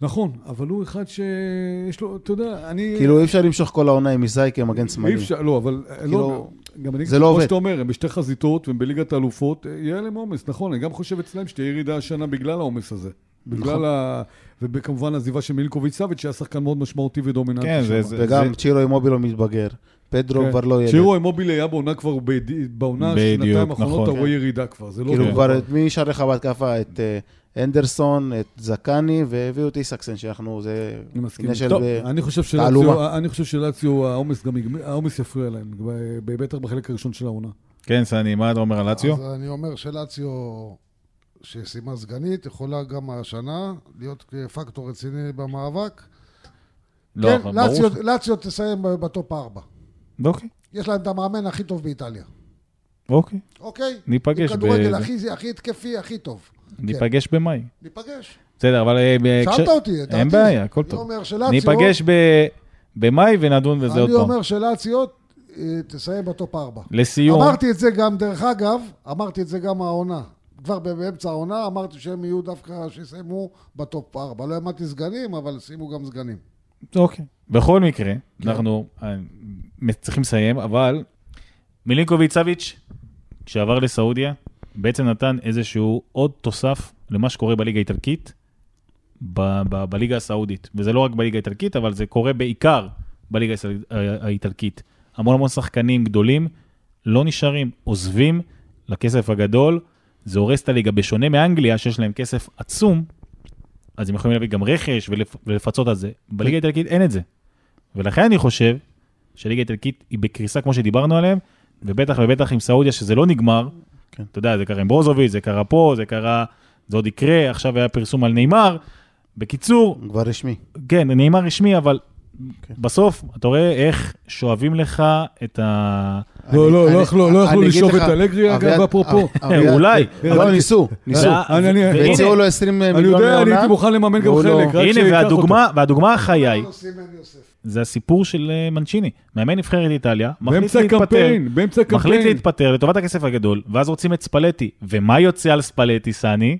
נכון, אבל הוא אחד שיש לו, אתה יודע, אני...
כאילו, אי אפשר למשוך כל העונה עם איזאי כמגן
אי
שמאלי.
אפשר, לא, אבל... אה, לא,
כאילו,
גם אני,
זה לא
כמו
עובד.
שאתה אומר, הם בשתי חזיתות והם בליגת האלופות, אה, יהיה להם עומס, נכון, אני גם חושב אצלם שתהיה ירידה השנה בגלל העומס הזה.
נכון.
בגלל ה... וכמובן העזיבה של מילקוביץ' סאביץ', שהיה שחקן מאוד משמעותי ודומיננטי.
כן, זה-
שם.
זה- זה-
וגם צ'ירו אימובילו מתבגר. פדרו
כן.
כבר לא ילד.
שירו אימובילי היה בעונה כבר, בד- בעונה
בדיוק,
שנתיים האחרונות,
נכון.
אתה רואה ירידה כבר, זה לא...
כאילו,
אותו
כבר
דבר.
את מי נשאר לך בהתקפה? את אה, אנדרסון, את זקני, והביאו את איסקסן, שאנחנו, זה...
אני מסכים.
עניין של-
טוב,
ב-
אני חושב
תעלומה.
שלציו, אני חושב שלציו, העומס גם יגמ- העומס יפריע להם, ב- בטח בחלק הראשון של העונה.
כן, סני, מה אתה אומר על לאציו?
אז אני אומר שלאציו, שסיימה סגנית, יכולה גם השנה להיות פקטור רציני במאבק.
לא,
כן,
ברור
לאציו-
ש-
לאציו תסיים בטופ ארבע.
אוקיי,
יש להם את המאמן הכי טוב באיטליה,
אוקיי.
אוקיי?
ניפגש
עם כדורגל
ב-
הכי, הכי התקפי, הכי טוב.
ניפגש במאי.
ניפגש.
בסדר, אבל... אה, ב-
כן. שאלת
כש-
אותי, את דעתי.
אין בעיה, הכל
אני
טוב.
אומר שלאציו...
ניפגש ב... במאי ונדון בזה עוד
אני
פעם.
אומר שלאציו אה, תסיים בטופ ארבע.
לסיום,
אמרתי את זה גם, דרך אגב, אמרתי את זה גם העונה. כבר באמצע העונה אמרתי שהם יהיו דווקא, שיסיימו בטופ ארבע. לא העמדתי סגנים, אבל שימו גם סגנים.
אוקיי. בכל מקרה, אנחנו אה, צריכים לסיים, אבל מילינקוביץ' סביץ', כשעבר לסעודיה, בעצם נתן איזשהו עוד תוסף למה שקורה בליגה האיטלקית, ב- ב- בליגה הסעודית. וזה לא רק בליגה האיטלקית, אבל זה קורה בעיקר בליגה הסע- הא- האיטלקית. המון המון שחקנים גדולים לא נשארים, עוזבים לכסף הגדול, זה הורס את הליגה. בשונה מאנגליה, שיש להם כסף עצום, אז הם יכולים להביא גם רכש ולפ- ולפצות על זה. בליגה
כן.
האיטלקית אין את זה. ולכן אני חושב שהליגה האיטלקית היא בקריסה כמו שדיברנו עליהם, ובטח ובטח עם סעודיה, שזה לא נגמר.
כן.
אתה יודע, זה קרה עם ברוזוביץ', זה קרה פה, זה קרה, זה עוד יקרה, עכשיו היה פרסום על נאמר. בקיצור,
כבר רשמי.
כן, נאמר רשמי, אבל
כן.
בסוף אתה רואה איך שואבים לך את ה...
לא,
אני-
לא,
אני-
לא יכלו- לא
אני
יכלו
אגיד
לשאוב
לך,
את אלגרי, אגב,
אביעד-
אפרופו.
אה, אביעד-
אולי.
לא, ניסו, ניסו.
וה-
אני- אני-
והנה-
והציעו לו 20 מיליון
אני
לעונה.
יודע, אני הייתי מוכן לממן גם
והוא לא-
חלק, רק
הנה,
שייקח
והדוגמה, והדוגמה החיה היא,
לא סימן יוסף.
זה הסיפור של אה, מנצ'יני. מאמן נבחרת איטליה, מחליט
באמצע
להתפטר,
הקמפיין, באמצע
מחליט
הקמפיין.
להתפטר לטובת הכסף הגדול, ואז רוצים את ספלטי. ומה יוצא על ספלטי, סני?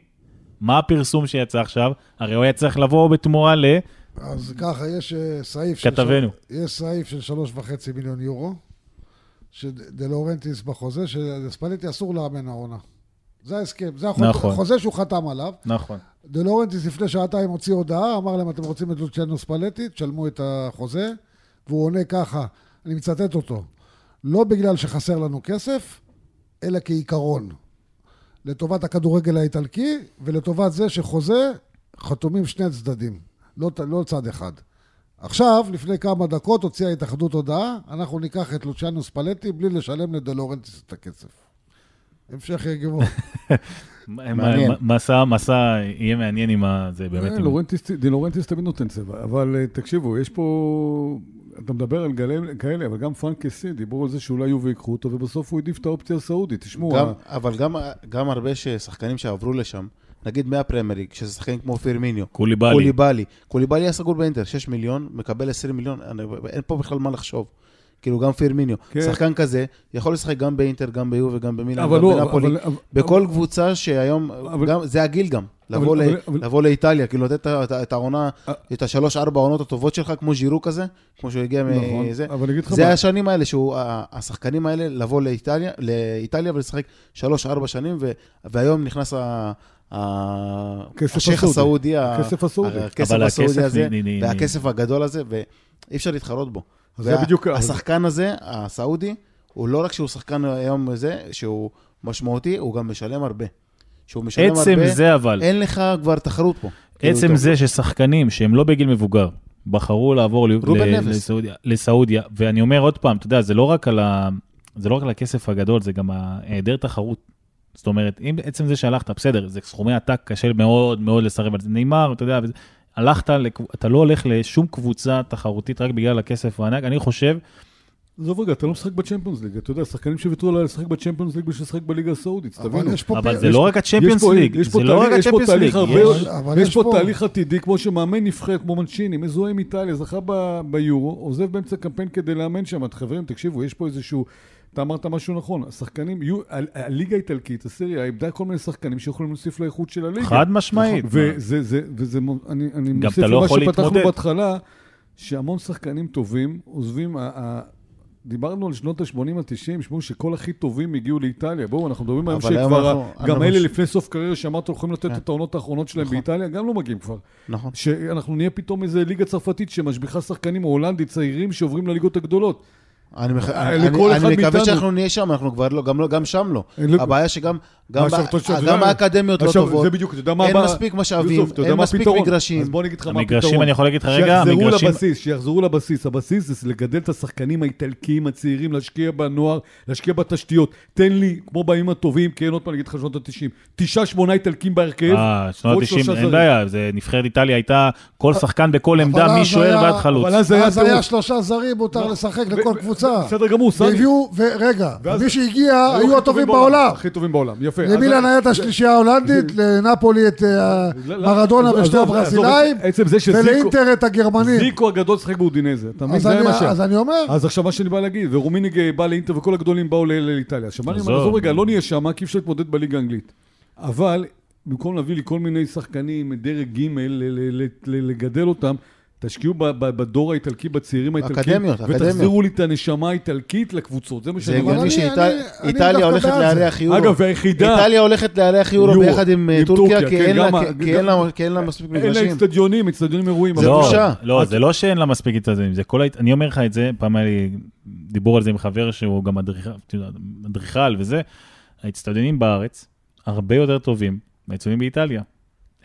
מה הפרסום שיצא עכשיו? הרי הוא היה צריך לבוא בתמורה ל...
אז ככה, יש אה, סעיף
כתבנו.
של... יש סעיף של שלוש וחצי מיליון יורו, שדלורנטיס בחוזה, שלספליטי אסור לאמן העונה. זה ההסכם, זה החוזה
נכון.
החוזה שהוא חתם עליו.
נכון.
דלורנטיס לפני שעתיים הוציא הודעה, אמר להם, אתם רוצים את לוציאנו ספלטי, תשלמו את החוזה, והוא עונה ככה, אני מצטט אותו, לא בגלל שחסר לנו כסף, אלא כעיקרון. לטובת הכדורגל האיטלקי, ולטובת זה שחוזה חתומים שני הצדדים. לא, ת- לא צד אחד. עכשיו, לפני כמה דקות, הוציאה ההתאחדות הודעה, אנחנו ניקח את לוציאנוס פלטי בלי לשלם לדולורנטיס את הכסף. המשך יגמור.
מה-
מעניין.
מה- מסע, מסע, יהיה מעניין עם ה... זה באמת...
אה,
עם-
לורנטיס- די לורנטיס תמיד נותן צבע, אבל אה, תקשיבו, יש פה... אתה מדבר על גלי כאלה, אבל גם פרנק קסין, דיברו על זה שאולי יהיו ויקחו אותו, ובסוף הוא העדיף את האופציה הסעודית. תשמעו,
גם-
ה-
אבל גם- גם הרבה ששחקנים שעברו לשם, נגיד מהפרמייריג, שזה שחקנים כמו פירמיניו,
קוליבאלי.
קוליבאלי. קוליבאלי היה סגור באינטר, 6 מיליון, מקבל 20 מיליון, אני- אין פה בכלל מה לחשוב. כאילו גם פירמיניו.
כן.
שחקן כזה, יכול לשחק גם באינטר, גם ביו וגם במילאן,
אבל
גם
לא,
בנפולי.
אבל- אבל-
בכל קבוצה שהיום,
אבל-
גם- זה הגיל גם.
אבל-
לבוא ל-
אבל- אבל-
לבוא לאיטליה, כאילו לתת את ה- את ה- את העונה,
אה.
את השלוש-ארבע העונות הטובות שלך, כמו ז'ירו כזה, כמו שהוא הגיע
נכון,
מזה.
אבל אני אגיד לך
אה, זה
מה-
השנים האלה, שהוא, ה- השחקנים האלה, לבוא לאיטליה, לאיטליה ולשחק שלוש-ארבע שנים, ו- והיום נכנס ה... ה-
כסף
השייח
הסעודי.
הסעודי, ה-
הכסף הסעודי.
הכסף
אבל הכסף
הסעודי הזה,
נ- נ- נ-
והכסף הגדול הזה, ואי אפשר להתחרות בו.
אז זה בדיוק-
השחקן הזה, הסעודי, הוא לא רק שהוא שחקן היום זה, שהוא משמעותי, הוא גם משלם הרבה. שהוא משלם
עצם
הרבה,
זה אבל,
אין לך כבר תחרות פה. כאילו,
עצם
טוב.
זה ששחקנים שהם לא בגיל מבוגר, בחרו לעבור ל-
רובן
ל-
נבס.
לסעודיה- לסעודיה, ואני אומר עוד פעם, אתה יודע, זה לא רק על ה- זה לא רק על הכסף הגדול, זה גם היעדר תחרות. זאת אומרת, אם עצם זה שהלכת, בסדר, זה סכומי עתק, קשה מאוד מאוד לסרב על זה. נאמר, אתה יודע, וזה- הלכת, לקב- אתה לא הולך לשום קבוצה תחרותית רק בגלל הכסף הענק, אני חושב,
עזוב רגע, אתה לא משחק בצ'מפיונס ליג, אתה יודע, שחקנים שוויתרו על לשחק בצ'מפיונס ליג בשביל לשחק בליגה הסעודית,
אבל
תבינו.
יש פה...
אבל
פ-
זה
יש-
לא רק הצ'מפיונס ליג,
יש פה
זה לא רק
תהליך- יש פה
הצ'מפיונס ליג,
תהליך הרבה-
יש-
אבל- אבל
יש
יש
פה
פה-
תהליך עתידי, כמו שמאמן נבחרת, כמו מנצ'יני, מזוהה עם איטליה, זכה ב- ביורו, עוזב באמצע קמפיין כדי לאמן שם. אז חברים, תקשיבו, יש פה איזשהו... אתה אמרת משהו נכון, השחקנים, יהיו- ה- הליגה האיטלקית, הסריה, איבדה כל מיני שחקנים שיכולים להוסיף לאיכות של הליגה. נכון,
חד משמעית.
וזה, זה, וזה, מו- אני, אני
גם
מוסיף
אתה לא
למה
יכול
שפתחנו
להתמודד.
בהתחלה, שהמון שחקנים טובים עוזבים, ה, ה, דיברנו על שנות ה-80 ה-90, שמעו שכל הכי טובים הגיעו לאיטליה. בואו, אנחנו מדברים היום
אבל היום
שכבר, ה-
אנחנו-
גם
אנחנו-
אלה לפני סוף קריירה שאמרת, הולכים לתת
כן.
את העונות האחרונות שלהם
נכון.
באיטליה, גם לא מגיעים כבר.
נכון.
שאנחנו נהיה פתאום איזה ליגה צרפתית שמשביחה שחקנים או הולנדית צעירים שעוברים לליגות הגדולות.
אני, מח...
אה,
אני,
לכל אחד
אני
מאיתנו. אה,
מקווה שאנחנו נהיה שם, אנחנו כבר לא, גם, לא, גם שם לא.
אין לו-
הבעיה שגם גם,
ועכשיו,
ב...
אתה יודע-
גם האקדמיות לא
עכשיו,
טובות.
זה בדיוק, אתה יודע מה
אין
הבעיה?
מספיק משאבים,
יוסוף, אתה יודע
אין
מה
מספיק
הפתרון?
מגרשים.
אז בוא אני אגיד לך מה הפתרון.
המגרשים, אני יכול להגיד לך רגע,
שיחזרו
המגרשים-
לבסיס, שיחזרו לבסיס. הבסיס זה לגדל את השחקנים האיטלקיים הצעירים, להשקיע בנוער, להשקיע בתשתיות. תן לי, כמו בימים הטובים, כן, עוד פעם, אני אגיד לך שנות ה-90, תשעה, שמונה איטלקים בהרכב.
אה, שנות
ועוד
ה-90,
שלושה
אין
זרים.
בעיה, זה נבחרת איטליה הייתה כל שחקן בכל עמדה,
אז
משוער
היה-
ועד חלוץ.
אבל אז זה היה
אז היה
טירוף.
שלושה זרים, מותר לשחק לכל
לא. ו-
קבוצה.
בסדר גמור, סני.
והביאו, ורגע,
ואז-
מי שהגיע אה, היו הטובים בעולם.
הכי טובים בעולם, יפה. אז-
למילן היה את השלישייה ההולנדית, לנפולי את אה,
לא, לא,
מרדונה
עזוב,
ושני
עזוב,
הברזילאים,
עצם- עצם זה שזיקו-
ולאינטר את הגרמנים.
זיקו הגדול שיחק באודינזה, אתה מבין?
אז
זה היה
אני-
מה שהיה.
אז אני אומר,
אז עכשיו מה שאני בא להגיד, ורומיניג אה, בא לאינטר וכל הגדולים באו ל- לאיטליה. עכשיו מה אני אומר,
עזוב.
עזוב רגע, לא נהיה שם, כי אי אפשר להתמודד בליגה האנגלית. אבל במקום להביא לי כל מיני שחקנים, דרג ג' ל- ל- ל- ל- לגדל אותם, תשקיעו ב- ב- בדור האיטלקי, בצעירים האיטלקים,
אקדמיות, אקדמיות.
ותחזירו לי את הנשמה האיטלקית לקבוצות, זה מה
זה
שאני אומר.
אבל אני-
הגיוני
אני- אני דווקא
שאיטליה הולכת
בעד זה.
לארח יורו.
אגב, והיחידה...
איטליה הולכת לארח יורו
יורו,
ביחד עם אה,
עם טורקיה,
טורקיה, כי
כן,
אין לה-
גם ה-
כי- כי אין
גם-
לה- כי אין לה מספיק
אין לה
מגרשים.
אצטדיונים, אצטדיונים אירועים.
זה
אבל-
לא,
בושה.
לא,
אז-
זה לא שאין לה מספיק איצטדיונים, זה כל ה... אני אומר לך את זה, פעם היה לי דיבור על זה עם חבר שהוא גם מדריך- אתה יודע, אדריכל וזה, האצטדיונים בארץ הרבה יותר טובים מהאצטדיונים באיטליה.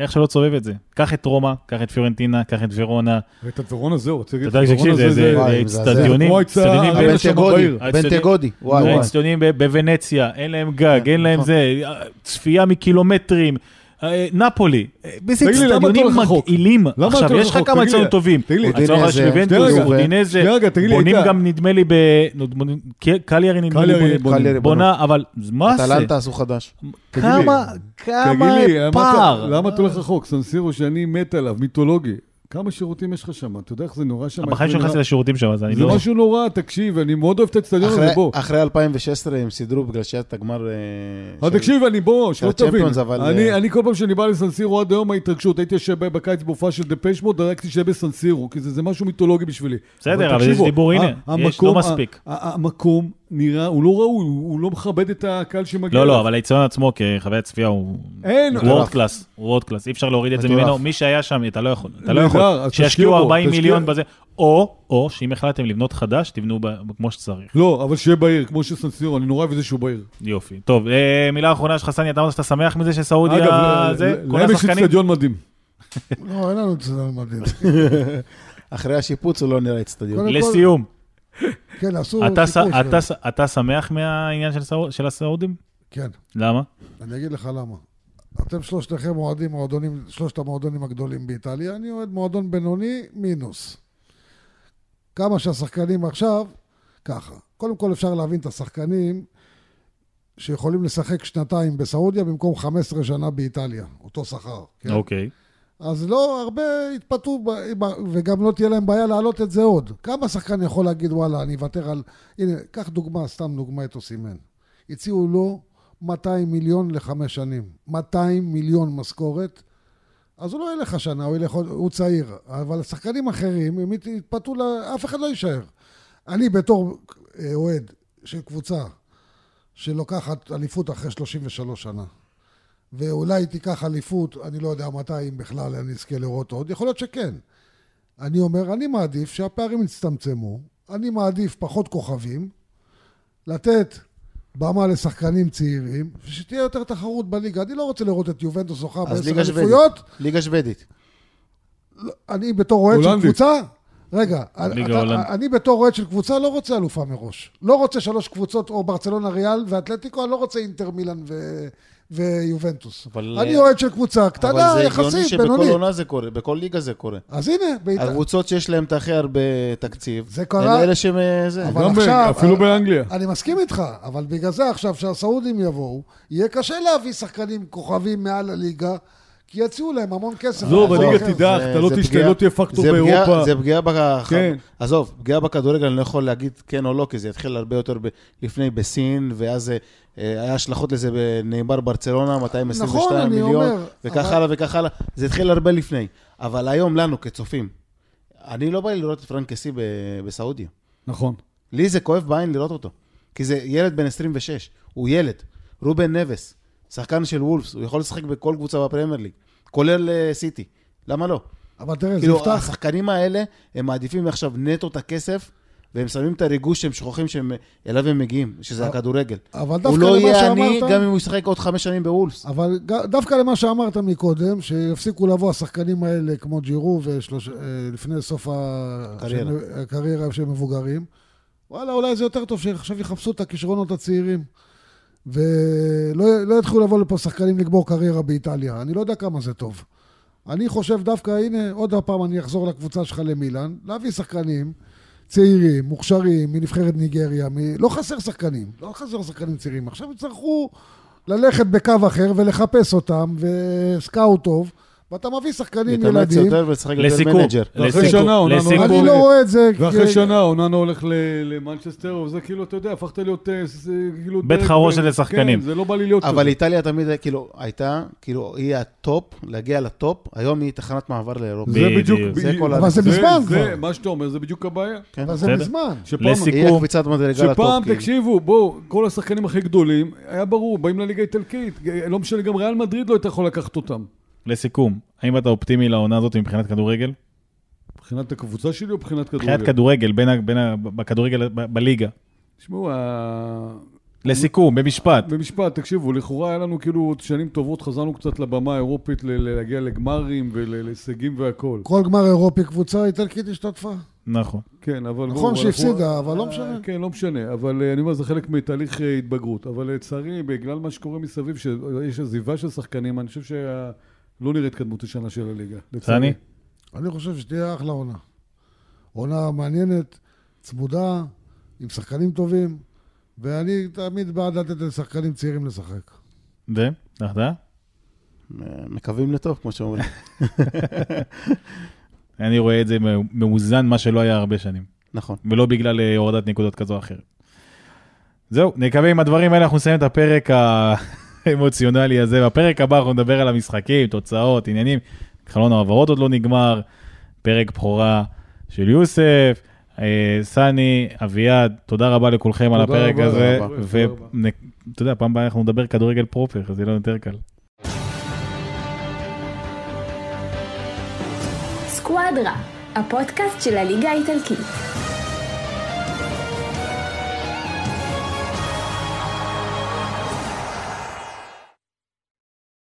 איך שלא תסובב את זה. קח את רומא, קח את פיורנטינה, קח את ורונה.
ואת הטורון הזה, הוא רוצה
אתה
להגיד,
יודע, תקשיב,
הטורון
זה-
הזה
זה
זה...
זה
וואי, מזעזע.
אצטדיונים,
כמו הצעה-
אצטדיונים
אבל-
בין-
בן
שם
תגודי,
בעיר.
בן תגודי, וואי וואי.
לא, האצטדיונים ב- בוונציה, אין להם גג,
כן,
אין להם
נכון.
זה, אה, צפייה מקילומטרים. אה, נפולי, אה, איזה
תגיד לי, למה אתה
אצטדיונים
הולך רחוק?
לא מגעילים.
אתה
עכשיו,
הולך
יש לך
רחוק?
כמה
תגיד לי,
אצטדיונים טובים. לא
תגיד לי,
הצטדיון
אודינזה,
שוונטוס,
שנייה רגע,
אודינזה,
שנייה רגע, תגיד לי,
בונים
איתי.
גם נדמה לי ב... נו, בונים- ק- קליארי נדמה
קליארי
לי
בונים.
בונה,
קליארי
בונה, אבל מה זה?
אטלנטה עשו חדש.
תגיד לי,
כמה, כמה
תגיד לי, למה אתה-
פער.
למה אתה הולך רחוק? סנסירו שאני מת עליו, מיתולוגי. כמה שירותים יש לך שם? אתה יודע איך זה נורא שם?
בחיים
איך זה
שלך נכנסתי
נראה?
לשירותים שם, אז אני
זה
לא...
משהו נורא, תקשיב, אני מאוד אוהב את האצטדיון
אחרי-
הזה, לא בוא.
אחרי 2016 הם סידרו בגלל שהיה את הגמר... אה,
אבל
של-
תקשיב, אני בוא, שלא תבין.
הצ'מפיונס, אבל,
אני-
אה,
אני כל פעם שאני בא לסנסירו, עד היום ההתרגשות, הייתי יושב בקיץ בהופעה של דפש מוד, דרקתי שיהיה בסנסירו, כי זה זה משהו מיתולוגי בשבילי.
בסדר, אבל
תקשיבו,
יש דיבור,
ה-
הנה, יש,
המקום-
לא מספיק.
ה- ה- המקום נראה, הוא לא ראוי, הוא הוא לא מכבד את הקהל שמגיע.
לא, לא,
אליו.
אבל האיצטדיון עצמו כחוויית צפייה הוא
אין,
וורד קלאס, וורד קלאס, אי אפשר להוריד את זה
מטורף.
ממנו, מי שהיה שם, אתה לא יכול, אתה לא
נהדר,
יכול,
אז תשקיעו
שישקיעו
בו,
40
תשקיע-
מיליון בזה, או, או שאם החלטתם לבנות חדש, תבנו ב- כמו שצריך,
לא, אבל שיהיה בעיר, כמו שסנסירו, אני נורא אוהב את זה שהוא בעיר.
יופי. טוב, אה, מילה אחרונה שלך, סני, אתה אמרת שאתה שמח מזה שסעודיה,
אגב, ל-
זה,
ל-
כל
להם יש
השחקנים,
אצטדיון מדהים.
לא, אין לנו אצטדיון מדהים.
אחרי השיפוץ הוא לא נראה אצטדיון.
קודם כל-
לסיום,
כן,
לא,
עשו...
אתה ס-
סיפור
אתה
שלו.
ס- אתה שמח מהעניין של הסעוד- של הסעודים?
כן,
למה?
אני אגיד לך למה. אתם שלושתכם אוהדים מועדונים, שלושת המועדונים הגדולים באיטליה, אני אוהד מועדון בינוני מינוס. כמה שהשחקנים עכשיו, ככה. קודם כל אפשר להבין את השחקנים שיכולים לשחק שנתיים בסעודיה במקום 15 שנה באיטליה, אותו שכר. כן?
אוקיי.
אז לא, הרבה יתפטרו, ב- ב- וגם לא תהיה להם בעיה להעלות את זה עוד. כמה שחקן יכול להגיד, וואלה, אני אוותר על... הנה, קח דוגמה, סתם דוגמה את אוסימן. הציעו לו 200 מיליון לחמש שנים. 200 מיליון משכורת. אז הוא לא ילך השנה, הוא, ילך, עוד- הוא צעיר. אבל שחקנים אחרים, הם ית- יתפטרו, ל- אף אחד לא יישאר. אני בתור אה, אוהד של קבוצה שלוקחת אליפות אחרי 33 שנה, ואולי תיקח אליפות, אני לא יודע מתי, אם בכלל אני אזכה לראות עוד, יכול להיות שכן. אני אומר, אני מעדיף שהפערים יצטמצמו, אני מעדיף פחות כוכבים, לתת במה לשחקנים צעירים, ושתהיה יותר תחרות בליגה. אני לא רוצה לראות את יובנטוס זוכה
אז
בעשר
ליגה שוודית.
אליפויות,
ליגה שוודית.
אני בתור אוהד של
הולנדית.
קבוצה, רגע, אני-
ליגה הולנדית.
אתה- אני בתור אוהד של קבוצה לא רוצה אלופה מראש. לא רוצה שלוש קבוצות, או ברצלונה ריאל ואתלטיקו, אני לא רוצה אינטר מילאן ו- ויובנטוס.
אבל-
אני אוהד של קבוצה קטנה,
אה, אבל זה הגיוני
יחסית,
שבכל
בינונית.
עונה זה קורה, בכל ליגה זה קורה.
אז הנה, בית-
הקבוצות שיש להן את הכי הרבה תקציב,
זה קרה.
הם אלה שהם... אה, זה.
אבל
גם ב-
עכשיו-
אפילו באנגליה.
אני מסכים איתך, אבל בגלל זה עכשיו שהסעודים יבואו, יהיה קשה להביא שחקנים כוכבים מעל הליגה, כי יציעו להם המון כסף.
לא,
זה
אבל ליגה
אחר.
תדע,
זה-
אתה לא
זה
תשתה,
פגיעה-
לא תהיה פקטור
זה פגיעה-
באירופה.
זה פגיעה בכ...
כן.
עזוב, פגיעה בכדורגל, אני לא יכול להגיד כן או לא, כי זה התחיל הרבה יותר ב... לפני בסין, ואז אה, היה השלכות לזה בנאמר ברצלונה, 222
נכון, אני
מיליון,
אומר,
וכך
אבל-
הלאה וכך הלאה. זה התחיל הרבה לפני. אבל היום לנו, כצופים, אני לא בא לי לראות את פרנקסי ב... בסעודיה.
נכון.
לי זה כואב בעין לראות אותו. כי זה ילד בן 26, הוא ילד. רובן נבס, שחקן של וולפס, הוא יכול לשחק בכל קבוצה בפרמייר ליג, כולל אה, סיטי. למה לא?
אבל תראה, כן, זה
כאילו,
יפתח...
השחקנים האלה, הם מעדיפים עכשיו נטו את הכסף, והם שמים את הריגוש שהם שוכחים שהם- אליו הם מגיעים, שזה הכדורגל.
אבל דווקא
הוא לא
למה
יהיה
שאמרת...
עני גם אם הוא ישחק עוד חמש שנים בוולפס.
אבל ג- דווקא למה שאמרת מקודם, שיפסיקו לבוא השחקנים האלה כמו ג'ירו ושלוש... אה, לפני סוף ה-
הקריירה.
שהם- אה, הקריירה שהם מבוגרים, וואלה, אולי זה יותר טוב שעכשיו יחפשו את הכישרונות הצעירים. ולא לא יתחילו לבוא לפה שחקנים לגמור קריירה באיטליה. אני לא יודע כמה זה טוב. אני חושב דווקא, הנה, עוד הפעם אני אחזור לקבוצה שלך למילאן, להביא שחקנים צעירים, מוכשרים, מנבחרת ניגריה, מ... לא חסר שחקנים, לא חסר שחקנים צעירים. עכשיו יצטרכו ללכת בקו אחר ולחפש אותם, וסקאוט טוב, ואתה מביא שחקנים
להתאמץ
ילדים.
יותר ולשחק יותר
לסיכום,
מנג'ר.
ואחרי
לסיכום,
שנה, עונה
לסיכום.
נורא.
אני לא רואה את זה.
ואחרי
כ-
שנה, אוננו הולך ל- למנצ'סטר, וזה כאילו, אתה יודע, הפכת להיות... אה, ס- כאילו
בית
דרג-
חרושת לשחקנים.
כן, זה לא בא לי להיות
אבל
כזה.
איטליה תמיד, כאילו, הייתה, כאילו, היא הטופ, להגיע לטופ, היום היא תחנת מעבר לאירופה.
זה בדיוק...
בדיוק.
זה כל ה-
אבל זה מזמן
זה,
כבר.
מה שאתה אומר, זה בדיוק הבעיה.
כן.
אבל זה
בסדר.
מזמן.
שפעם,
היא
לסיכום,
הקפיצת מדרגה לטופ.
שפעם,
כאילו.
תקשיבו, בואו, כל השחקנים הכי גדולים, היה ברור, באים לליגה האיטלקית, לא משנה, גם ריאל מדריד לא הייתה יכולה לקחת אותם.
לסיכום, האם אתה אופטימי לעונה הזאת מבחינת כדורגל?
מבחינת הקבוצה שלי או מבחינת כדורגל?
מבחינת כדורגל, בין ה- בין ה- בכדורגל ב- בליגה.
תשמעו, ה-
לסיכום, במשפט.
במשפט, תקשיבו, לכאורה היה לנו כאילו עוד שנים טובות, חזרנו קצת לבמה האירופית ל- ל- להגיע לגמרים ולהישגים והכול.
כל גמר אירופי קבוצה איטלקית השתתפה.
נכון.
כן, אבל...
נכון
בואו,
שהפסידה,
אנחנו-
אבל לא משנה.
כן, לא משנה, אבל אה, אני אומר, זה חלק מתהליך אה, התבגרות. אבל לצערי, בגלל מה שקורה מסביב, שיש עזיבה של שחקנים, אני חושב שלא נראית התקדמות השנה של הליגה. לצערי.
סני?
אני חושב שתהיה אחלה עונה. עונה מעניינת, צמודה, עם שחקנים טובים, ואני תמיד בעד לתת לשחקנים צעירים לשחק.
ו? נחתה?
מקווים לטוב, כמו שאומרים.
אני רואה את זה מאוזן, מה שלא היה הרבה שנים.
נכון.
ולא בגלל אה, הורדת נקודות כזו או אחרת. זהו, נקווה עם הדברים האלה אנחנו נסיים את הפרק האמוציונלי הזה. בפרק הבא אנחנו נדבר על המשחקים, תוצאות, עניינים. חלון ההעברות עוד לא נגמר, פרק בכורה של יוסף, אה, סני, אביעד, תודה רבה לכולכם על
תודה
הפרק
רבה,
הזה.
תודה רבה.
ואתה יודע, פעם הבאה אנחנו נדבר כדורגל פרופר, אז יהיה לנו יותר קל.
סקואדרה, הפודקאסט של הליגה האיטלקית.